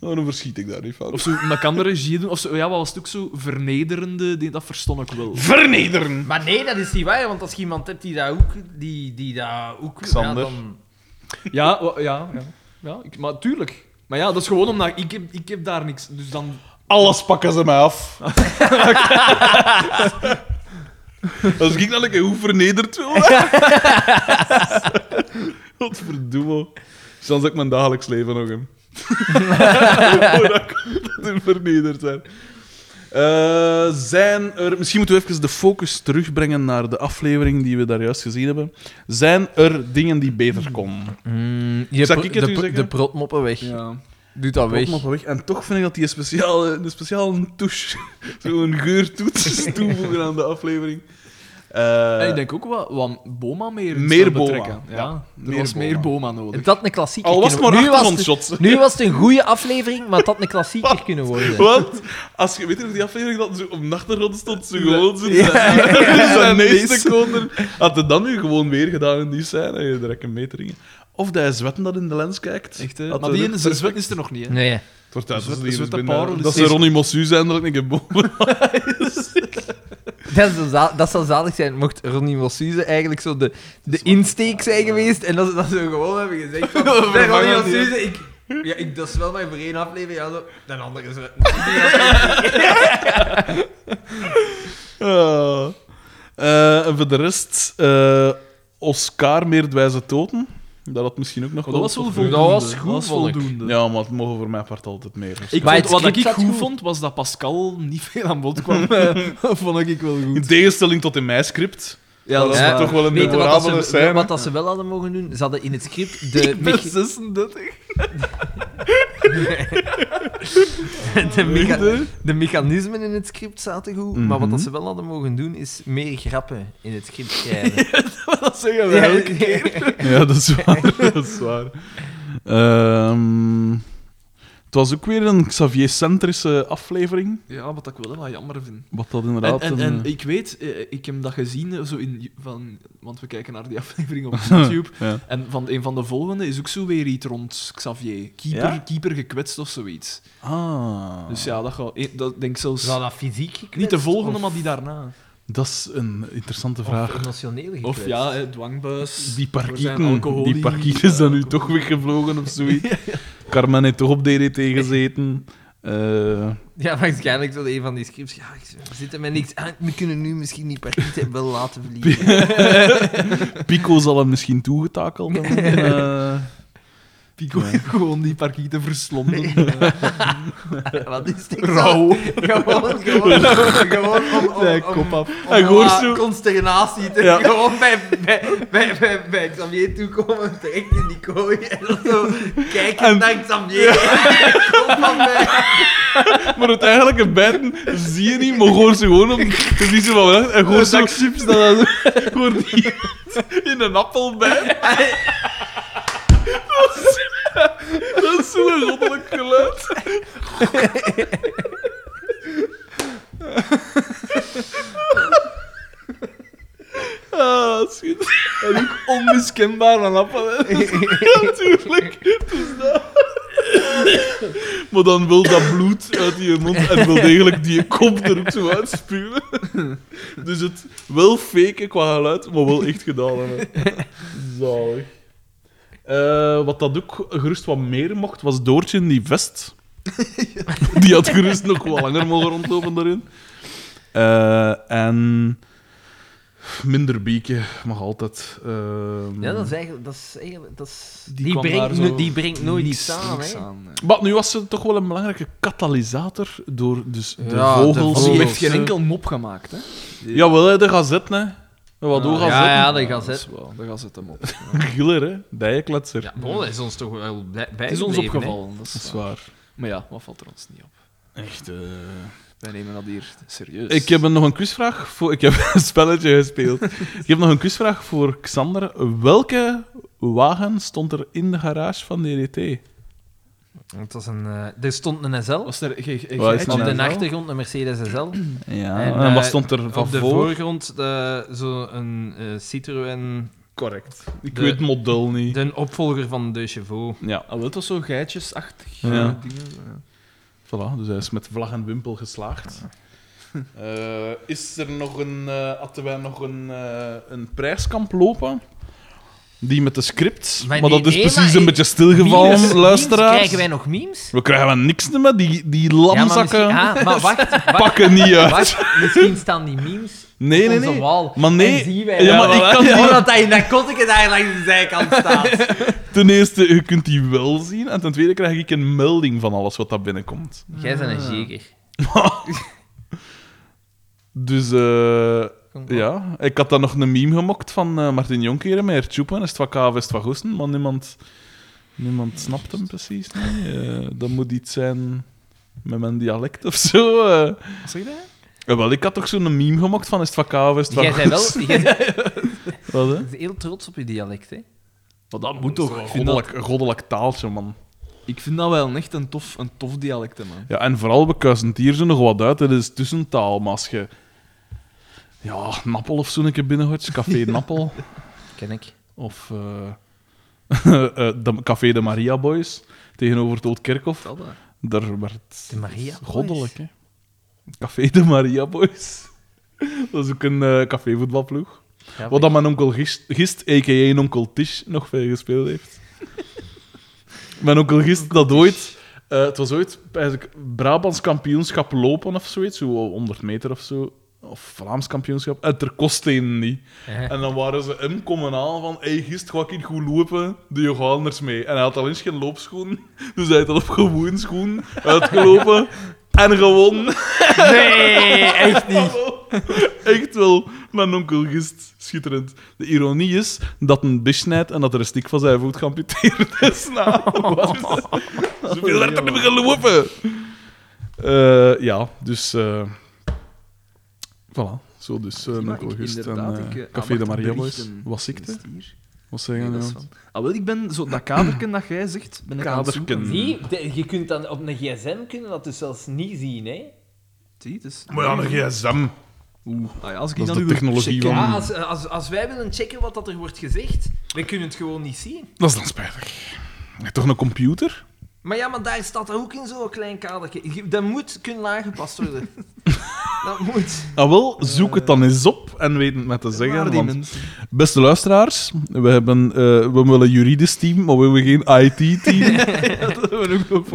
Speaker 1: Oh, dan verschiet ik daar niet van.
Speaker 2: Of zo, dat kan de regie doen. Of zo, ja, wat was het ook zo vernederende, die, dat verstond ik wel.
Speaker 1: Vernederen!
Speaker 3: Maar nee, dat is niet waar, want als je iemand hebt die dat ook... Die, die dat ook
Speaker 1: Xander.
Speaker 3: Ja, dan...
Speaker 2: Ja, wa- ja, ja. ja ik, maar tuurlijk. Maar ja, dat is gewoon omdat ik heb, ik heb daar niks. Dus dan...
Speaker 1: Alles pakken ze mij af. Als ik dan een keer hoe vernederd wil. Wat verdomme. Soms ik mijn dagelijks leven nog hem. Voordat ik vernederd zijn. Eh, zijn er, misschien moeten we even de focus terugbrengen naar de aflevering die we daar juist gezien hebben. Zijn er dingen die beter konden?
Speaker 3: Mm, je
Speaker 1: Zal pro- ik het de
Speaker 3: de,
Speaker 1: u pro- zeggen? de
Speaker 3: protmoppen weg.
Speaker 2: Ja.
Speaker 3: Doe dat weg.
Speaker 1: Klopt, maar weg. En toch vind ik dat die een speciale, een speciale touche, zo'n geurtoets is toevoegen aan de aflevering. Eh,
Speaker 2: en Ah, ik denk ook wat, wat Boma meer in
Speaker 1: meer
Speaker 2: zou
Speaker 1: Boma,
Speaker 2: betrekken. Ja,
Speaker 1: ja.
Speaker 2: er
Speaker 1: Meer
Speaker 2: was meer Boma nodig.
Speaker 3: Dat een klassieker.
Speaker 1: al was het
Speaker 3: kunnen
Speaker 1: maar
Speaker 3: worden. nu, was
Speaker 1: achtergrondshots.
Speaker 3: het, nu was het een goede aflevering, maar het had een klassieker kunnen worden.
Speaker 1: Want, als je weet je nog die aflevering dat zo op nachtergrond stond, ze gewoon zo...
Speaker 2: Ja,
Speaker 1: Ja.
Speaker 2: nee,
Speaker 1: seconden. Had het dan nu gewoon weer gedaan in die scène, je direct een meter in. Of dat hij zwetten dat in de lens kijkt.
Speaker 2: Echt, hè?
Speaker 1: Had
Speaker 2: Maar
Speaker 1: hij
Speaker 2: die
Speaker 1: er
Speaker 2: ene zijn
Speaker 1: perfect-
Speaker 2: zwet is er nog niet, hè?
Speaker 7: Nee.
Speaker 1: Het wordt uit,
Speaker 2: Zwet-
Speaker 1: dat is
Speaker 2: zwette
Speaker 1: binnen-
Speaker 2: parel is-
Speaker 1: Dat ze Ronnie Mossu zijn, dat ik een boven.
Speaker 3: Dat zou, za- dat zou zalig zijn, mocht Ronnie Mossuze eigenlijk zo de, de insteek zijn geweest en dat ze dat zo gewoon hebben gezegd. Van, zeg, Ronnie Mossuze, ik, ja, ik, dat is wel maar voor één aflevering, ja, zo, dan andere is
Speaker 1: Eh, eh, en voor de rest, eh, Oscar Meerdwijze Toten. Dat had misschien ook nog
Speaker 2: Oh, Dat was wel
Speaker 1: voor.
Speaker 2: voldoende.
Speaker 7: Dat was goed, vond ik.
Speaker 2: voldoende.
Speaker 1: Ja, maar het mogen voor mijn part altijd meer.
Speaker 2: Ik
Speaker 7: Maar
Speaker 2: vond,
Speaker 7: het
Speaker 2: wat ik
Speaker 7: script zat
Speaker 2: goed
Speaker 7: goed.
Speaker 2: vond, was dat Pascal niet veel aan bod kwam. Dat vond ik wel
Speaker 1: In
Speaker 2: goed.
Speaker 1: tegenstelling tot in mijn script.
Speaker 2: Ja,
Speaker 1: dat is
Speaker 2: waar.
Speaker 1: toch wel een
Speaker 3: Weet je wat,
Speaker 1: memorabele
Speaker 3: dat ze,
Speaker 1: scène.
Speaker 3: wat dat ze wel hadden mogen doen? Ze hadden in het script de,
Speaker 2: Ik ben
Speaker 3: mech-
Speaker 2: 36.
Speaker 3: de, mecha-
Speaker 1: Liefde.
Speaker 3: de mechanismen in het script zaten goed, maar wat dat
Speaker 1: Mhm.
Speaker 3: ze wel hadden mogen doen is meer grappen in het script krijgen.
Speaker 2: Dat zeggen wij
Speaker 3: Ja,
Speaker 2: ook.
Speaker 1: Ja, dat is waar. dat is waar. Ehm, het was ook weer een Xavier-centrische aflevering.
Speaker 2: Ja, wat ik wel wat jammer vind.
Speaker 1: Wat dat
Speaker 2: En,
Speaker 1: inderdaad.
Speaker 2: en,
Speaker 1: een,
Speaker 2: en
Speaker 1: eh,
Speaker 2: ik weet, eh, ik heb dat gezien, eh, zo in, van, want we kijken naar die aflevering op YouTube.
Speaker 1: eh, ja.
Speaker 2: En van een van de volgende is ook zo weer iets rond Xavier. Keeper,
Speaker 1: Ja?
Speaker 2: keeper gekwetst of zoiets.
Speaker 1: Ah.
Speaker 2: Dus ja, dat, gaat, eh, dat denk ik zelfs...
Speaker 7: Zou dat fysiek gekwetst?
Speaker 2: niet de volgende,
Speaker 7: Of-
Speaker 2: maar die daarna.
Speaker 1: Dat is een interessante vraag.
Speaker 7: Of emotioneel gekwetst?
Speaker 2: Of ja, eh, dwangbuis.
Speaker 1: Die
Speaker 2: we zijn
Speaker 1: parkieten,
Speaker 2: alcoholie.
Speaker 1: die parkieten is dan nu toch weggevlogen of zoiets. Carmen heeft toch op DDT gezeten. Eh,
Speaker 3: Ja, waarschijnlijk zo een van die scripts. Ja, ik- we zitten met niks aan. We kunnen nu misschien die partij wel laten verliezen.
Speaker 1: Pico zal hem misschien toegetakeld hebben. Eh,
Speaker 2: Pico
Speaker 1: Ja.
Speaker 2: gewoon die parkieten verslonden.
Speaker 3: Wat is dit?
Speaker 2: Rauw.
Speaker 3: Gewoon, gewoon, gewoon om, om,
Speaker 2: Zijn
Speaker 3: om-
Speaker 2: kop af.
Speaker 3: om
Speaker 1: En gewoon
Speaker 2: Ah,
Speaker 3: wat
Speaker 1: zo-
Speaker 3: consternatie te...
Speaker 1: Ja.
Speaker 3: Gewoon bij, bij, bij, bij, bij Xavier toekomen, terecht in die kooi en dan zo kijken
Speaker 1: En-
Speaker 3: naar Xavier. Kom van mij.
Speaker 1: maar het eigenlijke bijten zie je niet, maar hoor ze gewoon op. Het is niet zo van weg. En hoor ze chips dat hoor die in een appel bijten. Dat is- Dat is zo'n goddelijk geluid. Ah, schitterend.
Speaker 2: Onmiskenbaar aan appel. hè.
Speaker 1: Natuurlijk. Dus Maar dan wil dat bloed uit je mond en wil degelijk die kop er ook zo uit spuwen. Dus het wel faken qua geluid, maar wel echt gedaan hebben. Zalig. Eh, wat dat ook gerust wat meer mocht, was Doortje in die vest. Die had gerust nog wat langer mogen rondlopen daarin. Eh, en minder bieken mag altijd. ehm.
Speaker 3: Ja, dat is eigenlijk... Dat is eigenlijk dat is,
Speaker 2: Die
Speaker 3: die,
Speaker 2: kwam daar
Speaker 3: brengt,
Speaker 2: zo
Speaker 3: no- die brengt nooit
Speaker 2: Niks,
Speaker 3: iets aan,
Speaker 2: niks
Speaker 3: hè.
Speaker 2: aan, hè.
Speaker 1: Maar nu was ze toch wel een belangrijke katalysator door dus de
Speaker 3: Ja, de
Speaker 1: vogels.
Speaker 3: vogels.
Speaker 2: Die
Speaker 3: Zo.
Speaker 2: heeft geen enkel mop gemaakt, hè?
Speaker 1: Jawel, hè, de gazette, hè. Wat door
Speaker 3: ja,
Speaker 1: gazette.
Speaker 3: ja, de
Speaker 2: Dat is
Speaker 3: gazet.
Speaker 2: wel, daar gaat het hem op.
Speaker 1: Giller, hè. Bijenkletser.
Speaker 7: Ja, bon, dat is ons toch wel bij
Speaker 2: Het is ons opgevallen, dat
Speaker 1: Dat is
Speaker 2: is waar.
Speaker 1: waar.
Speaker 2: Maar ja, wat valt er ons niet op?
Speaker 1: Echt, eh,
Speaker 2: Wij nemen dat hier serieus.
Speaker 1: Dus- Ik heb een- nog een quizvraag voor... Ik heb een spelletje gespeeld. ik heb nog een quizvraag voor Xander. Welke wagen stond er in de garage van DDT?
Speaker 3: Het was een, eh, er stond een SL.
Speaker 2: Was er ge, ge,
Speaker 1: Wat is
Speaker 2: geitje
Speaker 1: nou?
Speaker 3: op
Speaker 1: een
Speaker 3: de
Speaker 1: SL?
Speaker 3: achtergrond een Mercedes SL.
Speaker 1: Ja, en,
Speaker 3: En, eh,
Speaker 1: wat stond er van
Speaker 3: op de
Speaker 1: voor?
Speaker 3: voorgrond de, zo een eh, Citroën...
Speaker 1: Correct. Ik
Speaker 3: de-
Speaker 1: weet het model niet.
Speaker 3: De opvolger van de Chevaux.
Speaker 1: Ja,
Speaker 2: Ah, wel, het was zo geitjesachtig.
Speaker 1: Ja.
Speaker 2: eh, Dingen, ja.
Speaker 1: Voilà, dus hij is met vlag en wimpel geslaagd. Eh, is er nog een... eh, hadden wij nog een, eh, een prijskamp lopen? Die met de script. Maar,
Speaker 7: Maar
Speaker 1: dat
Speaker 7: die-
Speaker 1: is
Speaker 7: nee,
Speaker 1: precies
Speaker 7: maar
Speaker 1: een
Speaker 7: ik-
Speaker 1: beetje stilgevallen,
Speaker 7: Memes,
Speaker 1: luisteraars.
Speaker 7: memes, Krijgen wij nog memes?
Speaker 1: We krijgen wel niks meer. Die, die
Speaker 7: Ja, maar
Speaker 1: lamzakken
Speaker 7: misschien- ah, maar wacht, wacht,
Speaker 1: pakken niet uit.
Speaker 7: wacht. Misschien staan die memes
Speaker 1: Nee,
Speaker 7: op
Speaker 1: nee,
Speaker 7: onze
Speaker 1: nee.
Speaker 7: wal.
Speaker 1: Maar nee,
Speaker 7: En zien wij
Speaker 1: ja,
Speaker 7: dat.
Speaker 1: maar ik kan die,
Speaker 3: Omdat hij in dat kotteke daar langs de zijkant staat.
Speaker 1: ten eerste, je kunt die wel zien. En ten tweede krijg ik een melding van alles wat daar binnenkomt.
Speaker 7: Jij bent een zeker.
Speaker 3: Ah.
Speaker 1: Dus eh, ja, ik had daar nog een meme gemokt van eh, Martin Jonkeren met Ertjoepen. Is het wat KV, is het wat Goessen? Maar niemand, niemand snapt hem precies. Nee. Eh, dat moet iets zijn met mijn dialect of zo. eh.
Speaker 2: Wat zeg je daar?
Speaker 1: Eh, wel, ik had toch zo'n meme gemokt van is het wat KV, is het wat
Speaker 7: Jij bent
Speaker 1: Goessen?
Speaker 7: wel jij bent
Speaker 1: Wat, hè?
Speaker 7: heel trots op je dialect, hè?
Speaker 2: Maar dat moet toch. Ik vind dat,
Speaker 1: Goddelijk, goddelijk taaltje, man.
Speaker 2: ik vind dat wel echt een tof, een tof dialect, hè, man.
Speaker 1: Ja, en vooral, we kuisen het hier zo nog wat uit. Het is tussentaal, maar als je... Ja, een appel of zo een keer binnengooit, café een appel.
Speaker 7: Ken ik.
Speaker 1: Of eh, Eh, de Café de Maria Boys tegenover het Oud Kerkhof.
Speaker 6: Dat, eh,
Speaker 1: Daar werd
Speaker 6: De Maria Boys.
Speaker 1: goddelijk, hè. Café de Maria Boys. Dat is ook een eh cafévoetbalploeg.
Speaker 6: ja,
Speaker 1: Wat dan mijn onkel Gist, Gist a.k.a. onkel Tish, nog veel gespeeld heeft. mijn onkel Gist, dat ooit... eh, het was ooit eigenlijk Brabants kampioenschap lopen of zoiets, zo 100 meter of zo. Of Vlaams kampioenschap. En ter koste een niet.
Speaker 6: Eh.
Speaker 1: En dan waren ze hem komen aan van hey, Gist, ga ik hier goed lopen? Doe je gewoon anders mee. En hij had al eens geen loopschoen, dus hij had al op gewoon schoen uitgelopen en gewonnen.
Speaker 6: Nee, echt niet.
Speaker 1: Echt wel, mijn onkel Gist. Schitterend. De ironie is dat een bis snijdt en dat er een stik van zijn voet geamputeerd is. Nou, wat? Zoveel werd er niet meer gelopen. Eh, ja, dus... eh voilà. Zo dus, eh, mijn
Speaker 2: maar
Speaker 1: onkel
Speaker 2: ik-
Speaker 1: Gist en
Speaker 2: inderdaad,
Speaker 1: eh,
Speaker 2: ik, eh,
Speaker 1: Café de
Speaker 2: aandacht
Speaker 1: Maria Boys.
Speaker 2: berichten.
Speaker 1: Was ziekte?
Speaker 2: Is het hier?
Speaker 1: Wat
Speaker 2: Nee,
Speaker 1: zeggen
Speaker 2: dat is
Speaker 1: we?
Speaker 2: van- Ah, wel, ik ben zo dat kaderken dat jij zegt, ben ik aan het zoeken.
Speaker 1: Kaderken.
Speaker 6: Zie, de- je kunt dan op een gsm kunnen dat dus zelfs niet zien, hè?
Speaker 2: Zie, het is-
Speaker 1: Maar ja, een gsm.
Speaker 2: Ah ja, als ik
Speaker 1: Dat is
Speaker 2: dan
Speaker 1: de technologie van...
Speaker 3: Ja, als, als, als wij willen checken wat dat er wordt gezegd, we kunnen het gewoon niet zien.
Speaker 1: Dat is dan spijtig. Heb je Toch een computer?
Speaker 3: Maar ja, maar daar staat dat ook in zo'n klein kadertje. Je- Dat moet kunnen aangepast worden. dat moet.
Speaker 1: Ah, wel, zoek het dan eens op en weet het met te zeggen.
Speaker 2: Waar die
Speaker 1: want-
Speaker 2: mensen.
Speaker 1: Beste luisteraars, we, hebben, eh, we willen juridisch team, maar we hebben geen IT-team.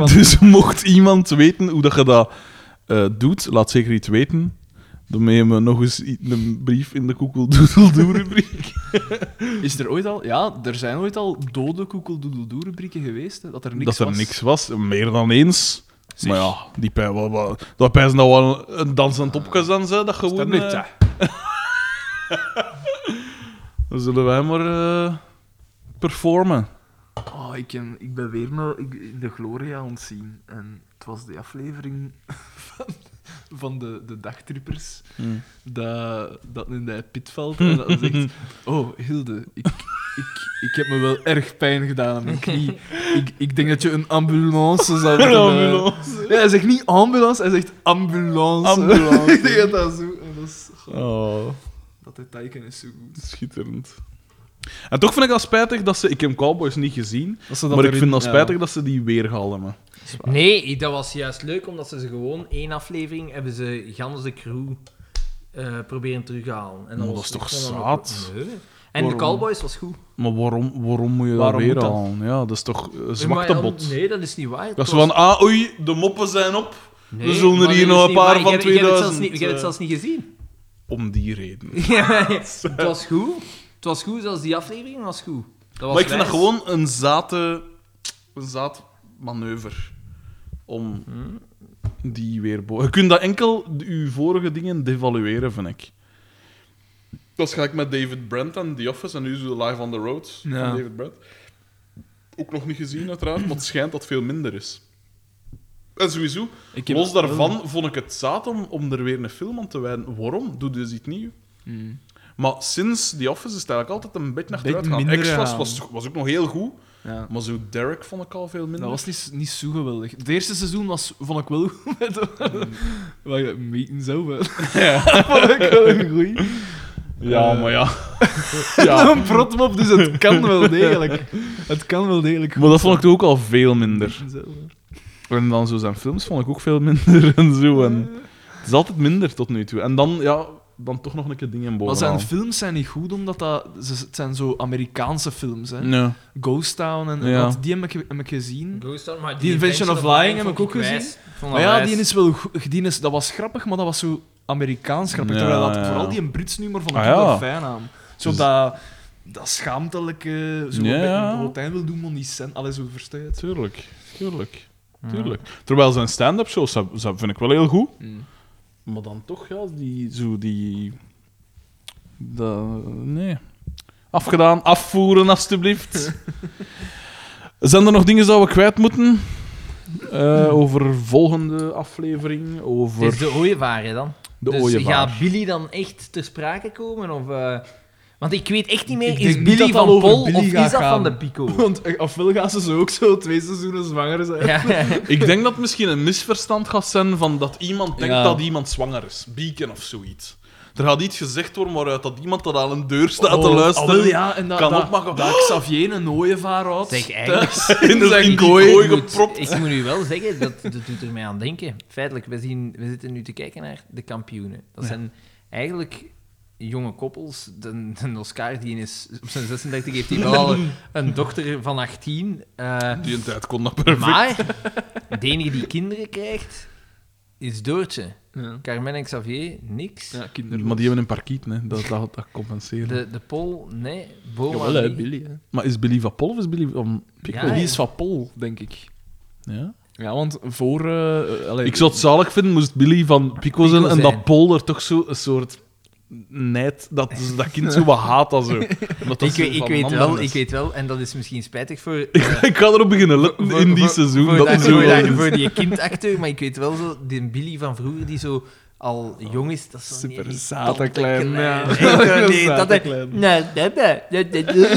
Speaker 1: dus mocht iemand weten hoe dat je dat eh, doet, laat zeker iets weten. Dan meen we nog eens i- een brief in de koekeldoedeldoe-rubriek.
Speaker 2: Is er ooit al... Ja, er zijn ooit al dode koekeldoedeldoe-rubrieken geweest, hè, dat er niks
Speaker 1: Dat er
Speaker 2: was.
Speaker 1: niks was, meer dan eens. Maar ja, die pijn, wat, wat, dat pijn is nou wel een dansend opgezet, hè, dat
Speaker 2: Dat
Speaker 1: gewoon...
Speaker 2: niet,
Speaker 1: eh,
Speaker 2: ja.
Speaker 1: dan zullen wij maar eh, performen.
Speaker 2: Oh, ik, ken- ik ben weer naar ik- in de Gloria ontzien. En het was de aflevering van, van de, de dagtrippers. Dat, dat in de pit valt en dat zegt... Oh, Hilde, ik, ik, ik heb me wel erg pijn gedaan aan mijn knie. Ik, ik denk dat je een ambulance zou willen...
Speaker 1: ambulance.
Speaker 2: Ja, hij zegt niet ambulance, hij zegt ambulance.
Speaker 1: Ambulance.
Speaker 2: ik denk dat dat zo... en Dat, is,
Speaker 1: Oh.
Speaker 2: dat detailken is zo goed.
Speaker 1: Schitterend. En toch vind ik dat spijtig dat ze... Ik heb Cowboys niet gezien,
Speaker 2: Dat ze dat
Speaker 1: maar ik
Speaker 2: erin-
Speaker 1: vind dat
Speaker 2: ja.
Speaker 1: spijtig dat ze die weergaal hebben.
Speaker 3: Nee, dat was juist leuk, omdat ze ze gewoon één aflevering hebben ze gans de crew eh, proberen terughalen. En
Speaker 1: Maar
Speaker 3: was-
Speaker 1: dat is
Speaker 3: ik
Speaker 1: toch
Speaker 3: vond Oh, dat
Speaker 1: zaad?
Speaker 3: ook- Nee. En
Speaker 1: Waarom?
Speaker 3: de Cowboys was goed.
Speaker 1: Maar waarom, waarom moet je
Speaker 2: Waarom
Speaker 1: dat weer
Speaker 2: moet dat?
Speaker 1: halen? Ja, dat is toch eh,
Speaker 3: Maar
Speaker 1: zwakte
Speaker 3: ja,
Speaker 1: bot.
Speaker 3: Nee, dat is niet waar. Het
Speaker 1: Dat ze
Speaker 3: was-
Speaker 1: van, ah, oei, de moppen zijn op.
Speaker 3: Nee,
Speaker 1: we zullen
Speaker 3: maar
Speaker 1: er hier
Speaker 3: dat is
Speaker 1: nog een
Speaker 3: niet
Speaker 1: paar
Speaker 3: waar.
Speaker 1: van
Speaker 3: Ik heb- Ik heb het zelfs
Speaker 1: 2000,
Speaker 3: niet- ik heb het
Speaker 1: eh.
Speaker 3: zelfs niet gezien.
Speaker 1: Om die reden.
Speaker 3: Ja,
Speaker 6: Ah,
Speaker 3: het was goed. Het was goed, zelfs die aflevering was goed. Dat was
Speaker 1: maar ik vind dat
Speaker 3: wijs.
Speaker 1: gewoon een zate... Een zaad manoeuvre. Om die weer... bo- Je kunt dat enkel uw vorige dingen devalueren, vind ik. Dat ga ik met David Brent en The Office en nu is het Live on the Road
Speaker 2: Ja.
Speaker 1: van David Brent. Ook nog niet gezien, uiteraard, maar het schijnt dat veel minder is. En sowieso,
Speaker 2: Ik heb-
Speaker 1: los daarvan vond ik het zaad om, om er weer een film aan te wijden. Waarom? Doe dus iets nieuws.
Speaker 2: Hmm.
Speaker 1: Maar sinds The Office is het eigenlijk altijd een beetje naar
Speaker 2: Beetje
Speaker 1: achteruit gaan.
Speaker 2: minder
Speaker 1: Extras
Speaker 2: aan.
Speaker 1: was, was ook nog heel goed,
Speaker 2: Ja.
Speaker 1: maar zo Derek vond ik al veel minder.
Speaker 2: Dat was niet, niet zo geweldig. Het eerste seizoen was, vond ik wel goed. Met,
Speaker 1: Mm.
Speaker 2: maar ja, meten zo wel. vond ik wel een goeie.
Speaker 1: Ja,
Speaker 2: Eh,
Speaker 1: maar ja. ja.
Speaker 2: Een protmop, dus het kan wel degelijk. Het kan wel degelijk.
Speaker 1: Maar dat vond ik toch ook al veel minder.
Speaker 2: Meten zo wel.
Speaker 1: En dan zo zijn films vond ik ook veel minder en zo. En het is altijd minder tot nu toe. En dan, ja, dan toch nog een keer dingen
Speaker 2: Maar
Speaker 1: bovenaan.
Speaker 2: zijn films zijn niet goed, omdat dat, ze- het zijn zo Amerikaanse films. Hè.
Speaker 1: Nee.
Speaker 2: Ghost Town en en
Speaker 1: Ja.
Speaker 2: dat, die heb ik, heb ik gezien.
Speaker 3: Ghost Town, maar
Speaker 2: Die Invention of Lying heb ik
Speaker 3: vond
Speaker 2: ook gezien.
Speaker 3: wijs. Ik vond
Speaker 2: Maar
Speaker 3: dat
Speaker 2: ja,
Speaker 3: wijs.
Speaker 2: die is wel goed. Die is, dat was grappig, maar dat was zo Amerikaans grappig.
Speaker 1: Ja,
Speaker 2: terwijl dat,
Speaker 1: ja.
Speaker 2: vooral die Brits nummer vond ik
Speaker 1: Ah,
Speaker 2: heel
Speaker 1: ja.
Speaker 2: fijn aan. Zo
Speaker 1: Dus-
Speaker 2: dat, dat schaamtelijke, zo
Speaker 1: Ja,
Speaker 2: een beetje
Speaker 1: ja.
Speaker 2: Latijn wil doen, maar niet cent. Allee, zo verstuit.
Speaker 1: Tuurlijk, tuurlijk, tuurlijk. Terwijl zijn stand-up shows, dat, dat vind ik wel heel goed.
Speaker 6: Mm.
Speaker 1: Maar dan toch, ja, die... Zo die... dat- nee. Afgedaan, afvoeren, alstublieft. Zijn er nog dingen die we kwijt moeten? Eh, over volgende aflevering, over
Speaker 6: Het is de ooievaar, hè, dan.
Speaker 1: de
Speaker 6: dus
Speaker 1: ooievaar.
Speaker 6: gaat Billy dan echt ter sprake komen? Of, eh, Want ik weet echt
Speaker 2: Ik
Speaker 6: niet meer,
Speaker 2: denk
Speaker 6: is
Speaker 2: niet
Speaker 6: Billy
Speaker 2: dat dat
Speaker 6: van
Speaker 2: over
Speaker 6: Pol
Speaker 2: Billy
Speaker 6: of is
Speaker 2: gaat
Speaker 6: dat
Speaker 2: gaan.
Speaker 6: van de Pico?
Speaker 2: Want eh, ofwel gaan ze zo ook zo twee seizoenen zwanger zijn.
Speaker 6: Ja.
Speaker 1: Ik denk dat het misschien een misverstand gaat zijn van dat iemand denkt
Speaker 2: Ja.
Speaker 1: dat iemand zwanger is. Beacon of zoiets. Er gaat iets gezegd worden waaruit dat iemand dat aan een deur staat
Speaker 3: Oh,
Speaker 1: te luisteren.
Speaker 2: alweer, Oh, ah, ja, en dat,
Speaker 1: kan
Speaker 2: dat,
Speaker 1: opmaken.
Speaker 2: dat Xavier een ooievaar houdt.
Speaker 3: Zeg, eigenlijk-
Speaker 2: thuis in
Speaker 1: in
Speaker 2: zijn
Speaker 1: die
Speaker 2: kooi.
Speaker 1: kooi.
Speaker 3: Ik moet-
Speaker 1: gepropt.
Speaker 3: Ik moet u wel zeggen, dat, dat doet er mij aan denken. Feitelijk, we, zien, we zitten nu te kijken naar de kampioenen. Dat zijn eigenlijk jonge koppels. De, de Oscar, die is op zijn 36 heeft hij wel een dochter van 18. eh,
Speaker 1: Die een tijd kon dat perfect.
Speaker 3: maar de enige die kinderen krijgt, is Doortje.
Speaker 2: Ja.
Speaker 3: Carmen en Xavier, niks.
Speaker 2: Ja, kinderen.
Speaker 1: Maar die hebben een parkiet, hè. dat, dat, dat compenseert.
Speaker 3: De, de Pol, nee. Boma,
Speaker 2: Jawel, hè,
Speaker 3: nee.
Speaker 2: Billy. Hè.
Speaker 1: Maar is Billy van Pol of is Billy van Pico?
Speaker 3: Ja,
Speaker 2: Die
Speaker 3: ja.
Speaker 2: is van Pol, denk ik.
Speaker 1: Ja.
Speaker 2: Ja, want voor... eh, eh, allee,
Speaker 1: Ik zou het zalig vinden moest Billy van Pico zijn en
Speaker 3: zijn.
Speaker 1: dat Pol er toch zo een soort neid dat ze dat kind zo wat haat als zo. Omdat dat
Speaker 3: Ik,
Speaker 1: zo
Speaker 3: weet- ik,
Speaker 1: van
Speaker 3: weet
Speaker 1: anderen
Speaker 3: wel,
Speaker 1: is.
Speaker 3: ik weet wel, en dat is misschien spijtig voor...
Speaker 1: Ik ga erop beginnen letten
Speaker 3: Voor-
Speaker 1: in die
Speaker 3: voor-
Speaker 1: seizoen.
Speaker 3: Voor,
Speaker 1: dat
Speaker 3: dat,
Speaker 1: is zo
Speaker 3: voor,
Speaker 1: wel
Speaker 3: dat-
Speaker 1: eens.
Speaker 3: voor die kindacteur, maar ik weet wel zo, die Billy van vroeger die zo al jong is, dat is zo
Speaker 2: Super
Speaker 3: niet-
Speaker 2: zaten klein. Ja.
Speaker 3: Nee, nee, nee,
Speaker 2: Zaten
Speaker 3: dat hij-
Speaker 2: klein.
Speaker 3: Nou, dat ben- dat- dat- dat-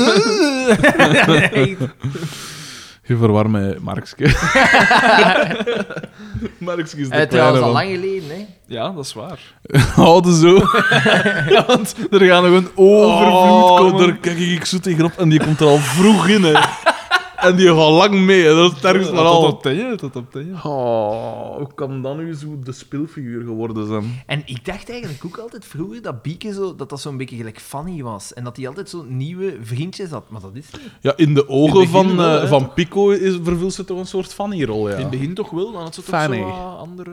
Speaker 1: Je verwar mij Markske. Markske is de kleine
Speaker 3: Eh, Trouwens, al
Speaker 1: van-
Speaker 3: lang geleden, hè.
Speaker 2: ja, dat is waar.
Speaker 1: Houden zo.
Speaker 2: Ja, want er gaan nog een overvloed
Speaker 1: Oh,
Speaker 2: komen.
Speaker 1: Daar kijk ik zo tegenop en die komt er al vroeg in. Hè. En die gaat lang mee. hè. Dat is ergens
Speaker 2: Ja,
Speaker 1: maar
Speaker 2: Eh, tot
Speaker 1: al.
Speaker 2: op ten, ja, tot op ten, ja.
Speaker 1: Oh, hoe kan dan nu zo de speelfiguur geworden zijn?
Speaker 3: En ik dacht eigenlijk ook altijd vroeger dat Bieke zo, dat dat zo'n beetje gelijk Fanny was. En dat hij altijd zo'n nieuwe vriendjes had. Maar dat is niet.
Speaker 1: Ja, in de
Speaker 2: In het
Speaker 1: ogen
Speaker 2: begin
Speaker 1: van,
Speaker 2: wel,
Speaker 1: eh,
Speaker 2: hè,
Speaker 1: van Pico is, vervult ze toch een soort Fanny-rol,
Speaker 2: In
Speaker 1: ja.
Speaker 2: het begin toch wel, dan had ze toch
Speaker 1: Fanny.
Speaker 2: zo wat andere...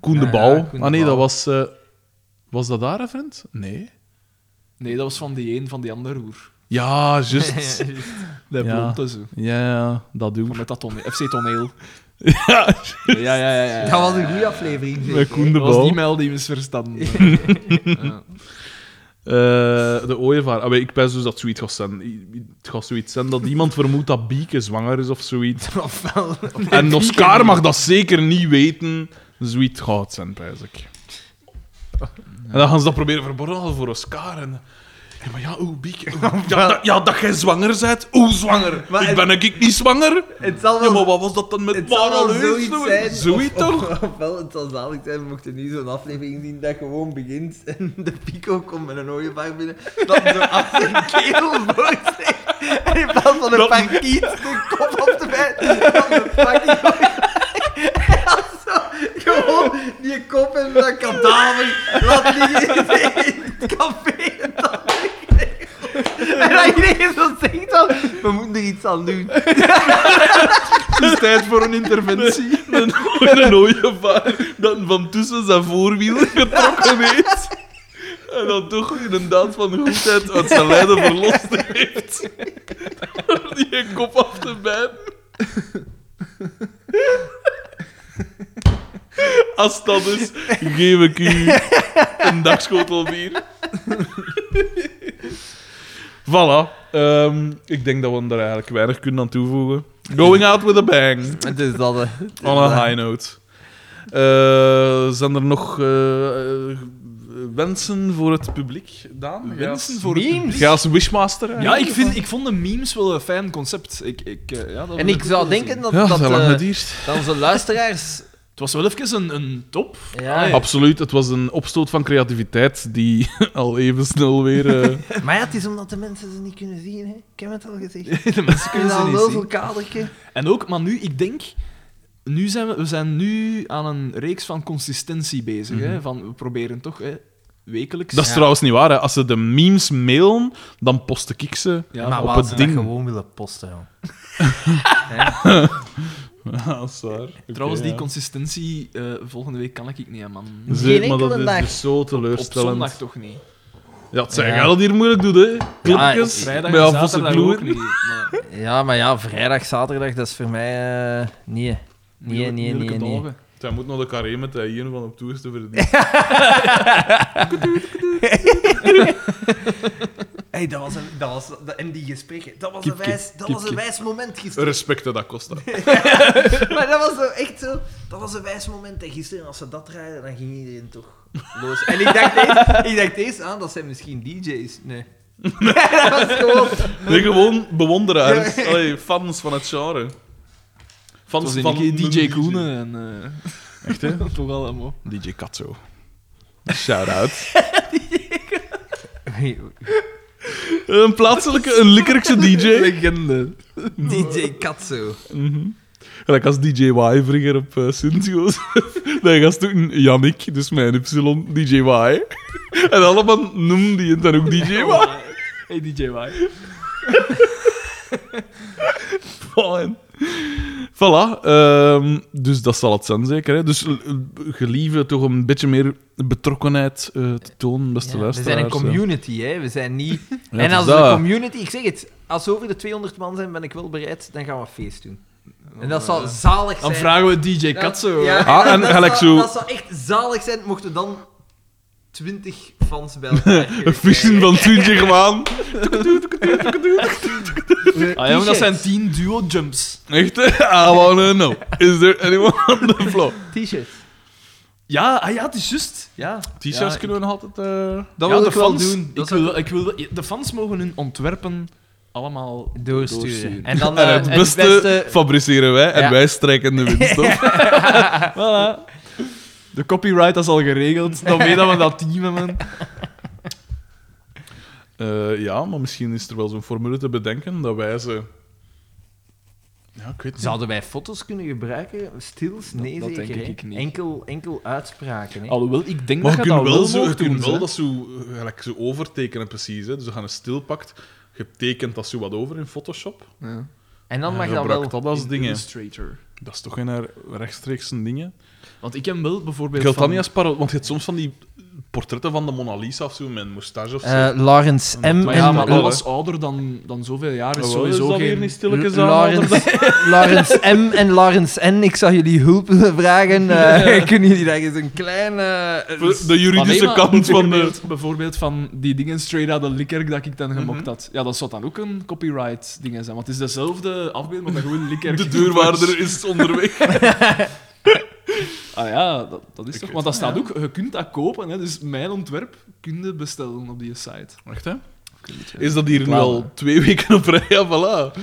Speaker 1: Koen
Speaker 3: Ja,
Speaker 1: de
Speaker 3: ja,
Speaker 1: Bouw.
Speaker 3: Koen de
Speaker 1: ah nee, dat
Speaker 3: Bouw.
Speaker 1: was... eh, was dat daar, hè, vriend? Nee.
Speaker 2: Nee, dat was van die een, van die andere roer.
Speaker 1: Ja, juist.
Speaker 2: Dat dus.
Speaker 1: Ja.
Speaker 2: blonde zo.
Speaker 1: ja, ja, dat doe
Speaker 2: Van
Speaker 1: ik.
Speaker 2: met dat toneel. FC toneel.
Speaker 1: Ja,
Speaker 2: Ja, ja, ja. ja, ja.
Speaker 8: Dat was een goede aflevering. zeg.
Speaker 1: met Koen de
Speaker 2: Dat was
Speaker 1: Bouw.
Speaker 2: die mijl die misverstanden. ja.
Speaker 1: Eh, de ooievaar. Ah, ik pijs dus dat zoiets gaat zijn. I- i- Het gaat zoiets zijn dat iemand vermoedt dat Bieke zwanger is of zoiets.
Speaker 3: Ofwel.
Speaker 1: en Oscar mag dat zeker niet weten. Zoiets gaat zijn, pijs ik. En dan gaan ze dat proberen verborgen houden voor Oscar. En, en maar ja, oeh, Bieke. oeh, ja, dat, ja, dat jij zwanger bent. Oeh, zwanger.
Speaker 8: Maar
Speaker 1: ik
Speaker 8: het-
Speaker 1: ben ik niet zwanger.
Speaker 8: Het zal
Speaker 1: Ja,
Speaker 8: wel
Speaker 1: maar wat was Nou, dat dan met
Speaker 8: Het zal wel
Speaker 1: Parallel?
Speaker 8: zoiets zijn.
Speaker 1: Zoiets
Speaker 8: of-
Speaker 1: toch?
Speaker 8: of- Ofwel, het zal zalig zijn, mocht je nu zo'n aflevering zien dat gewoon begint en de pico komt met een ooievaar binnen, dat hem zo af zijn keel voorzet en in plaats van een
Speaker 1: Dat-
Speaker 8: parkiet de kop op te bijten, dan de fucking ooievaar. Ja, zo, Gewoon die kop en dat kadaver laat liggen in het café. En dat en dat iedereen zo zegt dan, we moeten er iets aan doen.
Speaker 2: Het is tijd voor een interventie.
Speaker 1: Een, een ooievaar dat van tussen zijn voorwielen getrokken heeft. En dan toch in een daad van goedheid uit zijn lijden verlost heeft. Door die een kop af te bijten. Als dat is, geef ik u een dagschotel bier. Voilà. Ehm, ik denk dat we er eigenlijk weinig kunnen aan toevoegen. Going out with a bang.
Speaker 8: Het is dat,
Speaker 1: On a high note. Eh, zijn er nog eh, eh, wensen voor het publiek, Daan?
Speaker 2: Wensen voor het publiek?
Speaker 1: Ga als wishmaster. eigenlijk?
Speaker 2: Ja, ik, vind, ik vond de memes wel een fijn concept. Ik, ik, eh, ja, dat
Speaker 3: En
Speaker 2: wil
Speaker 3: ik
Speaker 2: ook
Speaker 3: zou
Speaker 2: wel zien.
Speaker 3: denken dat,
Speaker 1: Ja,
Speaker 3: dat,
Speaker 1: zijn lang
Speaker 3: eh,
Speaker 1: geduurd.
Speaker 3: dat onze luisteraars...
Speaker 2: Het was wel even een, een top.
Speaker 3: Ja,
Speaker 1: Absoluut, het was een opstoot van creativiteit die al even snel weer... eh,
Speaker 3: Maar ja, het is omdat de mensen ze niet kunnen zien. Hè. Ik heb het al gezegd.
Speaker 2: De mensen kunnen ze
Speaker 3: al
Speaker 2: niet
Speaker 3: wel
Speaker 2: zien.
Speaker 3: zo'n kadertje.
Speaker 2: En ook, maar nu, ik denk... Nu zijn we, we zijn nu aan een reeks van consistentie bezig. hè? Van, we proberen toch hè, wekelijks...
Speaker 1: Dat is trouwens niet waar. Hè. Als ze de memes mailen, dan post ik ze
Speaker 2: Ja,
Speaker 3: maar
Speaker 1: op
Speaker 3: wat
Speaker 1: het
Speaker 3: ze dat
Speaker 1: ding.
Speaker 3: gewoon willen posten. joh.
Speaker 1: Ja, dat is waar. Oké,
Speaker 2: Trouwens, die
Speaker 1: ja.
Speaker 2: consistentie eh, volgende week kan ik niet, hè, man.
Speaker 1: Zeg, maar dat
Speaker 3: enkele
Speaker 1: is
Speaker 3: dag.
Speaker 1: dus zo
Speaker 2: Op
Speaker 1: teleurstellend.
Speaker 2: zondag toch niet.
Speaker 1: ja, het zijn
Speaker 3: Ja.
Speaker 1: jij dat hier moeilijk doet, hè? Klipjes,
Speaker 3: Ja,
Speaker 2: Vrijdag
Speaker 1: bij
Speaker 2: en
Speaker 1: Alfonso
Speaker 2: zaterdag
Speaker 1: Gloer.
Speaker 2: ook niet. Maar,
Speaker 3: Ja, maar ja, vrijdag, zaterdag, dat is voor mij... eh, nee. Nee, nee,
Speaker 2: moeilijke
Speaker 3: nee, nee.
Speaker 2: dagen.
Speaker 1: Zij moet nog de carré met de hier van op toe is te verdienen.
Speaker 8: Hey, dat was een, dat was, dat, en die gesprekken, dat was
Speaker 1: Kip,
Speaker 8: een
Speaker 1: kip,
Speaker 8: wijs, dat
Speaker 1: kip,
Speaker 8: was een
Speaker 1: kip.
Speaker 8: wijs moment gisteren.
Speaker 1: Respecten dat Costa.
Speaker 8: maar dat was zo echt zo, dat was een wijs moment. En gisteren, als ze dat draaiden, dan ging iedereen toch los. En ik dacht eens, ik dacht eens aan, dat zijn misschien DJ's. Nee. dat was gewoon...
Speaker 1: Nee, gewoon bewonderaars. Allee, fans van het genre.
Speaker 2: Het was
Speaker 1: Fans
Speaker 2: in
Speaker 1: van
Speaker 2: een keer
Speaker 1: een
Speaker 2: DJ Koenen en... eh,
Speaker 1: Echt, hè?
Speaker 2: toch allemaal.
Speaker 1: DJ Katzo. Shout-out. Een plaatselijke, een Likkerikse DJ.
Speaker 2: Legende.
Speaker 3: DJ Katzo.
Speaker 1: Mhm. Gelijk als DJ Y vroeger op uh, Sint-Jozef. Dan gast ook een Yannick, dus mijn Y, DJ Y. En allemaal noemde je het dan ook DJ Y.
Speaker 2: Hey, DJ Mike.
Speaker 1: Fijn. Voilà, ehm, dus dat zal het zijn zeker. Hè? Dus eh, gelieve toch een beetje meer betrokkenheid eh, te tonen, beste
Speaker 6: Ja, we
Speaker 1: luisteraars.
Speaker 6: zijn een
Speaker 1: hè.
Speaker 6: community, hè. We zijn niet...
Speaker 1: Ja, het
Speaker 6: en
Speaker 1: is
Speaker 6: als
Speaker 1: dat.
Speaker 6: de community... Ik zeg het, als we over de 200 man zijn, ben ik wel bereid, dan gaan we een feest doen.
Speaker 3: En dat zou zalig zijn.
Speaker 2: Dan vragen we DJ Katzo.
Speaker 3: Ja,
Speaker 1: Ah,
Speaker 3: dat-
Speaker 1: en
Speaker 3: dat,
Speaker 1: gelijk
Speaker 3: zou,
Speaker 1: zo-
Speaker 3: dat zou echt zalig zijn, mochten dan 20 fans bij elkaar
Speaker 1: Een vissen van 20 man.
Speaker 2: Ah, jongen, dat
Speaker 6: T-shirts.
Speaker 2: zijn 10 duo-jumps.
Speaker 1: Echt, hè? I wanna know. Is there anyone on the floor?
Speaker 6: T-shirts.
Speaker 2: Ja, ah, ja, het is juist. Ja.
Speaker 1: T-shirts
Speaker 2: Ja,
Speaker 1: kunnen we nog altijd... eh,
Speaker 2: Dat
Speaker 6: Ja,
Speaker 2: wil
Speaker 6: dat
Speaker 2: ik wel
Speaker 6: fans-
Speaker 2: doen.
Speaker 6: dat
Speaker 2: Ik wil, ik wil, de fans mogen hun ontwerpen allemaal
Speaker 6: Doorsturen.
Speaker 2: Doorsturen.
Speaker 6: En dan
Speaker 1: en
Speaker 6: eh,
Speaker 1: het beste, fabriceren wij en
Speaker 6: Ja.
Speaker 1: wij strijken de winst op.
Speaker 2: Voilà. De copyright dat is al geregeld. Dan weet dat we dat team hebben.
Speaker 1: Eh, ja, maar misschien is er wel zo'n formule te bedenken dat wij ze... Ja, ik weet niet.
Speaker 6: Zouden wij foto's kunnen gebruiken? Stils? Nee,
Speaker 2: dat
Speaker 6: zeker.
Speaker 2: denk
Speaker 6: hè.
Speaker 2: ik niet.
Speaker 6: Enkel, enkel uitspraken. Hè.
Speaker 2: Alhoewel, ik denk
Speaker 1: Maar je
Speaker 2: dat je dat
Speaker 1: kunt wel,
Speaker 2: wel
Speaker 1: zo, je
Speaker 2: mocht doen.
Speaker 1: kunt wel
Speaker 2: hè.
Speaker 1: dat zo, eh, gelijk zo overtekenen, precies. Hè. Dus je gaat een stil pakt, je tekent dat zo wat over in Photoshop.
Speaker 2: Ja.
Speaker 6: En dan
Speaker 1: En
Speaker 6: mag
Speaker 1: je
Speaker 6: dat wel...
Speaker 1: gebruikt dat als
Speaker 2: In
Speaker 1: dingen.
Speaker 2: Illustrator.
Speaker 1: Dat is toch geen rechtstreekse dingen?
Speaker 2: Want ik heb wel bijvoorbeeld.
Speaker 1: Geldt dat
Speaker 2: van-
Speaker 1: niet als paro- Want je hebt soms van die portretten van de Mona Lisa of zo, met een moustache of zo.
Speaker 6: eh Lawrence M.
Speaker 2: Maar
Speaker 6: en
Speaker 2: ja,
Speaker 1: wel,
Speaker 2: maar dat
Speaker 1: hè.
Speaker 2: was ouder dan, dan zoveel jaar. Is
Speaker 1: Oh, wel, is
Speaker 2: sowieso
Speaker 1: dat
Speaker 2: geen...
Speaker 1: weer niet stilletjes
Speaker 6: L-
Speaker 1: aan,
Speaker 6: Lawrence, Lawrence M. en Lawrence N. Ik zou jullie hulp willen vragen. Eh, kunnen jullie daar eens een klein... eh,
Speaker 1: Voor De
Speaker 2: Maar nee,
Speaker 1: juridische
Speaker 2: maar
Speaker 1: kant van de...
Speaker 2: bijvoorbeeld, bijvoorbeeld van die dingen straight out de Likkerk dat ik dan gemokt had. Ja, dat zou dan ook een copyright dingen zijn. Want het is dezelfde afbeelding, maar dan gewoon Likkerk.
Speaker 1: De deurwaarder is onderweg.
Speaker 2: Ah ja, dat, dat is toch.
Speaker 1: weet
Speaker 2: Want dat
Speaker 1: het,
Speaker 2: staat ook, je kunt dat kopen. Hè, dus mijn ontwerp kun je bestellen op die site.
Speaker 1: Wacht, hè.
Speaker 2: Ik weet niet,
Speaker 6: eh,
Speaker 2: ja.
Speaker 1: Is dat hier nu
Speaker 2: Reclame.
Speaker 1: al twee weken op rij? Ja, voilà.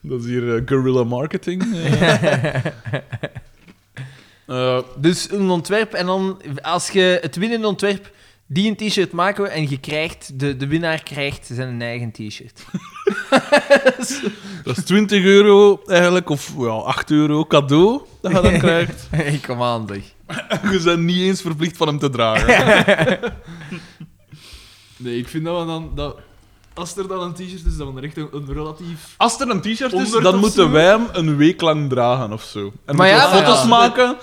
Speaker 1: Dat is hier eh, guerrilla marketing. eh. Eh,
Speaker 6: Dus een ontwerp en dan, als je het winnende ontwerp, die een t-shirt maken we en je krijgt, de, de winnaar krijgt zijn eigen t-shirt.
Speaker 1: dat is 20 euro eigenlijk, of ja, 8 euro cadeau dat je dan krijgt.
Speaker 6: Hey, kom aan, zeg.
Speaker 1: Je bent niet eens verplicht van hem te dragen.
Speaker 2: Nee, ik vind dat we dan. Dat, als er dan een t-shirt is, dan echt een, een relatief.
Speaker 1: Als er een t-shirt is,
Speaker 2: Honderd
Speaker 1: dan
Speaker 2: of
Speaker 1: moeten
Speaker 2: zo.
Speaker 1: wij hem een week lang dragen of zo. En
Speaker 6: Maar
Speaker 1: moeten
Speaker 6: ja,
Speaker 1: we
Speaker 6: maar
Speaker 1: foto's
Speaker 6: ja.
Speaker 1: maken.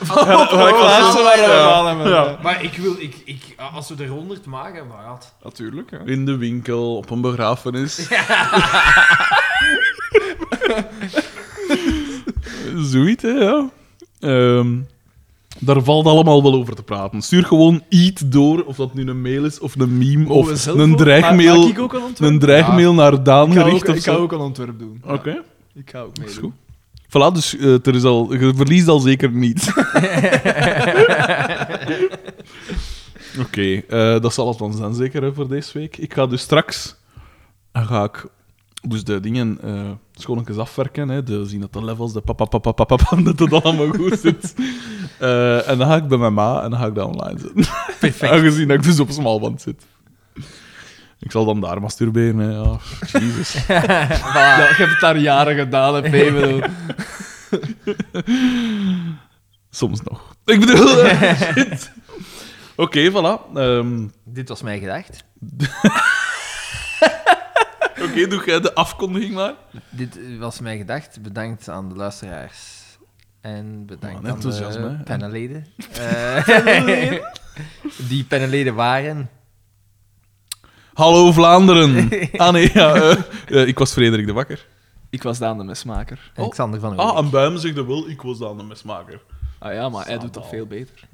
Speaker 2: Oh,
Speaker 1: Ja.
Speaker 3: Maar ik wil, ik, ik, als we er 100 maken, maar wat?
Speaker 2: Natuurlijk, hè.
Speaker 1: In de winkel, op een begrafenis. Zoiets, hè, ja. Ehm, daar valt allemaal wel over te praten. Stuur gewoon iets door, of dat nu een mail is of een meme
Speaker 2: Mogen we
Speaker 1: of
Speaker 2: zelf
Speaker 1: een
Speaker 2: ook-
Speaker 1: dreigmail,
Speaker 2: Maak ik ook een ontwerp?
Speaker 1: een dreigmail naar Daan
Speaker 2: Ik ga,
Speaker 1: gericht
Speaker 2: ook,
Speaker 1: of
Speaker 2: ik ga
Speaker 1: zo.
Speaker 2: ook een ontwerp doen.
Speaker 1: Oké,
Speaker 2: Ja, ik ga ook
Speaker 1: dat is
Speaker 2: meedoen.
Speaker 1: goed. Voilà, dus eh, er is al, je verliest al zeker niet. Oké, eh, dat zal het dan zijn, zeker hè, voor deze week. Ik ga dus straks dan ga ik dus de dingen eh schoonetjes afwerken. Hè, de, zien dat de levels, de papapapapapap, dat het allemaal goed zit. Eh, en dan ga ik bij mijn ma en dan ga ik dat online zetten. Perfect. Aangezien dat ik dus op smalband zit. Ik zal dan daar masturberen. Hè. Ja, Jesus.
Speaker 2: Ja, ik heb het daar jaren gedaan, hè, Pemel.
Speaker 1: Soms nog. Ik bedoel, eh, shit. Oké, voilà. Ehm,
Speaker 6: Dit was mijn gedacht.
Speaker 1: Oké, doe jij de afkondiging maar.
Speaker 6: Dit was mijn gedacht. Bedankt aan de luisteraars. En bedankt
Speaker 1: Man,
Speaker 6: aan
Speaker 1: enthousiasme,
Speaker 6: de
Speaker 1: hè.
Speaker 6: panelleden. Eh, die panelleden waren...
Speaker 1: Hallo Vlaanderen. Ah nee, ja, eh, eh, ik was Frederik de Bakker.
Speaker 2: Ik was Daan de mesmaker.
Speaker 1: Oh.
Speaker 6: Alexander van Oorlog.
Speaker 1: Ah, en Buim zegt dat wel, ik was dan de mesmaker.
Speaker 2: Ah ja, maar hij doet dat veel beter.